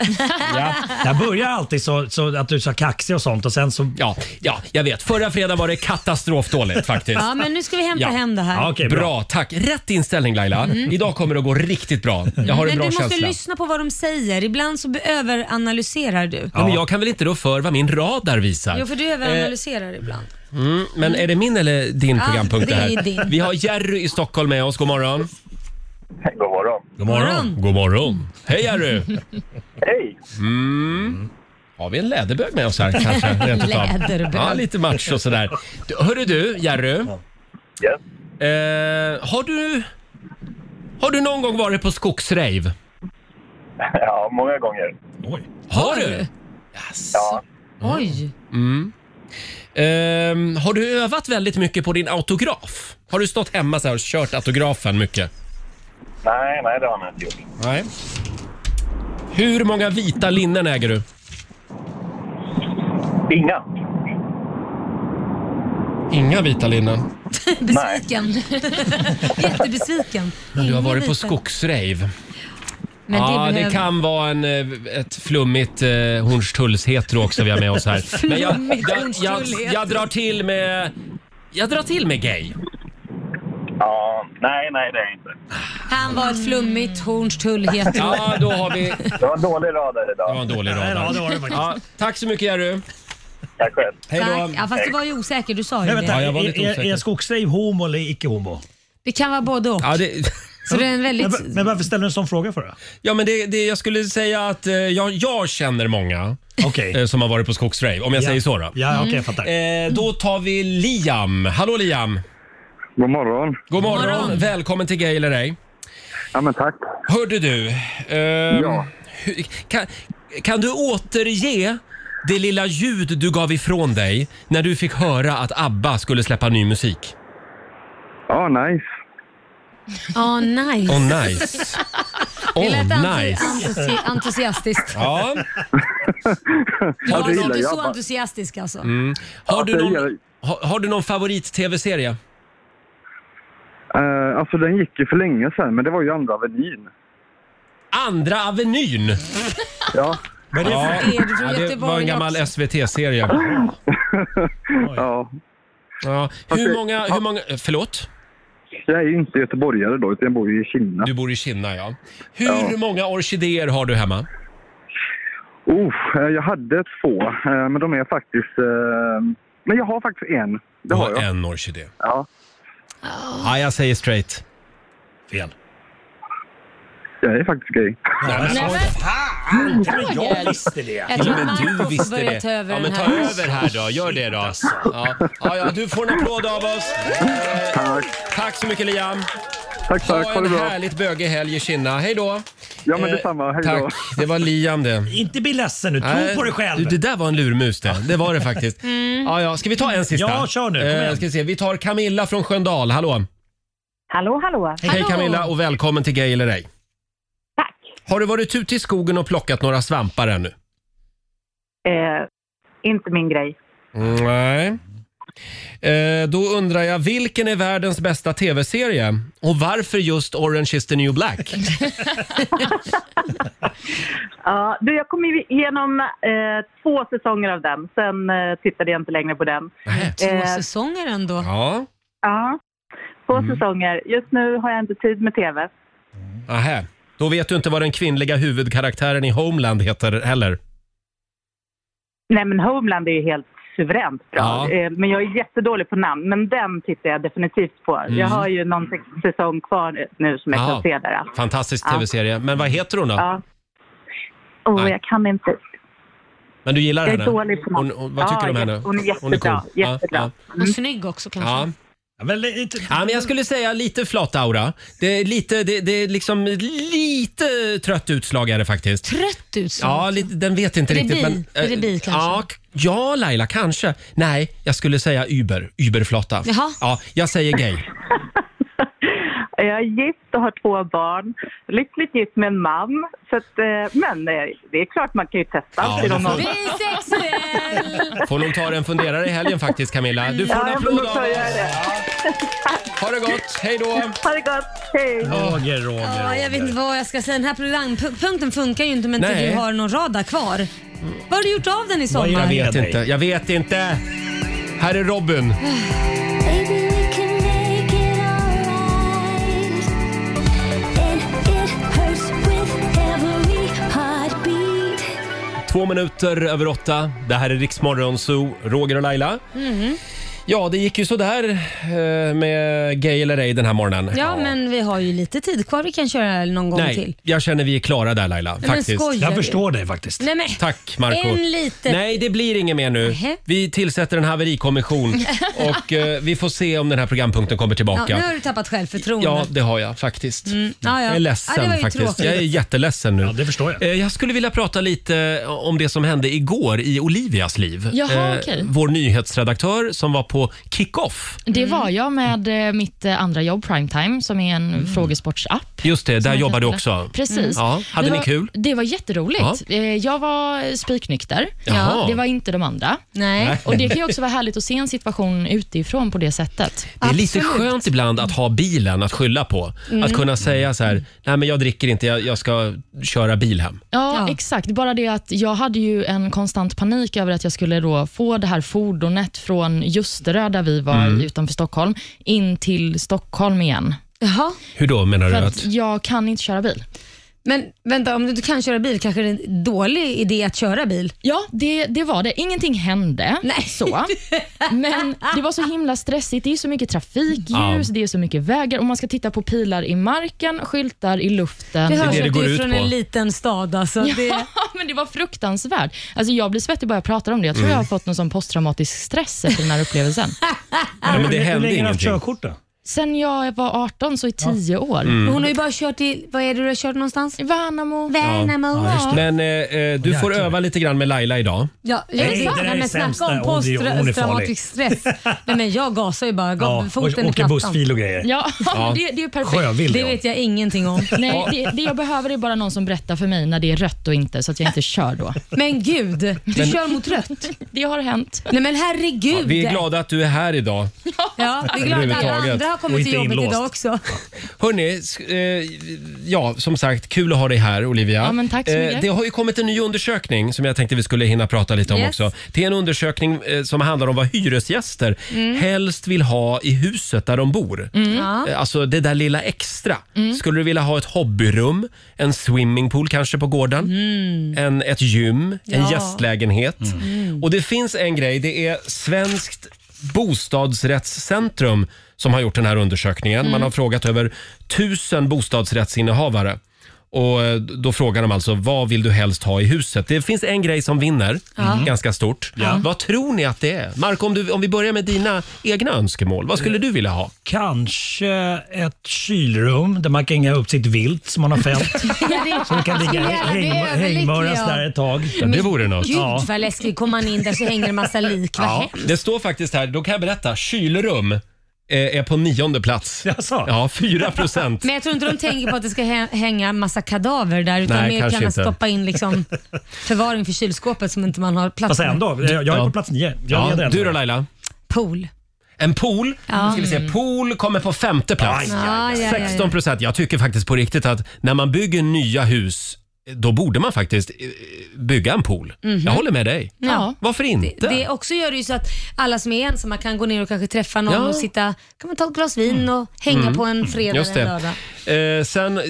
Speaker 1: Ja.
Speaker 3: Jag börjar alltid så, så att du sa kaxig och sånt och sen så...
Speaker 1: Ja, ja, jag vet. Förra fredagen var det katastrofdåligt faktiskt.
Speaker 4: Ja, men nu ska vi hämta
Speaker 1: Ja.
Speaker 4: hem det här. Mm.
Speaker 1: bra. tack. Rätt inställning Laila. Idag kommer det att gå riktigt bra. Jag har en
Speaker 4: men
Speaker 1: bra
Speaker 4: du måste
Speaker 1: känsla.
Speaker 4: lyssna på vad de säger. Ibland så be- överanalyserar du.
Speaker 1: Ja. Men jag kan väl inte rå för vad min radar visar?
Speaker 4: Jo, för du överanalyserar ibland.
Speaker 1: Eh, mm, men är det min eller din
Speaker 4: Ja,
Speaker 1: programpunkt det
Speaker 4: det är
Speaker 1: här?
Speaker 4: din.
Speaker 1: Vi har Jerry i Stockholm med oss. God morgon.
Speaker 12: God morgon.
Speaker 1: God morgon. God morgon. Hej Jerry!
Speaker 12: Hej!
Speaker 1: Mm. Har vi en läderbög med oss här kanske? rent utav?
Speaker 12: Läderbög.
Speaker 1: Ja, lite match och sådär. Du, Hörru du, Jerry. Eh, har du... Har du någon gång varit på skogsrave?
Speaker 12: Ja, många gånger.
Speaker 1: Har du?
Speaker 12: Ja.
Speaker 4: Oj!
Speaker 1: Mm. Ehm, har du övat väldigt mycket på din autograf? Har du stått hemma så här och kört autografen mycket?
Speaker 12: Nej, nej, det har man inte gjort.
Speaker 1: Nej. Hur många vita linnen äger du?
Speaker 12: Inga.
Speaker 1: Inga vita linnen.
Speaker 4: Besviken. Jättebesviken.
Speaker 1: Men du har
Speaker 4: Ingen
Speaker 1: varit på
Speaker 4: vita.
Speaker 1: skogsrave.
Speaker 4: Men det
Speaker 1: ja, det,
Speaker 4: behöver-
Speaker 1: kan vara en, eh, ett flummigt eh, Hornstulls-hetero också vi har med oss här. Men jag,
Speaker 6: Flummigt
Speaker 1: jag, jag, jag drar till med... Jag drar till med gay.
Speaker 12: Ja, nej, nej, det är jag inte.
Speaker 4: Han var ett flummigt Hornstull heter
Speaker 1: Ja, då har vi...
Speaker 12: Det var en dålig radar idag.
Speaker 1: Det var en dålig radar.
Speaker 12: Ja, det var det faktiskt.
Speaker 1: Ja, tack så mycket Jerry.
Speaker 12: Tack själv.
Speaker 1: Hej då.
Speaker 4: Tack. Ja, fast du var ju osäker, du sa ju
Speaker 3: Nej,
Speaker 4: det.
Speaker 3: vänta, är, är, är skogsrave homo eller icke homo?
Speaker 4: Det kan vara både och.
Speaker 1: Ja, det...
Speaker 4: Så det är en väldigt...
Speaker 3: men, men varför ställer du en sån fråga för? då?
Speaker 1: Ja, men det, det, jag skulle säga att eh, jag, jag känner många eh, som har varit på skogsrave, om jag
Speaker 3: Ja.
Speaker 1: säger så. Då.
Speaker 3: Ja,
Speaker 4: Mm.
Speaker 3: okej, jag fattar.
Speaker 1: Eh, då tar vi Liam. Hallå Liam!
Speaker 13: God morgon.
Speaker 1: God morgon.
Speaker 13: God morgon.
Speaker 1: Välkommen till Gay eller ej.
Speaker 13: Ja, men tack.
Speaker 1: Hörde du, ehm,
Speaker 13: Ja.
Speaker 1: hur- kan, kan du återge det lilla ljud du gav ifrån dig när du fick höra att ABBA skulle släppa ny musik?
Speaker 13: Ja, nice.
Speaker 4: Åh, nice.
Speaker 1: Åh, nice. Åh,
Speaker 4: det lät anti-
Speaker 1: nice.
Speaker 4: antusi- entusiastiskt.
Speaker 1: Ja.
Speaker 4: Ja,
Speaker 1: det
Speaker 4: du
Speaker 1: gillar
Speaker 4: är
Speaker 1: jag
Speaker 4: så
Speaker 1: bara.
Speaker 4: entusiastisk alltså.
Speaker 1: Mm. Har,
Speaker 13: det
Speaker 1: du
Speaker 13: gör
Speaker 1: någon, har, har du någon favorit-tv-serie?
Speaker 13: Eh, alltså, den gick ju för länge sedan, men det var ju Andra Avenyn.
Speaker 1: Andra Avenyn.
Speaker 13: Ja.
Speaker 1: Ja,
Speaker 13: Men det är från er, du är från
Speaker 1: ja, det var
Speaker 13: Göteborg
Speaker 1: en gammal SVT-serie.
Speaker 13: ja.
Speaker 1: Ja.
Speaker 13: Fast det-
Speaker 1: Hur många, hur många, eh, förlåt?
Speaker 13: Jag är ju inte göteborgare då, utan jag bor ju i Kinna.
Speaker 1: Du bor i Kinna, ja. Hur många orkidéer har du hemma?
Speaker 13: Oh, eh, jag hade två, eh, men de är faktiskt... eh, men jag har faktiskt en.
Speaker 1: Det har jag. en orkidé.
Speaker 13: Ja.
Speaker 1: Ja, jag säger straight. Fel.
Speaker 13: Jag är faktiskt gay.
Speaker 3: Fan, till och med jag visste det.
Speaker 1: Jag tror Marco får börja ta över Ja, men ta över här då. Gör det då. Ja, ja, ja du får en applåd av oss. Eh, Tack så mycket Liam.
Speaker 13: Tack,
Speaker 1: ha
Speaker 13: tack. Ha det
Speaker 1: en
Speaker 13: bra.
Speaker 1: härligt bögig helg i Kinna. Hej då.
Speaker 13: Ja, men
Speaker 1: Eh,
Speaker 13: detsamma. Hej
Speaker 1: Tack.
Speaker 13: då.
Speaker 1: Det var Liam det.
Speaker 3: Inte bli ledsen nu, tro
Speaker 1: Nej,
Speaker 3: på dig själv.
Speaker 1: Du, det där var en lurmus det. Det var det faktiskt.
Speaker 14: Mm.
Speaker 1: Ja, ja. Ska vi ta en sista?
Speaker 3: Ja, kör nu. Kom
Speaker 1: Eh,
Speaker 3: igen.
Speaker 1: ska vi, se. vi tar Camilla från Sköndal. Hallå.
Speaker 14: Hallå, hallå.
Speaker 1: Hej Camilla och välkommen till Gay eller ej. Tack. Har du varit ute i skogen och plockat några svampar ännu?
Speaker 14: Eh, inte min grej.
Speaker 1: Nej. Eh, då undrar jag, vilken är världens bästa tv-serie? Och varför just Orange is the new black?
Speaker 14: Ja, du, jag kom ju igenom eh, två säsonger av den. Sen eh, tittade jag inte längre på den.
Speaker 4: Två
Speaker 14: Eh,
Speaker 4: säsonger ändå.
Speaker 1: Ja.
Speaker 14: Ja, två
Speaker 1: Mm.
Speaker 14: säsonger. Just nu har jag inte tid med TV.
Speaker 1: Aha. Då vet du inte vad den kvinnliga huvudkaraktären i Homeland heter heller.
Speaker 14: Nej, men Homeland är ju helt suveränt bra.
Speaker 1: Ja.
Speaker 14: Eh, men jag är jättedålig på namn. Men den tittar jag definitivt på.
Speaker 1: Mm.
Speaker 14: Jag har ju någon sex- säsong kvar nu som jag
Speaker 1: Ja.
Speaker 14: kan se där. alltså.
Speaker 1: Fantastisk
Speaker 14: Ja.
Speaker 1: tv-serie. Men vad heter hon då?
Speaker 14: Ja. Åh, jag kan inte.
Speaker 1: Men du gillar
Speaker 14: Jag är
Speaker 1: henne?
Speaker 14: dålig på
Speaker 1: hon,
Speaker 14: namn.
Speaker 1: hon, Vad tycker du om
Speaker 14: Ja,
Speaker 1: henne?
Speaker 14: jätte- hon är jättebra,
Speaker 1: cool.
Speaker 14: jättebra.
Speaker 1: Ja,
Speaker 4: Och snygg också
Speaker 1: ja.
Speaker 4: kanske.
Speaker 1: Ja.
Speaker 3: Men,
Speaker 15: eh,
Speaker 1: ja, men jag skulle säga lite flat aura. Det är lite, det, det är liksom lite trött utslag är det faktiskt.
Speaker 4: Trött utslag?
Speaker 1: Ja, lite, den vet inte
Speaker 4: Är det
Speaker 1: riktigt. eh,
Speaker 4: bi? Är det bi kanske?
Speaker 1: Ja, k- ja, Laila, kanske. Nej, jag skulle säga Uber. Uberflotta.
Speaker 14: Jaha.
Speaker 1: Ja, jag säger gay.
Speaker 14: Jag är gift och har två barn. Lyckligt gift med en man. Så att, eh, men eh, det är klart man kan ju testa.
Speaker 1: Ja,
Speaker 14: i
Speaker 1: det
Speaker 14: de
Speaker 1: får-
Speaker 14: åldrarna.
Speaker 1: Får nog ta dig en funderare i helgen faktiskt Camilla. Du får
Speaker 14: Ja,
Speaker 1: en
Speaker 14: jag får
Speaker 1: applåd
Speaker 14: nog
Speaker 1: av
Speaker 14: ta och
Speaker 1: oss.
Speaker 14: göra det.
Speaker 1: Ha det gott, hej då!
Speaker 14: Ha det gott, hej!
Speaker 1: Roger,
Speaker 4: Ja, jag vet inte vad jag ska säga. Den här programpunkten funkar ju inte men inte
Speaker 1: Nej.
Speaker 4: du har någon radar kvar. Vad har du gjort av den i sommar?
Speaker 1: Jag vet inte, jag vet inte. Här är Robin. Två minuter över åtta. Det här är Riksmorgon Zoo, Roger och Laila.
Speaker 4: Mhm.
Speaker 1: Ja, det gick ju sådär eh, med gay eller ej den här morgonen.
Speaker 4: Ja, men vi har ju lite tid kvar vi kan köra någon gång
Speaker 1: Nej,
Speaker 4: till.
Speaker 1: jag känner vi är klara där Laila.
Speaker 4: Men
Speaker 1: Faktiskt.
Speaker 4: skojar Jag du? förstår
Speaker 1: dig faktiskt.
Speaker 4: Nej, men-
Speaker 1: Tack Marco.
Speaker 4: En liten-
Speaker 1: Nej, det blir inget mer nu.
Speaker 4: Nähä.
Speaker 1: Vi tillsätter en haverikommission och eh, vi får se om den här programpunkten kommer
Speaker 4: Ja,
Speaker 1: tillbaka.
Speaker 4: nu har du tappat självförtroende.
Speaker 1: Ja, det har jag faktiskt.
Speaker 4: Mm, ja, ja.
Speaker 1: Jag är
Speaker 4: Ja, det
Speaker 1: ledsen
Speaker 4: var ju
Speaker 1: faktiskt.
Speaker 4: tråkigt.
Speaker 1: Jag är jätteledsen nu. Ja,
Speaker 15: det förstår
Speaker 1: Eh, jag. Jag skulle vilja prata lite eh, om det som hände igår i Olivias liv.
Speaker 5: Jaha,
Speaker 1: Eh,
Speaker 5: okej.
Speaker 1: Vår nyhetsredaktör som var på kick-off.
Speaker 5: Det var jag med eh, mitt eh, andra jobb Primetime som är en frågesportsapp.
Speaker 1: Just
Speaker 5: som
Speaker 1: det, där
Speaker 5: jag
Speaker 1: jobbar du
Speaker 5: testade.
Speaker 1: också.
Speaker 5: Precis.
Speaker 1: Mm. Ja, hade
Speaker 5: det
Speaker 1: ni
Speaker 5: var,
Speaker 1: kul?
Speaker 5: Det var jätteroligt.
Speaker 1: Ja.
Speaker 5: Eh, Jag var spiknykter.
Speaker 1: Jaha.
Speaker 5: Det var inte de andra.
Speaker 1: Nej.
Speaker 5: Och Det kan ju också vara härligt att se en situation utifrån på det sättet.
Speaker 1: Det är lite skönt ibland att ha bilen att skylla på.
Speaker 5: Mm.
Speaker 1: Att kunna säga så här, nej men jag dricker inte, jag, jag ska köra bil hem.
Speaker 5: Ja, exakt. Bara det att jag hade ju en konstant panik över att jag skulle då få det här fordonet från Ljusterö, där vi var
Speaker 1: Mm.
Speaker 5: utanför Stockholm, in till Stockholm igen.
Speaker 4: Jaha.
Speaker 1: Hur då menar
Speaker 5: För
Speaker 1: du?
Speaker 5: att
Speaker 1: Att,
Speaker 5: jag kan inte köra bil.
Speaker 4: Men vänta, om du inte kan köra bil kanske det är en dålig idé att köra bil?
Speaker 5: Ja, det, det var det. Ingenting hände.
Speaker 4: Nej.
Speaker 5: Så. Men det var så himla stressigt. Det är så mycket
Speaker 4: Ja.
Speaker 5: trafikljus, det är så mycket vägar och man ska titta på pilar i marken, skyltar i luften.
Speaker 4: Det hörs att du är från en liten stad. Alltså.
Speaker 5: Ja,
Speaker 4: Det...
Speaker 5: men det var fruktansvärt. Alltså, jag blir svettig bara jag pratar om det. Jag tror
Speaker 1: Mm.
Speaker 5: jag har fått någon sån posttraumatisk stress efter den här upplevelsen.
Speaker 1: ja,
Speaker 3: Äh,
Speaker 1: men det
Speaker 15: Hur
Speaker 1: hände
Speaker 15: länge har du haft
Speaker 1: ingenting.
Speaker 15: körkort då?
Speaker 5: Sen jag var 18, så i 10 år.
Speaker 1: Mm. Hon
Speaker 4: har ju bara kört i, vad är det du har kört någonstans?
Speaker 5: Värnamo.
Speaker 4: Värnamo. Ja,
Speaker 1: Men eh, eh, du får öva lite grann med Laila idag.
Speaker 4: Ja, jag
Speaker 1: Nej,
Speaker 4: är
Speaker 1: det där är
Speaker 4: men
Speaker 1: sämst
Speaker 4: snacka om
Speaker 1: där. Hon är- hon är farlig.
Speaker 4: posttraumatisk stress. Nej, men jag gasar ju bara. Jag gav
Speaker 1: Ja,
Speaker 4: foten
Speaker 1: och-
Speaker 4: i
Speaker 1: åker
Speaker 4: plattan.
Speaker 1: bussfil och grejer.
Speaker 5: Ja,
Speaker 1: Ja.
Speaker 5: Det, det är perfekt.
Speaker 1: Sjövild,
Speaker 4: det
Speaker 1: ja.
Speaker 4: vet jag ingenting om.
Speaker 5: Nej, det, det jag behöver är bara någon som berättar för mig när det är rött och inte, så att jag inte kör då.
Speaker 4: Men gud, du
Speaker 1: Men-
Speaker 4: kör mot rött.
Speaker 5: Det har hänt.
Speaker 4: Nej men herregud.
Speaker 1: Vi är glada att du är här idag.
Speaker 4: Ja, vi är glada att alla
Speaker 1: Överhuvudtaget.
Speaker 4: andra har
Speaker 1: Och
Speaker 4: kommit till
Speaker 1: inte
Speaker 4: jobbet
Speaker 1: inlåst.
Speaker 4: idag också.
Speaker 1: Hörni, eh, ja som sagt kul att ha dig här Olivia. Eh,
Speaker 5: Ja, men tack så mycket.
Speaker 1: det har ju kommit en ny undersökning som jag tänkte vi skulle hinna prata lite om
Speaker 5: Yes.
Speaker 1: också. Det är en undersökning eh, som handlar om vad hyresgäster
Speaker 5: Mm.
Speaker 1: helst vill ha i huset där de bor.
Speaker 5: Mm. Ja.
Speaker 1: Eh, Alltså det där lilla extra.
Speaker 5: Mm.
Speaker 1: Skulle du vilja ha ett hobbyrum, en swimmingpool kanske på gården,
Speaker 5: Mm.
Speaker 1: Mm. en, ett gym, en
Speaker 5: Ja.
Speaker 1: gästlägenhet.
Speaker 5: Mm.
Speaker 1: Och det finns en grej, det är Svenskt bostadsrättscentrum som har gjort den här undersökningen. Man
Speaker 5: Mm.
Speaker 1: har frågat över tusen bostadsrättsinnehavare. Och eh, Då frågar de alltså vad vill du helst ha i huset. Det finns en grej som vinner
Speaker 5: Ja. Mm.
Speaker 1: ganska stort.
Speaker 5: Ja.
Speaker 1: Vad tror ni att det är? Marco, om, du, om vi börjar med dina egna önskemål. Vad skulle du vilja ha?
Speaker 15: Kanske ett kylrum där man kan hänga upp sitt vilt som man har fällt. Så det kan ligga häng, hängmöras där ett tag.
Speaker 4: Gud
Speaker 1: Ja.
Speaker 4: vad läskigt. Kommer man in där så hänger det massa lik. Vad
Speaker 1: Ja.
Speaker 4: hemskt.
Speaker 1: Det står faktiskt här, då kan jag berätta, kylrum eh, är på nionde plats. Ja, 4 procent.
Speaker 4: Men jag tror inte de tänker på att det ska hä- hänga massa kadaver där utan
Speaker 1: Nej,
Speaker 4: mer
Speaker 1: kanske
Speaker 4: kan man
Speaker 1: inte.
Speaker 4: stoppa in liksom förvaring för kylskåpet som inte man har plats
Speaker 15: Fast ändå, jag jag är på plats nio. Jag leder
Speaker 1: Ja,
Speaker 15: ändå.
Speaker 1: du då Laila?
Speaker 4: Pool.
Speaker 1: En pool.
Speaker 4: Ja. Mm.
Speaker 1: Ska vi se. Pool kommer på femte plats.
Speaker 4: Aj, aj, aj.
Speaker 1: 16 procent. Jag tycker faktiskt på riktigt att när man bygger nya hus, då borde man faktiskt eh, bygga en pool.
Speaker 4: Mhm.
Speaker 1: Jag håller med dig.
Speaker 4: Ja.
Speaker 1: Varför inte?
Speaker 4: Det, det också gör det ju så att alla som är ensamma kan gå ner och kanske träffa någon
Speaker 1: Ja.
Speaker 4: och sitta, kan man ta ett glas vin och hänga
Speaker 1: Mm.
Speaker 4: på en
Speaker 1: Mm.
Speaker 4: fredag
Speaker 1: Just
Speaker 4: eller
Speaker 1: det.
Speaker 4: en lördag.
Speaker 1: Eh, sen, eh,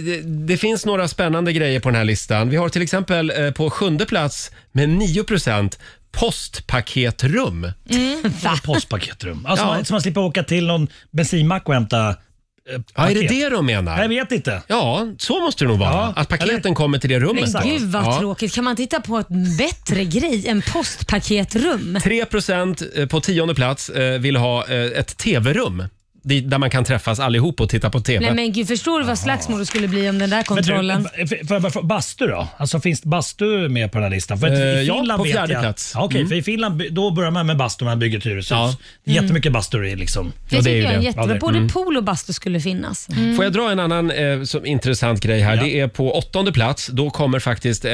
Speaker 1: det finns några spännande grejer på den här listan. Vi har till exempel eh, på sjunde plats med 9 procent postpaketrum.
Speaker 15: Va? Postpaketrum. Alltså,
Speaker 1: Ja.
Speaker 15: Så man slipper åka till någon bensinmack och hämta eh,
Speaker 1: Ja, är det
Speaker 15: paket.
Speaker 1: det de menar?
Speaker 15: Jag vet inte.
Speaker 1: Ja, så måste det nog vara. Att paketen kommer till det rummet.
Speaker 4: Men
Speaker 1: då.
Speaker 4: gud vad
Speaker 1: Ja.
Speaker 4: tråkigt. Kan man titta på ett bättre grej än postpaketrum?
Speaker 1: 3 procent på tionde plats eh, vill ha eh, ett eh, tv-rum. di- där man kan träffas allihop och titta på TV.
Speaker 4: Nej men gud, förstår du vad slagsmål det skulle bli om den där kontrollen?
Speaker 15: Men du, eh, f- får jag bara få- bastu då? Alltså finns bastu med på den här listan? För att
Speaker 1: Eh,
Speaker 15: i
Speaker 1: ja,
Speaker 15: Finland
Speaker 1: på
Speaker 15: vet
Speaker 1: fjärde
Speaker 15: jag-
Speaker 1: plats.
Speaker 15: Ja, Okej,
Speaker 1: Mm.
Speaker 15: för i Finland by- då börjar man med bastu när man bygger ett hyreshus. Jättemycket bastur är liksom.
Speaker 4: Mm. Det tycker jag är jättebra. Både
Speaker 1: Mm.
Speaker 4: pool och bastu skulle finnas.
Speaker 1: Får jag dra en annan eh, som, intressant grej här? Det är på åttonde plats. Då kommer faktiskt eh,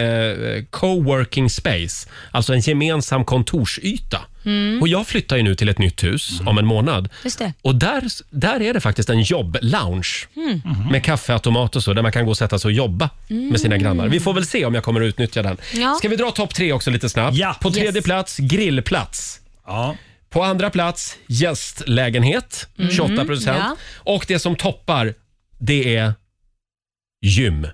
Speaker 1: coworking space, alltså en gemensam kontorsyta.
Speaker 4: Mm.
Speaker 1: Och jag flyttar ju nu till ett nytt hus om en månad.
Speaker 4: Just det.
Speaker 1: Och där, där är det faktiskt en jobblounge.
Speaker 4: Mm.
Speaker 1: Med kaffeautomat och så, där man kan gå och sätta sig och jobba med sina
Speaker 4: Mm.
Speaker 1: grannar. Vi får väl se om jag kommer att utnyttja den.
Speaker 4: Ja.
Speaker 1: Ska vi dra topp tre också lite snabbt? På tredje
Speaker 4: Yes.
Speaker 1: plats, grillplats. På andra plats, gästlägenhet,
Speaker 4: Mhm.
Speaker 1: 28 procent.
Speaker 4: Ja.
Speaker 1: Och det som toppar, det är gym.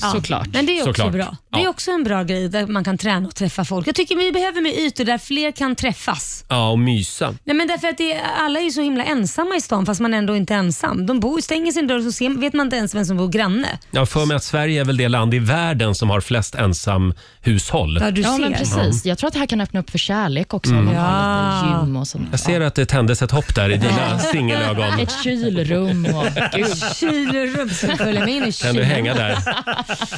Speaker 4: Ja. Men det är också bra. Det är
Speaker 1: Ja.
Speaker 4: också en bra grej där man kan träna och träffa folk. Jag tycker vi behöver med ytor där fler kan träffas.
Speaker 1: ja, och mysa.
Speaker 4: Nej, men därför att det, alla är ju så himla ensamma i stan fast man ändå inte är ensam. De bor, stänger sin dörr så ser, vet man inte ens vem som bor granne.
Speaker 1: Jag har för mig att Sverige är väl det land i världen som har flest ensamhushåll.
Speaker 5: ja, men precis. Jag tror att det här kan öppna upp för kärlek också.
Speaker 1: Mm.
Speaker 5: Om man har lite
Speaker 1: Ja.
Speaker 5: gym och sånt.
Speaker 1: Jag ser att det tändes ett hopp där i dina singelögon.
Speaker 5: Ett kylrum och...
Speaker 4: Kylrum som följer med in i
Speaker 1: Kan du hänga där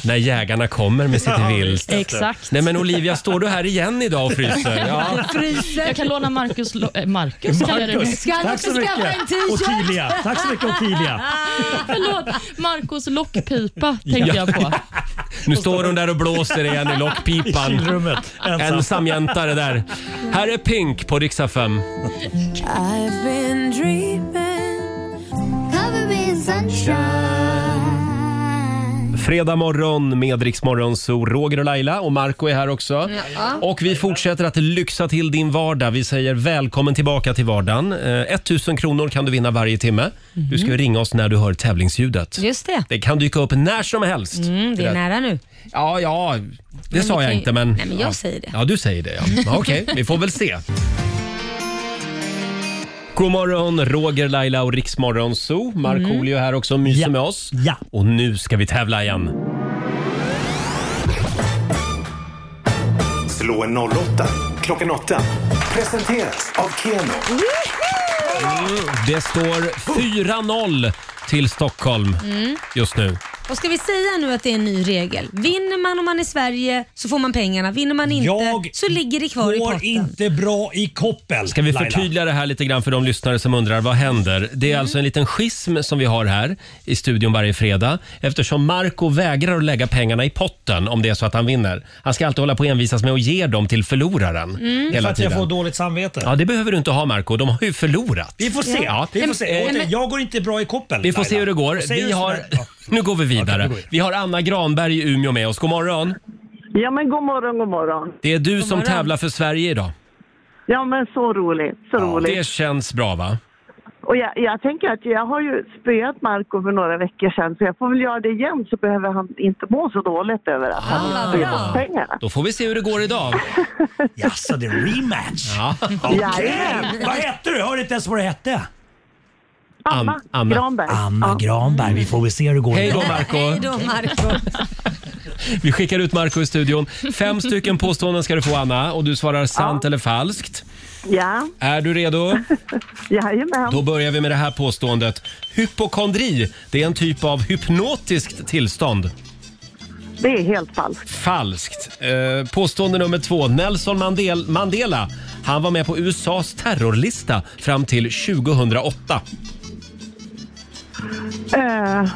Speaker 1: när jägarna kommer med sitt vilt?
Speaker 5: Exakt.
Speaker 1: Nej men Olivia, står du här igen idag och fryser? Ja.
Speaker 4: Fryser.
Speaker 5: Jag kan låna Marcus... lo- eh, Marcus, kallar jag det nu.
Speaker 1: Marcus, Ska han tack också så skaffa mycket. en t-shirt? Ottilia. Tack så mycket, Ottilia.
Speaker 5: Förlåt, Marcus lockpipa tänkte jag på.
Speaker 1: Nu står hon där och blåser igen i lockpipan.
Speaker 5: I kylrummet,
Speaker 3: alltså.
Speaker 5: ensam.
Speaker 1: Ensam jäntare där. Här är Pink på riksdag 5.
Speaker 6: I've been dreaming, covered in sunshine.
Speaker 1: Fredag morgon med Rix Morgon, så Roger och Laila och Marco är här också.
Speaker 6: Ja.
Speaker 1: Och vi fortsätter att lyxa till din vardag. Vi säger välkommen tillbaka till vardagen. Eh, 1000 kronor kan du vinna varje timme.
Speaker 4: Mhm.
Speaker 1: Du ska ringa oss när du hör tävlingsljudet.
Speaker 4: Just det.
Speaker 1: Det kan dyka upp när som helst.
Speaker 4: Mm, det är
Speaker 1: där.
Speaker 4: nära nu.
Speaker 1: Ja, ja. Det
Speaker 4: Men
Speaker 1: sa
Speaker 4: vi
Speaker 1: jag
Speaker 4: kan ju-
Speaker 1: inte, men...
Speaker 4: Nej, men jag
Speaker 1: ja.
Speaker 4: säger det.
Speaker 1: Ja, du säger det. Ja. Ja, Okej, vi får väl se. God morgon, Roger, Laila och Riksmorgon Zoo.
Speaker 4: Mm.
Speaker 1: Markoolio här också och myser med oss. Ja. Och nu ska vi tävla igen.
Speaker 9: Slå en 08 klockan 8. Presenteras av Keno.
Speaker 1: Det står 4-0 till Stockholm
Speaker 4: Mm.
Speaker 1: just nu.
Speaker 4: Och ska vi säga nu att det är en ny regel? Vinner man om man är i Sverige så får man pengarna. Vinner man inte så ligger det kvar i
Speaker 15: Går
Speaker 4: potten.
Speaker 15: inte bra i koppel.
Speaker 1: Ska vi
Speaker 15: Laila?
Speaker 1: förtydliga det här lite grann för de lyssnare som undrar vad händer? Det är
Speaker 15: Mm.
Speaker 1: alltså en liten schism som vi har här i studion varje fredag eftersom Marco vägrar att lägga pengarna i potten om det är så att han vinner. Han ska alltid hålla på och envisas med att ge dem till förloraren
Speaker 15: Mm. För
Speaker 1: hela
Speaker 15: att jag får
Speaker 1: tiden.
Speaker 15: dåligt samvete.
Speaker 1: Ja, det behöver du inte ha Marco. De har ju förlorat.
Speaker 15: Vi får se.
Speaker 1: Ja.
Speaker 15: Vi får se.
Speaker 1: Eh,
Speaker 15: Återigen, Jag går inte bra i koppel.
Speaker 1: Vi får se
Speaker 15: Laila.
Speaker 1: hur det går.
Speaker 15: Säg
Speaker 1: Vi
Speaker 15: hur-
Speaker 1: har... Nu går vi vidare. Vi har Anna Granberg i Umeå med oss. God morgon.
Speaker 16: Ja men god morgon, god morgon.
Speaker 1: Det är du som
Speaker 16: morgon.
Speaker 1: tävlar för Sverige idag.
Speaker 16: Ja men så roligt, så roligt.
Speaker 1: Det känns bra va?
Speaker 16: Och jag, jag tänker att jag har ju spöat Marco för några veckor sedan så jag får väl göra det igen så behöver han inte må så dåligt över att han
Speaker 1: Ah,
Speaker 16: har spöat bort pengarna.
Speaker 1: Då får vi se hur det går idag.
Speaker 15: Jaså, det är rematch?
Speaker 1: Ja.
Speaker 15: Okej.
Speaker 16: Jajamän.
Speaker 15: Vad hette du? Jag hörde inte ens vad du hette.
Speaker 16: Anna Anna. Granberg.
Speaker 15: Anna Granberg. Vi får väl se hur det går.
Speaker 1: Hej då
Speaker 15: idag.
Speaker 1: Marco. Vi skickar ut Marco i studion. Fem stycken påståenden ska du få Anna och du svarar sant eller falskt.
Speaker 16: Ja,
Speaker 1: Är du redo?
Speaker 16: jajamän.
Speaker 1: Då börjar vi med det här påståendet. Hypokondri, det är en typ av hypnotiskt tillstånd.
Speaker 16: Det är helt falskt.
Speaker 1: Falskt. Eh, påstående nummer två. Nelson Mandel- Mandela, han var med på USAs terrorlista fram till 2008.
Speaker 16: Eh,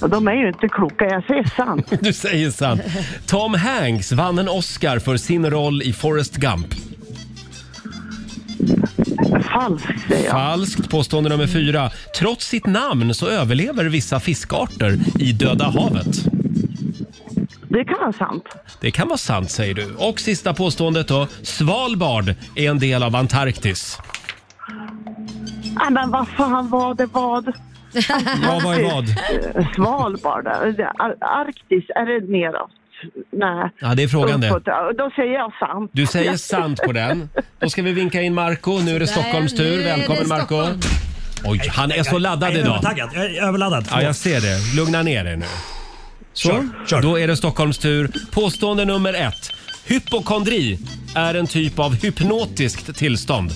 Speaker 16: och de är ju inte kloka, jag säger sant.
Speaker 1: Du säger sant. Tom Hanks vann en Oscar för sin roll i Forrest Gump.
Speaker 16: Falskt säger jag.
Speaker 1: Falskt. Påstående nummer fyra. Trots sitt namn så överlever vissa fiskarter i Döda havet.
Speaker 16: Det kan vara sant.
Speaker 1: Det kan vara sant säger du. Och sista påståendet då. Svalbard är en del av Antarktis.
Speaker 16: Nej, men vad fan var det vad?
Speaker 1: Vad var i vad?
Speaker 16: Eh, Svalbard, eh, Ar- Arktis, är det neråt? Nej.
Speaker 1: Ja, det är frågan det.
Speaker 16: Uppåt. Ja, Då säger jag sant.
Speaker 1: Du säger sant på den. Då ska vi vinka in Marco. Nu är det Stockholms tur. Välkommen Marco. Oj, han är så laddad
Speaker 15: jag är
Speaker 1: idag.
Speaker 15: övertaggad. Jag är överladdad.
Speaker 1: Ja, jag ser det. Lugna ner dig nu. Så, då är det Stockholms tur. Påstående nummer ett. Hypokondri är en typ av hypnotiskt tillstånd.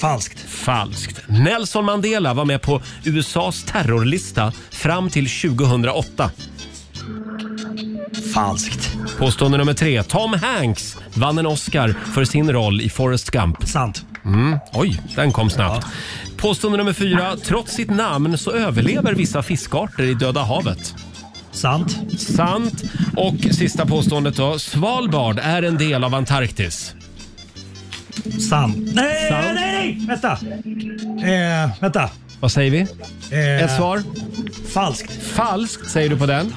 Speaker 1: Falskt. Falskt. Nelson Mandela var med på USAs terrorlista fram till 2008. Falskt. Påstående nummer tre. Tom Hanks vann en Oscar för sin roll i Forrest Gump. Sant. Mm. Oj, den kom snabbt. Påstående nummer fyra. Trots sitt namn så överlever vissa fiskarter i Döda havet. Sant. Sant. Och sista påståendet då. Svalbard är en del av Antarktis.
Speaker 15: Sant. Nej,
Speaker 1: Sant.
Speaker 15: nej, nej! Vänta. Eh, vänta.
Speaker 1: Vad säger vi?
Speaker 15: Eh,
Speaker 3: Äh.
Speaker 1: Ett svar? Falskt. Falskt säger du på den.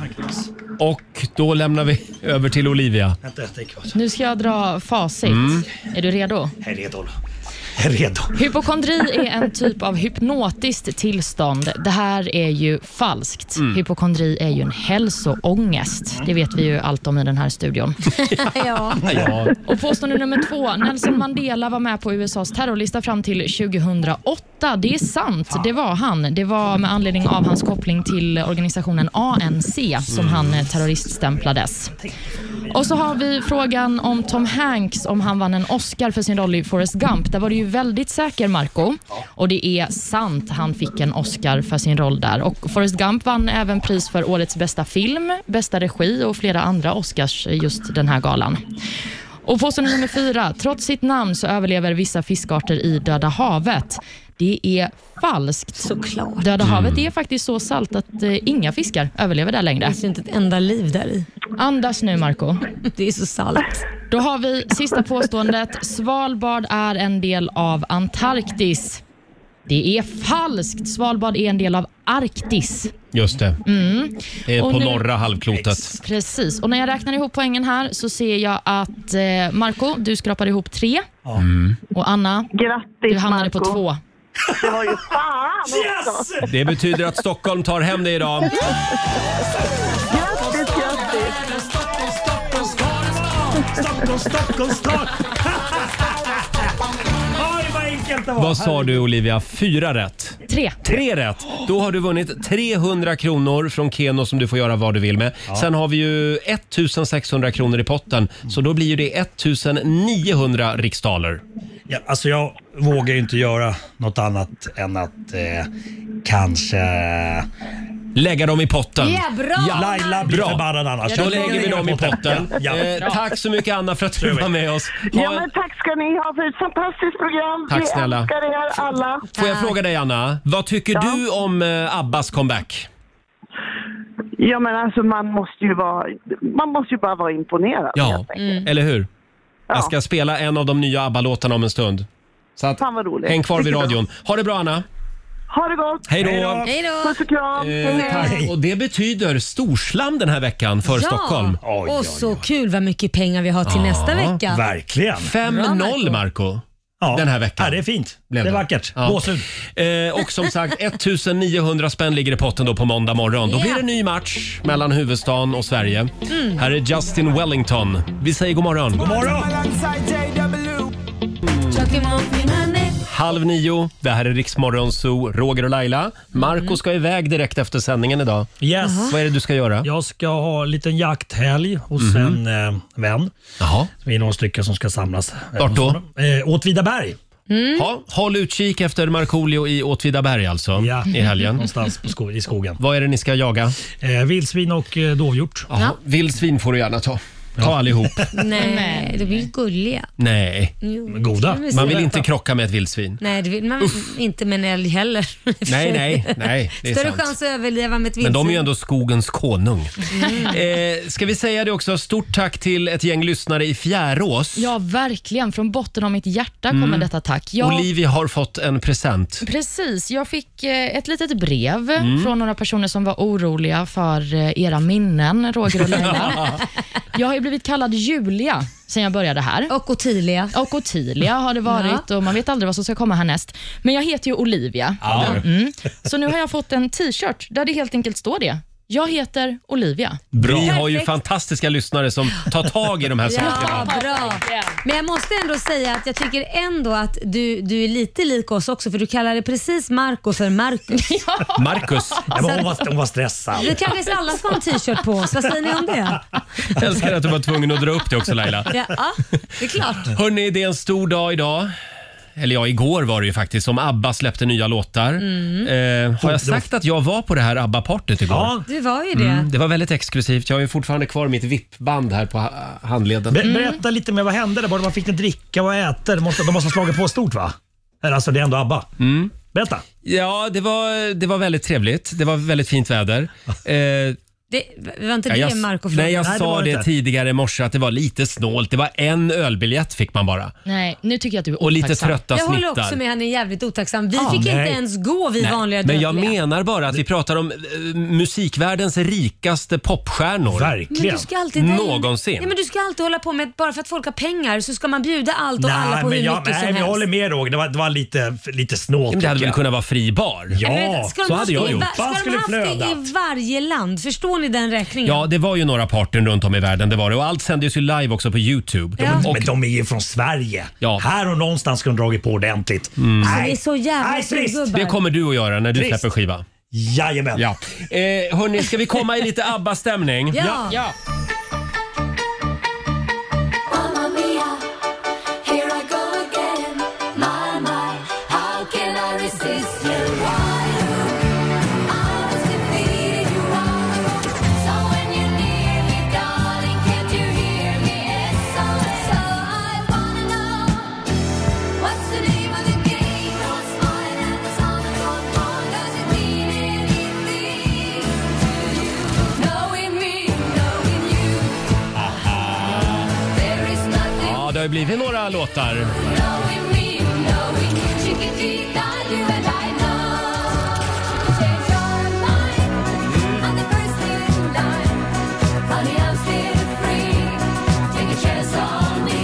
Speaker 1: Och då lämnar vi över till Olivia.
Speaker 15: Vänta, jag tänker.
Speaker 5: Nu ska jag dra facit.
Speaker 1: Mm.
Speaker 5: Är du redo?
Speaker 15: Jag är redo. Jag är redo.
Speaker 5: Hypokondri är en typ av hypnotiskt tillstånd. Det här är ju falskt.
Speaker 6: Mm.
Speaker 5: Hypokondri är ju en hälsoångest. Det vet vi ju allt om i den här studion.
Speaker 4: ja.
Speaker 6: Ja.
Speaker 5: Och påstående nummer två. Nelson Mandela var med på USAs terrorlista fram till 2008. Det är sant. Det var han. Det var med anledning av hans koppling till organisationen ANC som
Speaker 6: Mm.
Speaker 5: han eh, terroriststämplades. Och så har vi frågan om Tom Hanks, om han vann en Oscar för sin roll i Forrest Gump. Där var du ju väldigt säker, Marco. Och det är sant, han fick en Oscar för sin roll där. Och Forrest Gump vann även pris för årets bästa film, bästa regi och flera andra Oscars eh, just den här galan. Och påstående nummer fyra. Trots sitt namn så överlever vissa fiskarter i Döda havet. Det är falskt.
Speaker 4: Såklart.
Speaker 5: Döda
Speaker 4: Mm.
Speaker 5: havet är faktiskt så salt att eh, inga fiskar överlever där längre. Det
Speaker 4: finns inte ett enda liv där i.
Speaker 5: Andas nu, Marco.
Speaker 4: Det är så salt.
Speaker 5: Då har vi sista påståendet. Svalbard är en del av Antarktis. Det är falskt. Svalbard är en del av Arktis.
Speaker 1: Just det.
Speaker 5: Mm.
Speaker 1: Det är
Speaker 5: Och
Speaker 1: på
Speaker 5: nu-
Speaker 1: norra halvklotet.
Speaker 5: Precis. Och när jag räknar ihop poängen här så ser jag att eh, Marco, du skrapar ihop tre.
Speaker 1: Mm.
Speaker 5: Och Anna, du hamnade på två.
Speaker 16: Det var ju fan också!
Speaker 1: Det betyder att Stockholm tar hem det idag.
Speaker 6: Grattis, grattis!
Speaker 15: Stockholm, Stockholm, Stockholm! Oj, vad enkelt det var!
Speaker 1: Vad sa du Olivia? Fyra rätt.
Speaker 5: Tre.
Speaker 1: Tre rätt. Då har du vunnit 300 kronor från Keno som du får göra vad du vill med. Sen har vi ju 1600 kronor i potten. Så då blir ju det 1900 riksdaler.
Speaker 15: Ja, alltså jag vågar ju inte göra något annat än att eh, kanske...
Speaker 1: Lägga dem i potten.
Speaker 15: Ja, bra, Ja. Laila blir
Speaker 1: Bra.
Speaker 15: förbannad annars.
Speaker 1: Då
Speaker 15: Jag
Speaker 1: lägger vi
Speaker 15: lägger dem
Speaker 1: dem i
Speaker 15: i
Speaker 1: potten.
Speaker 15: potten. Ja.
Speaker 1: Eh,
Speaker 15: Bra.
Speaker 1: tack så mycket Anna för att du var med oss. Ha
Speaker 16: Ja, men tack ska ni ha för ett fantastiskt program.
Speaker 1: Tack,
Speaker 16: vi
Speaker 1: snälla.
Speaker 16: älskar er alla.
Speaker 1: Får jag fråga dig Anna, vad tycker du om eh, Abbas comeback?
Speaker 16: Ja, men alltså man måste ju, vara, man måste ju bara vara imponerad.
Speaker 1: Ja,
Speaker 16: helt enkelt.
Speaker 1: eller hur?
Speaker 16: Ja.
Speaker 1: Jag ska spela en av de nya ABBA-låtarna om en stund. Så att,
Speaker 16: Fan vad roligt.
Speaker 1: häng kvar vid
Speaker 16: Vilket
Speaker 1: radion. Ha det bra Anna!
Speaker 16: Ha det gott!
Speaker 1: Hej då. Hej
Speaker 4: då!
Speaker 16: Puss och kram!
Speaker 1: Eh, tack. Och det betyder storslam den här veckan för Stockholm.
Speaker 4: och så kul vad mycket pengar vi har till
Speaker 1: Ja,
Speaker 4: nästa vecka.
Speaker 1: Verkligen. 5-0 Marco. Den här veckan. Ja, det är fint.
Speaker 15: Det är vackert. Gåshud.
Speaker 1: Eh, och som sagt, 1900 spänn ligger i potten då på måndag morgon. Då blir det en ny match mellan huvudstaden och Sverige.
Speaker 6: Mm.
Speaker 1: Här är Justin Wellington. Vi säger god morgon. God Halv nio, det här är Riksmorgon Zoo, Roger och Laila. Marco ska iväg direkt efter sändningen idag.
Speaker 15: Yes. Jaha.
Speaker 1: Vad är det du ska göra?
Speaker 15: Jag ska ha en liten jakthelg hos en
Speaker 1: Mhm.
Speaker 15: eh, vän.
Speaker 1: Jaha.
Speaker 15: Vi är några stycken som ska samlas.
Speaker 1: Vart då?
Speaker 15: Eh, Åtvidaberg.
Speaker 4: Mm.
Speaker 1: Ja, håll utkik efter Markoolio i Åtvidaberg alltså, i helgen.
Speaker 15: Någonstans på sko- i skogen.
Speaker 1: Vad är det ni ska jaga?
Speaker 15: Eh, vildsvin och eh, dovhjort.
Speaker 1: Ja. Vildsvin får du gärna ta. Ta allihop.
Speaker 4: Nej, de blir ju gulliga.
Speaker 1: Nej.
Speaker 4: Jo.
Speaker 1: Man vill inte krocka med ett vildsvin.
Speaker 4: Nej, det vill man inte med en älg heller.
Speaker 1: Nej, nej, nej. Det är
Speaker 4: Större
Speaker 1: sant.
Speaker 4: chans att överleva med ett vildsvin. Mm.
Speaker 1: Men de är ju ändå skogens konung. Eh, ska vi säga det också, stort tack till ett gäng lyssnare i Fjärås.
Speaker 5: Ja, verkligen. Från botten av mitt hjärta kommer
Speaker 1: Mm.
Speaker 5: detta tack. Jag...
Speaker 1: Olivia har fått en present.
Speaker 5: Precis. Jag fick eh, ett litet brev
Speaker 1: Mm.
Speaker 5: från några personer som var oroliga för eh, era minnen, Roger och Laila. jag har ju blivit kallad Julia sen jag började här.
Speaker 4: Och Ottilia.
Speaker 5: Och Ottilia har det varit och man vet aldrig vad som ska komma härnäst. Men jag heter ju Olivia.
Speaker 6: Ja.
Speaker 5: Mm. Så nu har jag fått en t-shirt där det helt enkelt står det. Jag heter Olivia.
Speaker 1: Vi har ju fantastiska lyssnare som tar tag i de här
Speaker 4: Ja,
Speaker 1: sakerna.
Speaker 4: bra. Men jag måste ändå säga att jag tycker ändå att du, du är lite lik oss också för du kallade precis Marco för Marcus.
Speaker 1: Marcus.
Speaker 15: Ja, men hon, var, hon var stressad.
Speaker 4: Vi kanske alla ska ha en t-shirt på oss. Vad säger ni om det?
Speaker 1: Jag älskar att du var tvungen att dra upp det också Laila.
Speaker 4: Ja, det är klart.
Speaker 1: Hörni, det är en stor dag idag. eller ja, igår var det ju faktiskt, som ABBA släppte nya låtar.
Speaker 4: Mm.
Speaker 1: Eh, har jag sagt att jag var på det här ABBA-partyt igår?
Speaker 4: Du var ju det.
Speaker 1: Mm, det var väldigt exklusivt. Jag har ju fortfarande kvar mitt VIP-band här på ha- handleden.
Speaker 4: Mm.
Speaker 3: Be- Berätta lite mer, vad hände där borta? Man fick inte dricka och äta. De måste, de måste ha slagit på stort va? Eller, Alltså det är ändå ABBA.
Speaker 1: Mm.
Speaker 3: Berätta.
Speaker 1: Ja, det var, det var väldigt trevligt. Det var väldigt fint väder. Eh,
Speaker 4: Det, var inte
Speaker 1: ja,
Speaker 4: det
Speaker 1: jag,
Speaker 4: Marco frågade?
Speaker 1: nej, jag sa det, tidigare i morse att det var lite snålt. Det var en ölbiljett fick man bara.
Speaker 5: Nej, nu tycker jag att du är
Speaker 1: Och lite
Speaker 5: otacksam.
Speaker 1: trötta
Speaker 4: Jag håller
Speaker 1: snittar.
Speaker 4: också med, han är jävligt otacksam. Vi
Speaker 1: Ja,
Speaker 4: fick
Speaker 1: nej.
Speaker 4: inte ens gå vi
Speaker 1: Nej,
Speaker 4: vanliga
Speaker 1: Men jag
Speaker 4: dödliga.
Speaker 1: menar bara att vi pratar om eh, musikvärldens rikaste popstjärnor.
Speaker 4: Men du ska alltid, nej,
Speaker 1: Någonsin.
Speaker 4: Nej, men du ska alltid hålla på med att bara för att folk har pengar så ska man bjuda allt och alla på
Speaker 3: men
Speaker 4: hur
Speaker 3: jag,
Speaker 4: mycket
Speaker 3: nej,
Speaker 4: som
Speaker 3: men jag
Speaker 4: helst.
Speaker 3: håller med Roger. Det var, det var lite, lite snålt.
Speaker 1: Men det hade väl kunnat vara fri bar?
Speaker 3: Ja,
Speaker 4: Ska de haft
Speaker 1: så hade
Speaker 4: det
Speaker 1: jag
Speaker 4: i
Speaker 1: gjort.
Speaker 4: va- Ska de haft det i varje land? Förstår ni den räkningen?
Speaker 1: Ja, det var ju några partyn runt om i världen. Det var det. Och allt sändes ju live också på Youtube.
Speaker 4: Ja.
Speaker 1: Och,
Speaker 3: Men de är ju från Sverige.
Speaker 1: Ja. Mm.
Speaker 3: Här och någonstans skulle de dragit på ordentligt.
Speaker 4: Alltså, det är så jävla
Speaker 3: Nej, trist.
Speaker 4: surgubbar.
Speaker 1: det kommer du att göra när du
Speaker 3: Trist.
Speaker 1: släpper skiva.
Speaker 3: Jajamän.
Speaker 1: Ja. Eh, hörni, ska vi komma i lite ABBA-stämning?
Speaker 4: Ja.
Speaker 5: ja.
Speaker 6: Mamma mia, here I go again. My, my, how can I resist you? Why you always defeated, you always- So when you're near me, darling, can't you hear me? SOS. So I wanna know, what's the name of the game? What's mine and what's on the gold bar? Does it mean anything to you? Knowing me, knowing you, there is nothing
Speaker 1: Ja, det har ju blivit några låtar.
Speaker 6: Knowing me, knowing chiquitita, you and I know. Change your mind on the first in line. Honey, I'm still free. Take a chance on me.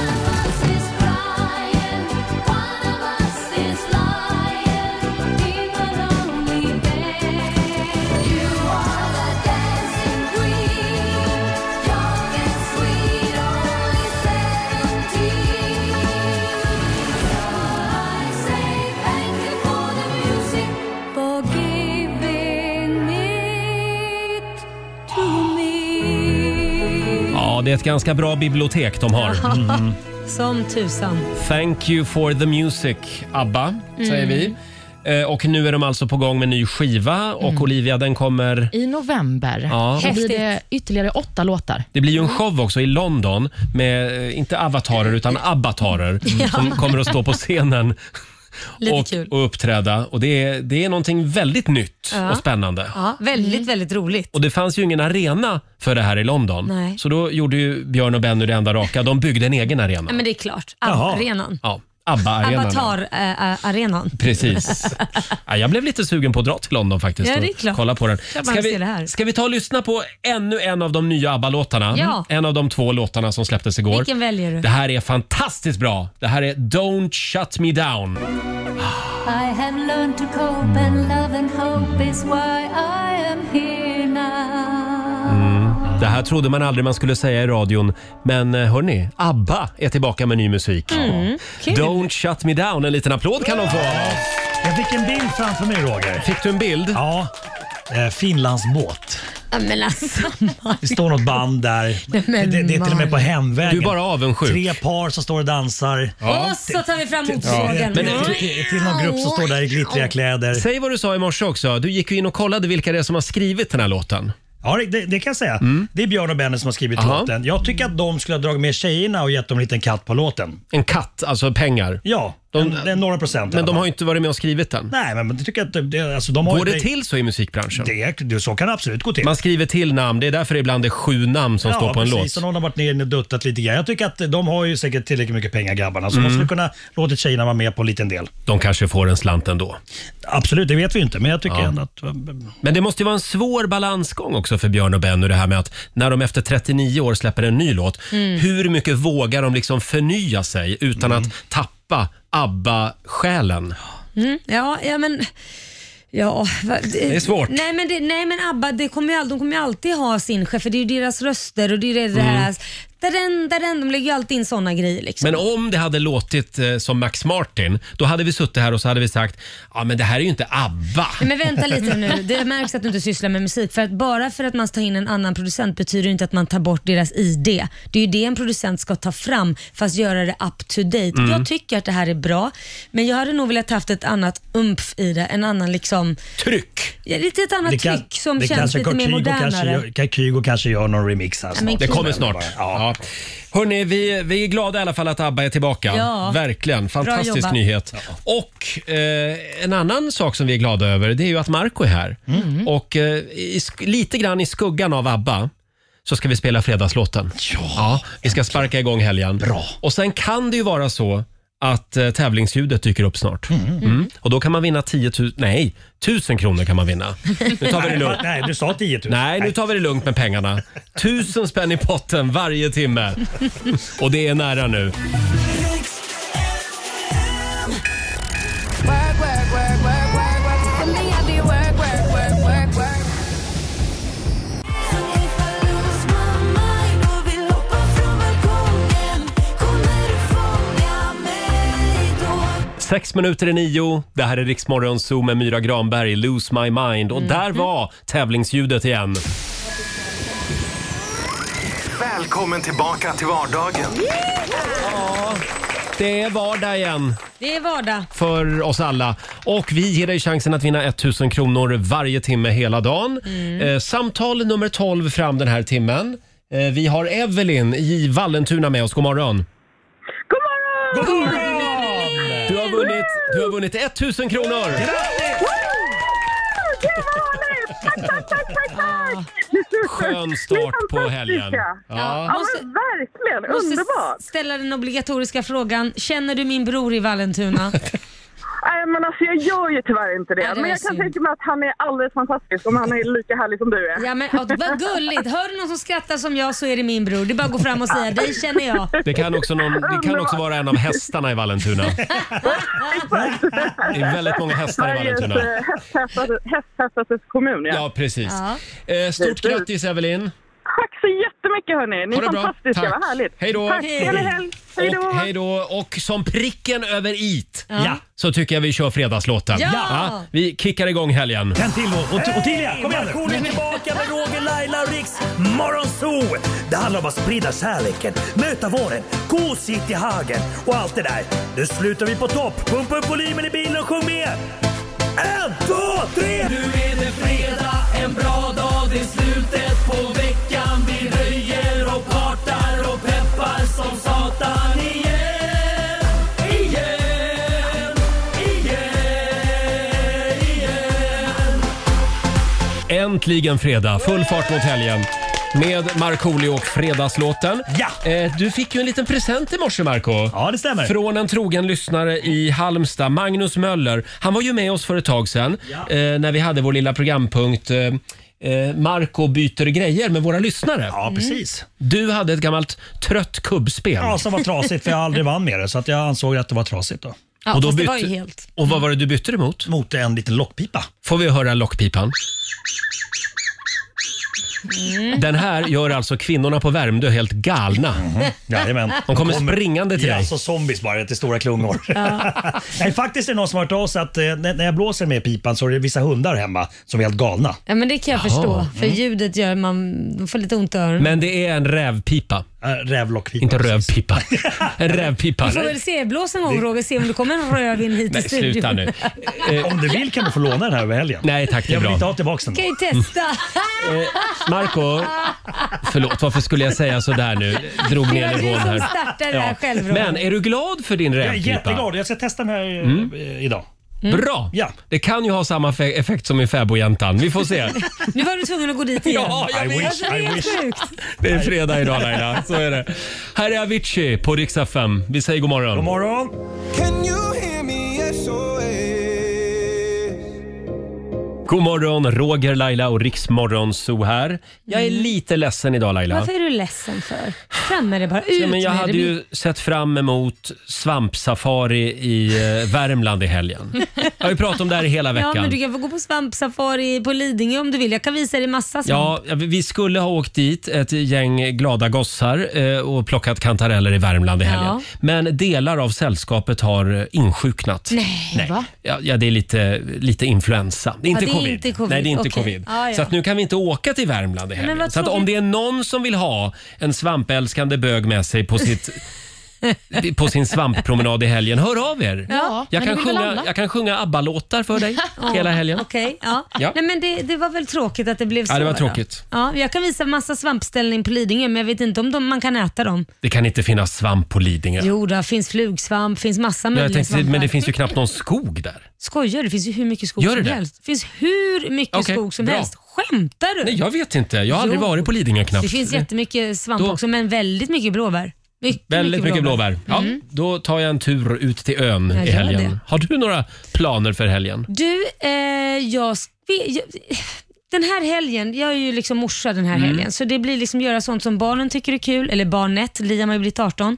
Speaker 6: One of us is crying, one of us is lying. Deep and lonely bed. You are the dancing queen, young and sweet, only seventeen. I say thank you for the music, for giving it to me.
Speaker 1: Ja, det är ett ganska bra bibliotek de har.
Speaker 4: Ja, Som tusan.
Speaker 1: Thank you for the music, ABBA, säger
Speaker 5: Mm.
Speaker 1: vi. Eh, Och nu är de alltså på gång med ny skiva och Olivia den kommer...
Speaker 5: I november
Speaker 1: Ja.
Speaker 5: så blir det ytterligare åtta låtar.
Speaker 1: Det blir ju en show också i London med, eh, inte avatarer, utan abbatarer
Speaker 5: Ja.
Speaker 1: som kommer att stå på scenen
Speaker 4: Lite
Speaker 1: och,
Speaker 4: kul.
Speaker 1: och uppträda. Och det, är, det är någonting väldigt nytt
Speaker 4: Ja.
Speaker 1: och spännande.
Speaker 4: Ja, väldigt,
Speaker 1: Mm.
Speaker 4: väldigt roligt.
Speaker 1: Och det fanns ju ingen arena för det här i London.
Speaker 4: Nej.
Speaker 1: Så då gjorde ju Björn och Benny det enda raka. De byggde en egen arena.
Speaker 4: Ja, men det är klart.
Speaker 1: Jaha.
Speaker 4: Arenan. eh,
Speaker 1: Ja, ABBA-arenan.
Speaker 4: Avatar-arenan.
Speaker 1: Precis. Ja, jag blev lite sugen på att dra till London faktiskt
Speaker 4: Ja, det är
Speaker 1: och
Speaker 4: klart.
Speaker 1: kolla på den.
Speaker 4: Jag bara
Speaker 1: Ska
Speaker 4: ser det här.
Speaker 1: vi, ska vi ta och lyssna på ännu en av de nya ABBA-låtarna?
Speaker 4: Ja.
Speaker 1: En av de två låtarna som släpptes igår.
Speaker 4: Vilken väljer du?
Speaker 1: Det här är fantastiskt bra. Det här är Don't Shut Me Down.
Speaker 8: I have learned to cope, and love and hope is why I am here now.
Speaker 1: Det här trodde man aldrig man skulle säga i radion. Men eh, hörni, ABBA är tillbaka med ny musik.
Speaker 6: Mm, kul.
Speaker 1: Don't Shut Me Down. En liten applåd kan de få av oss.
Speaker 3: Jag fick en bild framför mig Roger.
Speaker 1: Fick du en bild?
Speaker 3: Ja. Eh, Finlands båt.
Speaker 4: Ja, men alltså.
Speaker 3: Det står något band där.
Speaker 4: Nej, men
Speaker 3: det, det är till och med på
Speaker 4: Mark.
Speaker 3: hemvägen.
Speaker 1: Du är bara avundsjuk.
Speaker 3: Tre par som står och dansar.
Speaker 4: Och så tar vi fram motorsågen.
Speaker 3: Till, till, till någon grupp som står där i glittriga kläder.
Speaker 1: Säg vad du sa i morse också. Du gick ju in och kollade vilka det är som har skrivit den här låten.
Speaker 3: Ja, det- det, det kan jag säga. Det är Björn och Benny som har skrivit
Speaker 1: Mm. Aha.
Speaker 3: låten. Jag tycker att de skulle ha dragit med tjejerna och gett dem en liten katt på låten.
Speaker 1: En katt, alltså pengar.
Speaker 3: Ja, en, en några procent. i
Speaker 1: Men
Speaker 3: alla
Speaker 1: de
Speaker 3: fall.
Speaker 1: har ju inte varit med och skrivit den.
Speaker 3: Nej, men jag tycker att det- det, alltså, de har
Speaker 1: Går
Speaker 3: ju-
Speaker 1: det till så i musikbranschen?
Speaker 3: Det, det, så kan det absolut gå till.
Speaker 1: Man skriver till namn. Det är därför det ibland är sju namn som
Speaker 3: ja,
Speaker 1: står på en
Speaker 3: precis.
Speaker 1: låt.
Speaker 3: Och någon har varit ner och duttat lite grann. Jag tycker att de har ju säkert tillräckligt mycket pengar grabbarna så
Speaker 1: Mm.
Speaker 3: de skulle kunna låtit tjejerna vara med på en liten del.
Speaker 1: De kanske får en slant ändå.
Speaker 3: Absolut, det vet vi inte men jag tycker
Speaker 1: Ja.
Speaker 3: ändå att... eh,
Speaker 1: Men det måste ju vara en svår balansgång också för Björn och Benny det här med att när de efter 39 år släpper en ny låt,
Speaker 6: Mm.
Speaker 1: hur mycket vågar de liksom förnya sig utan att tappa ABBA-själen?
Speaker 4: Mm, ja, ja, men... Ja, va-
Speaker 1: Det är svårt.
Speaker 4: Nej men, det, nej, men ABBA det kommer ju all, de kommer ju alltid ha sin chef, för det är ju deras röster och det är ju det här Dadän, dadän. De lägger ju alltid in såna grejer. Liksom.
Speaker 1: Mm. Men om det hade låtit eh, som Max Martin, då hade vi suttit här och så hade vi sagt ja men det här är ju inte ABBA.
Speaker 4: Nej, Men vänta lite nu. Det märks att du inte sysslar med musik. För att bara för att man tar in en annan producent betyder det inte att man tar bort deras ID. Det är ju det en producent ska ta fram, fast göra det up to date.
Speaker 6: Mm.
Speaker 4: Jag tycker att det här är bra, men jag hade nog velat haft ett annat umpf i det. En annan liksom...
Speaker 1: Tryck!
Speaker 4: Ja, lite ett annat
Speaker 15: Det kan-
Speaker 4: tryck som
Speaker 15: det
Speaker 4: känns
Speaker 15: kanske
Speaker 4: lite
Speaker 15: Kurt
Speaker 4: mer
Speaker 15: Kygo
Speaker 4: modernare.
Speaker 15: Kanske gör, kan Kygo kanske gör någon remix här
Speaker 4: Ja, men
Speaker 15: snart.
Speaker 1: Det kommer snart. Ja. Hörni, vi, vi är glada i alla fall att ABBA är tillbaka.
Speaker 4: Ja.
Speaker 1: Verkligen.
Speaker 4: Bra
Speaker 1: Fantastisk
Speaker 4: jobbat.
Speaker 1: nyhet. Och eh, en annan sak som vi är glada över det är ju att Marco är här.
Speaker 4: Mm.
Speaker 1: Och eh, i, sk- lite grann i skuggan av ABBA så ska vi spela fredagslåten. Ja, vi ska sparka igång helgen. Bra. Och sen kan det ju vara så att eh, tävlingsljudet dyker upp snart. Mm. Och då kan man vinna 10 000, nej, 1000 kronor kan man vinna. Nu tar vi det lugnt.
Speaker 15: Nej, du sa 10 000.
Speaker 1: Nej, nu tar vi det lugnt med pengarna. Tusen spänn i potten varje timme. Och det är nära nu.
Speaker 6: Work, work, work, work, work, work. For me, I do work, work, work, work, work.
Speaker 1: Sex minuter i nio. Det här är Riksmorgon Zoo med Myra Granberg, Lose My Mind. Och där var tävlingsljudet igen.
Speaker 9: Välkommen tillbaka till vardagen.
Speaker 1: Det är vardag igen
Speaker 4: Det är vardag.
Speaker 1: för oss alla. Och vi ger dig chansen att vinna 1000 kronor varje timme hela dagen. Eh, samtal nummer 12 fram den här timmen. Eh, vi har Evelyn i Vallentuna med oss. God morgon. God morgon! Du har vunnit, du har vunnit 1000 kronor! Ah. Skön start på helgen.
Speaker 4: Ja,
Speaker 1: Ja.
Speaker 4: måste-
Speaker 16: verkligen.
Speaker 4: måste
Speaker 16: Underbart.
Speaker 4: s- ställa den obligatoriska frågan, känner du min bror i Vallentuna?
Speaker 16: Nej, men alltså jag gör ju tyvärr inte det.
Speaker 4: Ja, det
Speaker 16: men
Speaker 4: är
Speaker 16: jag kan
Speaker 4: synd.
Speaker 16: tänka mig att han är alldeles fantastisk om han är lika härlig som du är.
Speaker 4: Ja men ja, vad gulligt. Hör du någon som skrattar som jag så är det min bror. Det är bara att gå fram och säga, dig känner jag.
Speaker 1: Det kan, också någon, det kan också vara en av hästarna i Vallentuna. Det är väldigt många hästar i
Speaker 16: Sveriges,
Speaker 1: Vallentuna.
Speaker 16: eh, hästhästaste- Hästhästaste kommun, ja.
Speaker 1: Ja, precis.
Speaker 16: Ja.
Speaker 1: Eh, Stort grattis Evelyn!
Speaker 16: Tack så jättemycket hörni. Ni
Speaker 1: Ha
Speaker 16: är
Speaker 1: det bra.
Speaker 16: fantastiska,
Speaker 1: Tack.
Speaker 16: vad härligt.
Speaker 1: Hej då.
Speaker 16: Tack, trevlig helg. Hej då.
Speaker 1: Och, hej då! Och som pricken över it
Speaker 16: Ja.
Speaker 1: så tycker jag vi kör fredagslåten.
Speaker 15: Ja.
Speaker 1: vi kickar igång helgen.
Speaker 15: En till och, och, och till ja.
Speaker 3: Hej!
Speaker 15: Kom igen
Speaker 3: Markoolio är
Speaker 15: nu.
Speaker 3: tillbaka med Roger, Laila och Riks Morgonzoo! Det handlar om att sprida kärleken, möta våren, gosigt i hagen och allt det där. Nu slutar vi på topp! Pumpa upp volymen i bilen och sjung med! En, två, tre!
Speaker 10: Nu är det fredag, en bra dag, det är slutet på veckan Vi röjer och partar och peppar som satan igen Igen, igen, igen
Speaker 1: Äntligen fredag, full fart mot helgen. Med Markoolio och Fredagslåten. Ja. Eh, du fick ju en liten present i morse, Marco. Ja, det stämmer. Från en trogen lyssnare i Halmstad, Magnus Möller. Han var ju med oss för ett tag sedan eh, när vi hade vår lilla programpunkt eh, eh, Marco byter grejer med våra lyssnare. Ja,
Speaker 3: Mm.
Speaker 15: precis.
Speaker 1: Du hade ett gammalt trött kubbspel.
Speaker 15: Ja, som var trasigt för jag aldrig vann med det så att jag ansåg att det var trasigt då.
Speaker 1: Ja, Och då fast det var bytte- ju helt. Och vad var det du bytte emot?
Speaker 15: Mot en liten lockpipa.
Speaker 1: Får vi höra lockpipan? Den här gör alltså kvinnorna på Värmdö helt galna.
Speaker 15: Jajamän.
Speaker 1: De kommer springande till
Speaker 15: ja,
Speaker 1: dig.
Speaker 15: så zombies bara till stora klungor. Nej, faktiskt är det någon som har hört av sig att eh, när när jag blåser med pipan så är det vissa hundar hemma som är helt galna.
Speaker 4: Ja men det kan jag
Speaker 15: Jaha.
Speaker 4: förstå. För
Speaker 15: Mm.
Speaker 4: ljudet gör man, man får lite ont i öronen.
Speaker 1: Men det är en rävpipa.
Speaker 15: Eh, Rävlockpipa.
Speaker 1: Inte rövpipa. En rävpipa.
Speaker 4: Vi får väl se, blås en gång Roger, se om det kommer en rödvin hit
Speaker 1: Nej,
Speaker 4: till studion.
Speaker 1: sluta nu.
Speaker 15: Om du vill kan du få låna den här över helgen.
Speaker 1: Nej tack, det är
Speaker 15: Jag vill
Speaker 1: bra.
Speaker 15: inte ha tillbaka den.
Speaker 4: kan ju testa.
Speaker 1: Marco, förlåt varför skulle jag säga sådär nu? Drog
Speaker 15: Det
Speaker 1: ner
Speaker 15: var du
Speaker 1: nivån
Speaker 15: som
Speaker 1: här.
Speaker 15: startade det här själv, Roger.
Speaker 1: Men är du glad för din
Speaker 15: Jag är
Speaker 1: rävpipa?
Speaker 15: jätteglad. Jag ska testa den här eh,
Speaker 1: Mm.
Speaker 15: eh, idag.
Speaker 1: Bra! Det kan ju ha samma fe- effekt som i fäbodjäntan. Vi får se.
Speaker 4: Nu var du tvungen att gå dit igen.
Speaker 1: Ja, jag vet.
Speaker 4: Alltså, det
Speaker 1: I
Speaker 4: är helt
Speaker 1: wish.
Speaker 4: sjukt.
Speaker 1: Det är fredag idag Laila, så är det. Här är Avicii på Rix FM. Vi säger god morgon. God
Speaker 15: morgon.
Speaker 1: God morgon, Roger, Laila och Riksmorgon Zoo här. Jag är
Speaker 4: Mm.
Speaker 1: lite ledsen idag Laila.
Speaker 4: Varför är du ledsen för? Fram med det bara. Ut
Speaker 1: Ja, men jag
Speaker 4: med
Speaker 1: hade
Speaker 4: det.
Speaker 1: ju sett fram emot svampsafari i eh, Värmland i helgen. Jag har ju pratat om det här i hela
Speaker 4: Ja, men
Speaker 1: veckan.
Speaker 4: du kan få gå på svampsafari på Lidingö om du vill. Jag kan visa dig massa svamp.
Speaker 1: Ja, vi skulle ha åkt dit, ett gäng glada gossar, eh, och plockat kantareller i Värmland i helgen.
Speaker 4: Ja.
Speaker 1: Men delar av sällskapet har eh, insjuknat.
Speaker 4: Nej, va?
Speaker 1: Ja, ja, det är lite, lite influensa. Det är
Speaker 4: Ja,
Speaker 1: inte,
Speaker 4: det är
Speaker 1: covid.
Speaker 4: inte covid.
Speaker 1: Nej, det är inte
Speaker 4: Okej.
Speaker 1: covid.
Speaker 4: Ja, ja.
Speaker 1: Så att nu kan vi inte åka till Värmland i
Speaker 4: men
Speaker 1: helgen.
Speaker 4: vad
Speaker 1: så att om
Speaker 4: tråkigt.
Speaker 1: det är någon som vill ha en svampälskande bög med sig på sitt på sin svamppromenad i helgen. Hör av er!
Speaker 4: Ja,
Speaker 1: jag,
Speaker 4: men
Speaker 1: kan
Speaker 4: det vill
Speaker 1: sjunga,
Speaker 4: alla.
Speaker 1: jag kan sjunga ABBA-låtar för dig hela helgen.
Speaker 4: Okej, ja.
Speaker 1: Ja.
Speaker 4: Nej, men det, det var väl tråkigt att det blev så.
Speaker 1: Ja, det var
Speaker 4: då.
Speaker 1: tråkigt.
Speaker 4: Ja, jag kan visa massa svampställning på Lidingö men jag vet inte om de, man kan äta dem.
Speaker 1: Det kan inte finnas svamp på Lidingö.
Speaker 4: Jo, det finns flugsvamp, finns massa
Speaker 1: Ja, jag
Speaker 4: möjliga
Speaker 1: tänkte,
Speaker 4: svampar.
Speaker 1: men det finns ju knappt någon skog där.
Speaker 4: Skojar du? Det finns ju hur mycket skog
Speaker 1: Gör det
Speaker 4: som
Speaker 1: det?
Speaker 4: helst. Det finns hur mycket
Speaker 1: Okej,
Speaker 4: skog som
Speaker 1: bra.
Speaker 4: helst. Skämtar du?
Speaker 1: Nej, jag vet inte. Jag har aldrig
Speaker 4: Jo.
Speaker 1: varit på Lidingö knappt.
Speaker 4: Det finns jättemycket svamp
Speaker 1: Då-
Speaker 4: också men väldigt mycket blåbär. Mycket,
Speaker 1: Väldigt mycket blåbär. Ja,
Speaker 4: Mm.
Speaker 1: Då tar jag en tur ut till ön
Speaker 4: Ja,
Speaker 1: i
Speaker 4: gör
Speaker 1: helgen.
Speaker 4: det.
Speaker 1: Har du några planer för helgen?
Speaker 4: Du, eh, jag, sk- vi- jag... Den här helgen, jag är ju liksom morsa den här
Speaker 1: Mm.
Speaker 4: helgen, så det blir liksom göra sånt som barnen tycker är kul, eller barnet, Liam har ju blivit 18.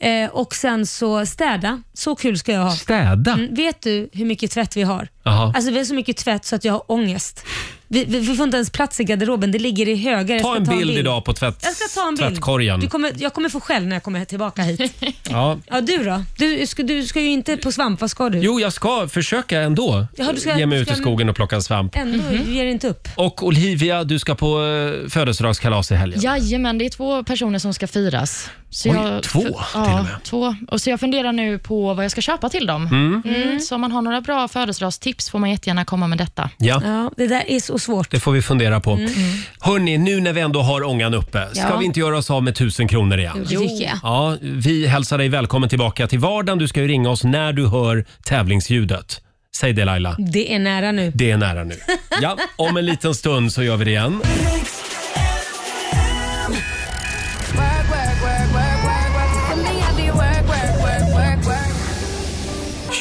Speaker 4: Eh, och sen så städa, så kul ska jag ha.
Speaker 1: Städa?
Speaker 4: Mm, vet du hur mycket tvätt vi har?
Speaker 1: Jaha.
Speaker 4: Alltså vi har så mycket tvätt så att jag har ångest. Vi, vi, vi får inte ens plats i garderoben, det ligger i högar. Jag
Speaker 1: Ta
Speaker 4: ska
Speaker 1: en bild idag på tvätt,
Speaker 4: Jag ska ta en bild.
Speaker 1: tvättkorgen.
Speaker 4: Du kommer, jag kommer få skäll när jag kommer tillbaka hit.
Speaker 1: Ja.
Speaker 4: ja, du då? Du ska, du ska ju inte på svamp, vad ska du?
Speaker 1: Jo, jag ska försöka ändå
Speaker 4: Jaha, du ska-
Speaker 1: ge mig
Speaker 4: du
Speaker 1: ut i
Speaker 4: ska-
Speaker 1: skogen och plocka svamp.
Speaker 4: Ändå, du ger inte upp.
Speaker 1: Och Olivia, du ska på eh, födelsedagskalas i helgen.
Speaker 5: Jajamän, det är två personer som ska firas. Så
Speaker 1: Oj, två
Speaker 5: för-
Speaker 1: till
Speaker 5: ja,
Speaker 1: och med.
Speaker 5: Två. Och så jag funderar nu på vad jag ska köpa till dem.
Speaker 1: Mm.
Speaker 5: Mm, så om man har några bra födelsedagstips får man jättegärna komma med detta.
Speaker 1: Ja.
Speaker 4: det där är så svårt.
Speaker 1: Det får vi fundera på.
Speaker 5: Mm.
Speaker 1: Hörni, nu när vi ändå har ångan uppe, ska
Speaker 5: Ja.
Speaker 1: vi inte göra oss av med tusen kronor igen?
Speaker 5: Jo, det tycker jag.
Speaker 1: Ja, vi hälsar dig välkommen tillbaka till vardagen. Du ska ju ringa oss när du hör tävlingsljudet. Säg det Laila.
Speaker 4: Det är nära nu.
Speaker 1: Det är nära nu. Ja, om en liten stund så gör vi det igen.
Speaker 6: work, work, work, work, work. For me, I be work, work, work, work, work.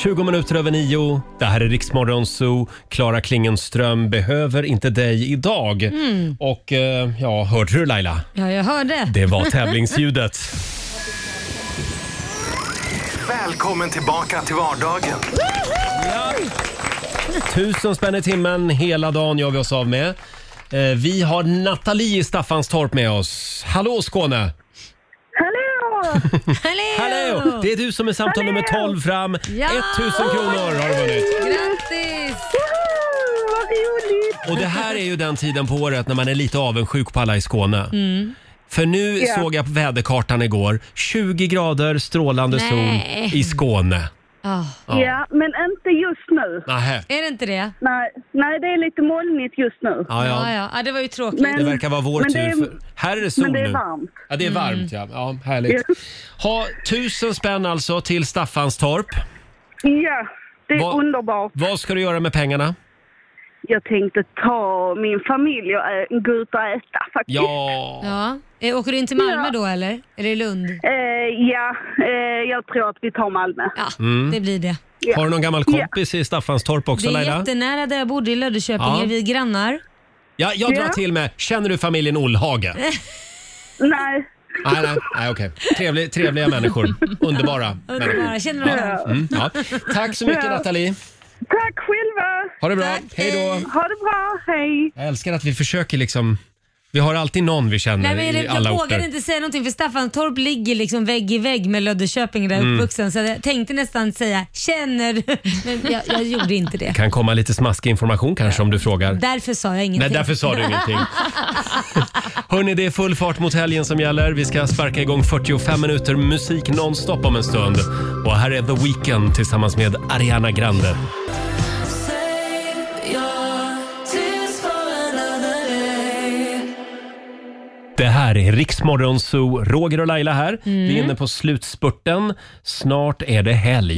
Speaker 1: 20 minuter över nio. Det här är Riksmorgon Zoo. Klara Klingenström behöver inte dig idag.
Speaker 4: Mm.
Speaker 1: Och eh, ja, hörde du Laila?
Speaker 4: Ja, jag hörde.
Speaker 1: Det var tävlingsljudet.
Speaker 9: Välkommen tillbaka till vardagen.
Speaker 1: Tusen spänn i timmen hela dagen gör vi oss av med. Eh, Vi har Nathalie i Staffanstorp med oss. Hallå Skåne!
Speaker 6: Hallå!
Speaker 1: Hallå! Det är du som är samtal nummer 12 fram. 1000 kronor har du vunnit.
Speaker 4: Grattis!
Speaker 6: Vad roligt!
Speaker 1: Och det här är ju den tiden på året när man är lite avundsjuk på alla i Skåne.
Speaker 6: Mm.
Speaker 1: För nu
Speaker 6: Ja.
Speaker 1: såg jag på väderkartan igår. 20 grader, strålande
Speaker 4: Nej.
Speaker 1: sol i Skåne. Ja.
Speaker 17: Ja, men inte just nu.
Speaker 1: Nähä.
Speaker 4: Är det inte det?
Speaker 17: Nej, nej det är lite molnigt just nu.
Speaker 1: Ja, ja. Ja, ja.
Speaker 4: det var ju tråkigt.
Speaker 1: det verkar vara vår tur. för här är det sol
Speaker 17: Men det är
Speaker 1: nu.
Speaker 17: varmt.
Speaker 1: Ja, det är
Speaker 17: Mm.
Speaker 1: varmt. Ja. Ja, härligt. Ha tusen spänn alltså till Staffanstorp.
Speaker 17: Ja, det är
Speaker 1: Vad-
Speaker 17: underbart.
Speaker 1: Vad ska du göra med pengarna?
Speaker 17: Jag tänkte ta min familj och
Speaker 16: eh,
Speaker 17: ä- gå ut och äta faktiskt.
Speaker 1: Ja.
Speaker 4: Ja. Eh, Åker du in till Malmö då eller? Eller Lund?
Speaker 17: Eh, ja, eh, jag tror att vi tar Malmö.
Speaker 4: Ja,
Speaker 1: Mm.
Speaker 4: det blir det.
Speaker 1: Har du någon gammal kompis i Staffanstorp också
Speaker 4: det är
Speaker 1: Laila?
Speaker 4: jättenära där jag bodde i Löddeköping.
Speaker 1: Ja.
Speaker 4: Är vi grannar?
Speaker 1: Ja, jag drar
Speaker 4: Ja.
Speaker 1: till med. Känner du familjen Olhage?
Speaker 17: Nej.
Speaker 1: Nej, nej, nej okej. Trevlig, trevliga människor. Underbara
Speaker 4: Underbara,
Speaker 1: människor.
Speaker 4: känner varandra.
Speaker 1: Mm, ja. Tack så mycket
Speaker 17: Ja.
Speaker 1: Nathalie.
Speaker 17: Tack själva!
Speaker 1: Ha det bra. Hej då.
Speaker 17: Ha det bra, hej!
Speaker 1: Jag älskar att vi försöker liksom... Vi har alltid någon vi
Speaker 4: Nej,
Speaker 1: känner
Speaker 4: men
Speaker 1: i
Speaker 4: jag,
Speaker 1: alla
Speaker 4: jag
Speaker 1: orter.
Speaker 4: vågade inte säga någonting för Staffanstorp ligger liksom vägg i vägg med Löddeköping där jag är
Speaker 1: Mm.
Speaker 4: uppvuxen. Så jag tänkte nästan säga känner du? Men jag, jag gjorde inte det.
Speaker 1: Det kan komma lite smaskig information kanske om du frågar.
Speaker 4: Därför sa jag ingenting.
Speaker 1: Nej, därför sa du ingenting. Hörni, det är full fart mot helgen som gäller. Vi ska sparka igång 45 minuter musik nonstop om en stund. Och här är The Weeknd tillsammans med Ariana Grande.
Speaker 6: Save your tears for another day.
Speaker 1: Det här här är Riksmorgon Zoo. Roger och Laila här.
Speaker 10: Mm.
Speaker 1: Vi är inne på slutspurten. Snart är det helg.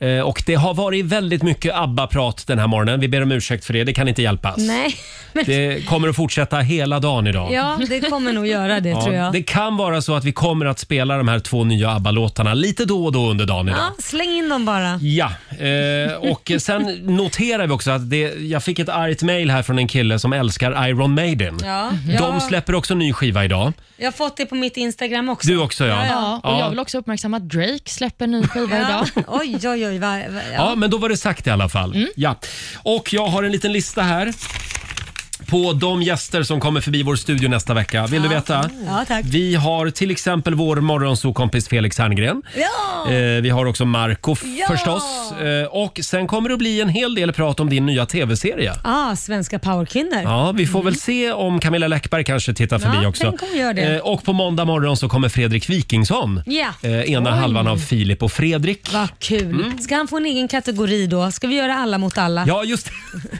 Speaker 4: Yeah.
Speaker 1: Eh, Och det har varit väldigt mycket ABBA-prat den här morgonen. Vi ber om ursäkt för det. Det kan inte hjälpas.
Speaker 4: Nej, men,
Speaker 1: Det kommer att fortsätta hela dagen idag.
Speaker 4: ja, det kommer nog göra det
Speaker 1: Ja,
Speaker 4: tror jag.
Speaker 1: Det kan vara så att vi kommer att spela de här två nya ABBA-låtarna lite då och då under dagen idag.
Speaker 4: Ja, släng in dem bara.
Speaker 1: Ja, eh, och sen noterar vi också att det, jag fick ett argt mejl här från en kille som älskar Iron Maiden.
Speaker 4: Ja,
Speaker 1: De
Speaker 4: jag,
Speaker 1: släpper också ny skiva idag.
Speaker 4: jag har fått det på mitt Instagram också.
Speaker 1: Du också ja.
Speaker 5: Ja, och jag vill också uppmärksamma att Drake släpper en ny skiva
Speaker 4: Ja.
Speaker 5: idag.
Speaker 4: Oj, oj, oj. Va, va,
Speaker 1: Ja. men då var det sagt i alla fall.
Speaker 4: Mm.
Speaker 1: Ja. Och jag har en liten lista här på de gäster som kommer förbi vår studio nästa vecka. Vill
Speaker 4: Ah.
Speaker 1: du veta?
Speaker 4: Ja, tack.
Speaker 1: Vi har till exempel vår morgonsokompis Felix Herngren.
Speaker 4: Ja!
Speaker 1: Eh, vi har också Marco f-
Speaker 4: Ja!
Speaker 1: förstås. Eh, och sen kommer det att bli en hel del prat om din nya tv-serie.
Speaker 4: Ah, svenska powerkvinnor.
Speaker 1: Ja, vi får väl se om Camilla Läckberg kanske tittar
Speaker 4: Mm. Ja,
Speaker 1: förbi också.
Speaker 4: tänk om hon gör det.
Speaker 1: Eh, Och på måndag morgon så kommer Fredrik Wikingsson.
Speaker 4: Ja.
Speaker 1: Eh, ena
Speaker 4: Oj.
Speaker 1: halvan av Filip och Fredrik.
Speaker 4: Vad kul. Ska han få en egen kategori då? Ska vi göra alla mot alla?
Speaker 1: Mm. Ja, just det.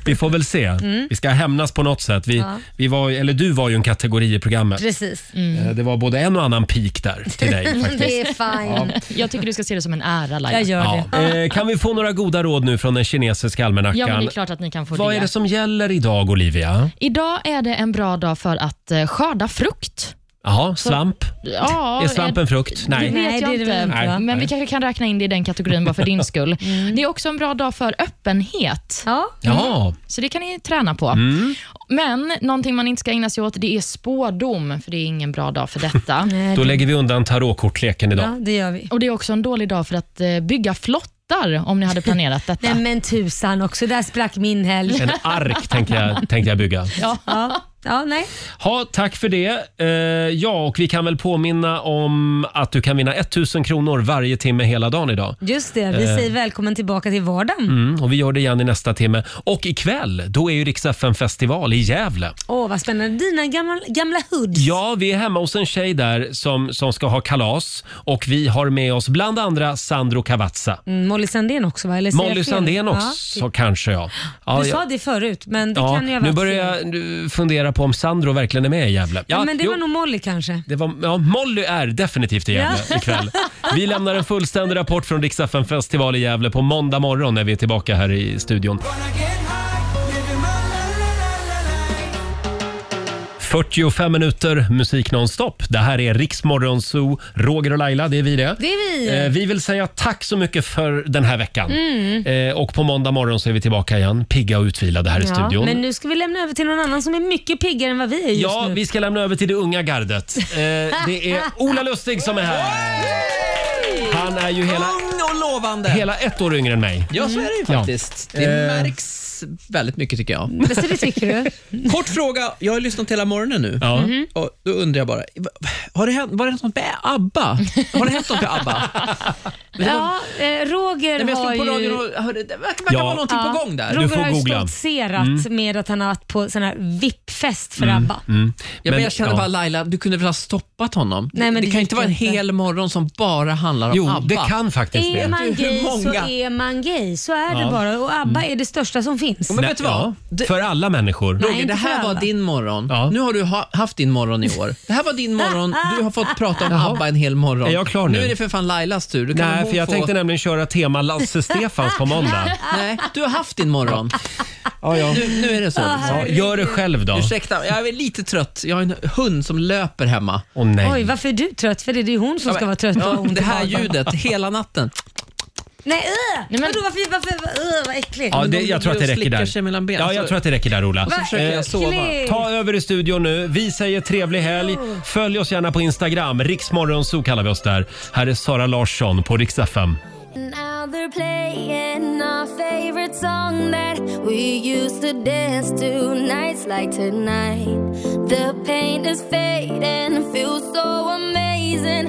Speaker 1: Vi får väl se.
Speaker 4: Mm.
Speaker 1: Vi ska hämnas på något sätt. Vi,
Speaker 4: Ja.
Speaker 1: vi var, eller du var ju en kategori i programmet.
Speaker 4: Precis. Mm,
Speaker 1: Eh, Det var både en och annan pik där till dig. faktiskt.
Speaker 5: Mm. Det
Speaker 4: är
Speaker 5: fine. Jag tycker du ska se det som en ära Laila.
Speaker 4: Jag gör
Speaker 1: Ja. Eh, Kan vi få några goda råd nu från den kinesiska almanackan?
Speaker 5: Ja, men det är klart att ni kan få
Speaker 1: Vad
Speaker 5: det.
Speaker 1: är det som gäller idag, Olivia?
Speaker 5: Idag är det en bra dag för att eh, skörda frukt.
Speaker 1: Jaha, svamp?
Speaker 5: Ja,
Speaker 1: är svamp en frukt? Nej.
Speaker 5: Det vet jag inte,
Speaker 1: Nej,
Speaker 5: men
Speaker 1: nej.
Speaker 5: vi kanske kan räkna in det i den kategorin bara för din skull. Det är också en bra dag för öppenhet.
Speaker 4: Ja.
Speaker 1: Ja.
Speaker 5: Så det kan ni träna på.
Speaker 1: Mm.
Speaker 5: Men någonting man inte ska ägna sig åt det är spådom, för det är ingen bra dag för detta.
Speaker 1: Då lägger vi undan tarotkortleken idag.
Speaker 4: det gör vi.
Speaker 5: Och det är också en dålig dag för att eh, bygga flottar, om ni hade planerat detta.
Speaker 4: Nej men tusan också, där sprack min helg.
Speaker 1: En ark tänkte jag, tänkte jag bygga.
Speaker 5: Ja.
Speaker 4: ja. nej.
Speaker 1: Ha, tack för det. Eh, ja, och vi kan väl påminna om att du kan vinna 1000 kronor varje timme hela dagen idag.
Speaker 4: Just det, vi
Speaker 1: Eh.
Speaker 4: säger välkommen tillbaka till vardagen.
Speaker 1: Mm, och vi gör det igen i nästa timme. Och ikväll, då är ju Rix FM festival i Gävle.
Speaker 4: Åh, vad spännande. Dina gamla, gamla hoods.
Speaker 1: Ja, vi är hemma hos en tjej där som, som ska ha kalas och vi har med oss bland andra Sandro Cavazza.
Speaker 4: Mm, Molly Sandén också va? Eller säger jag
Speaker 1: Molly
Speaker 4: fel?
Speaker 1: Sandén
Speaker 4: Ja,
Speaker 1: också
Speaker 4: typ.
Speaker 1: kanske ja. ja
Speaker 4: du
Speaker 1: jag-
Speaker 4: sa det förut, men det
Speaker 1: ja,
Speaker 4: kan ju ha
Speaker 1: Nu
Speaker 4: varit
Speaker 1: börjar
Speaker 4: fel.
Speaker 1: jag nu fundera på om Sandro verkligen är med i Gävle.
Speaker 4: Ja, men det
Speaker 1: jo,
Speaker 4: var nog Molly kanske.
Speaker 1: det var, ja, Molly är definitivt i Gävle
Speaker 4: Ja.
Speaker 1: ikväll. Vi lämnar en fullständig rapport från Rix FM festival i Gävle på måndag morgon när vi är tillbaka här i studion. 45 minuter musik nonstop. Det här är Riksmorgon Zoo. Roger och Laila, det är vi det.
Speaker 4: Det är vi.
Speaker 1: Eh, vi vill säga tack så mycket för den här veckan.
Speaker 4: Mm.
Speaker 1: Eh, och på måndag morgon så är vi tillbaka igen, pigga och utvilade här i studion.
Speaker 4: men nu ska vi lämna över till någon annan som är mycket piggare än vad vi är just
Speaker 1: Ja,
Speaker 4: nu.
Speaker 1: vi ska lämna över till det unga gardet. Eh, det är Ola Lustig som är här. Han är ju hela,
Speaker 18: Ung och lovande.
Speaker 1: hela ett år yngre än mig.
Speaker 18: Ja, så är det ju
Speaker 1: Ja.
Speaker 18: faktiskt. Det
Speaker 1: Eh, Mm.
Speaker 18: märks väldigt mycket tycker jag.
Speaker 4: Så det tycker du?
Speaker 18: Kort fråga, jag har lyssnat hela morgonen nu.
Speaker 1: Ja.
Speaker 4: Mhm.
Speaker 18: Och då undrar jag bara, va- har det hänt, var det hänt något med ABBA? Har det hänt något med ABBA? Men det var-
Speaker 4: Ja, eh, Roger
Speaker 18: Nej, men jag
Speaker 4: har
Speaker 18: slog på
Speaker 4: ju...
Speaker 18: radion och hörde, det verkar verkar vara någonting på gång där.
Speaker 4: Roger har ju stoltserat
Speaker 1: Mm.
Speaker 4: med att han har varit på sån här VIP-fest för ABBA.
Speaker 18: Ja, men
Speaker 4: Men-
Speaker 18: jag känner
Speaker 4: ja.
Speaker 18: bara Laila, du kunde väl ha stoppat honom?
Speaker 4: Nej, men
Speaker 18: det,
Speaker 4: det gick
Speaker 18: kan inte vara en
Speaker 4: inte.
Speaker 18: hel morgon som bara handlar om
Speaker 1: Jo,
Speaker 18: ABBA.
Speaker 1: det kan faktiskt
Speaker 4: Är man gay så är man gay. Så är
Speaker 1: Ja. Mm.
Speaker 4: det bara. Och ABBA är det största som finns.
Speaker 1: Nej, ja, För alla människor.
Speaker 18: Roger, det här var din morgon. Nu har du ha, haft din morgon i år. Det här var din morgon. Du har fått prata om ABBA en hel morgon.
Speaker 1: Är jag klar nu?
Speaker 18: är det för fan Lailas tur. Då kan väl
Speaker 1: Nej,
Speaker 18: hon
Speaker 1: för jag
Speaker 18: få...
Speaker 1: tänkte nämligen köra tema Lasse Stefans på måndag.
Speaker 18: Nej, du har haft din morgon. Nu, nu är det så.
Speaker 1: Ja, gör det själv då.
Speaker 18: Ursäkta, jag är lite trött. Jag har en hund som löper hemma.
Speaker 1: Åh
Speaker 4: Oj, varför är du trött? För det är ju hon som ska vara trött. och ha
Speaker 18: Ja,
Speaker 4: ont i
Speaker 18: det här
Speaker 4: magen.
Speaker 18: ljudet hela natten.
Speaker 4: Nej, uh, Vadå, varför, varför, uh, vad äckligt.
Speaker 1: Ja, det, jag tror att det räcker
Speaker 18: slickar
Speaker 1: där.
Speaker 18: sig mellan benen,
Speaker 1: ja, jag
Speaker 18: så-
Speaker 1: tror att det räcker där Ola.
Speaker 18: Och så försöker jag
Speaker 1: Eh,
Speaker 18: sova.
Speaker 1: Ta över i studion nu. Vi säger trevlig helg. Följ oss gärna på Instagram. Riksmorgonzoo kallar vi oss där. Här är Sara Larsson på Rix FM.
Speaker 6: Now they're playing our favorite song that we used to dance to nights like tonight. The pain is fading, feels so amazing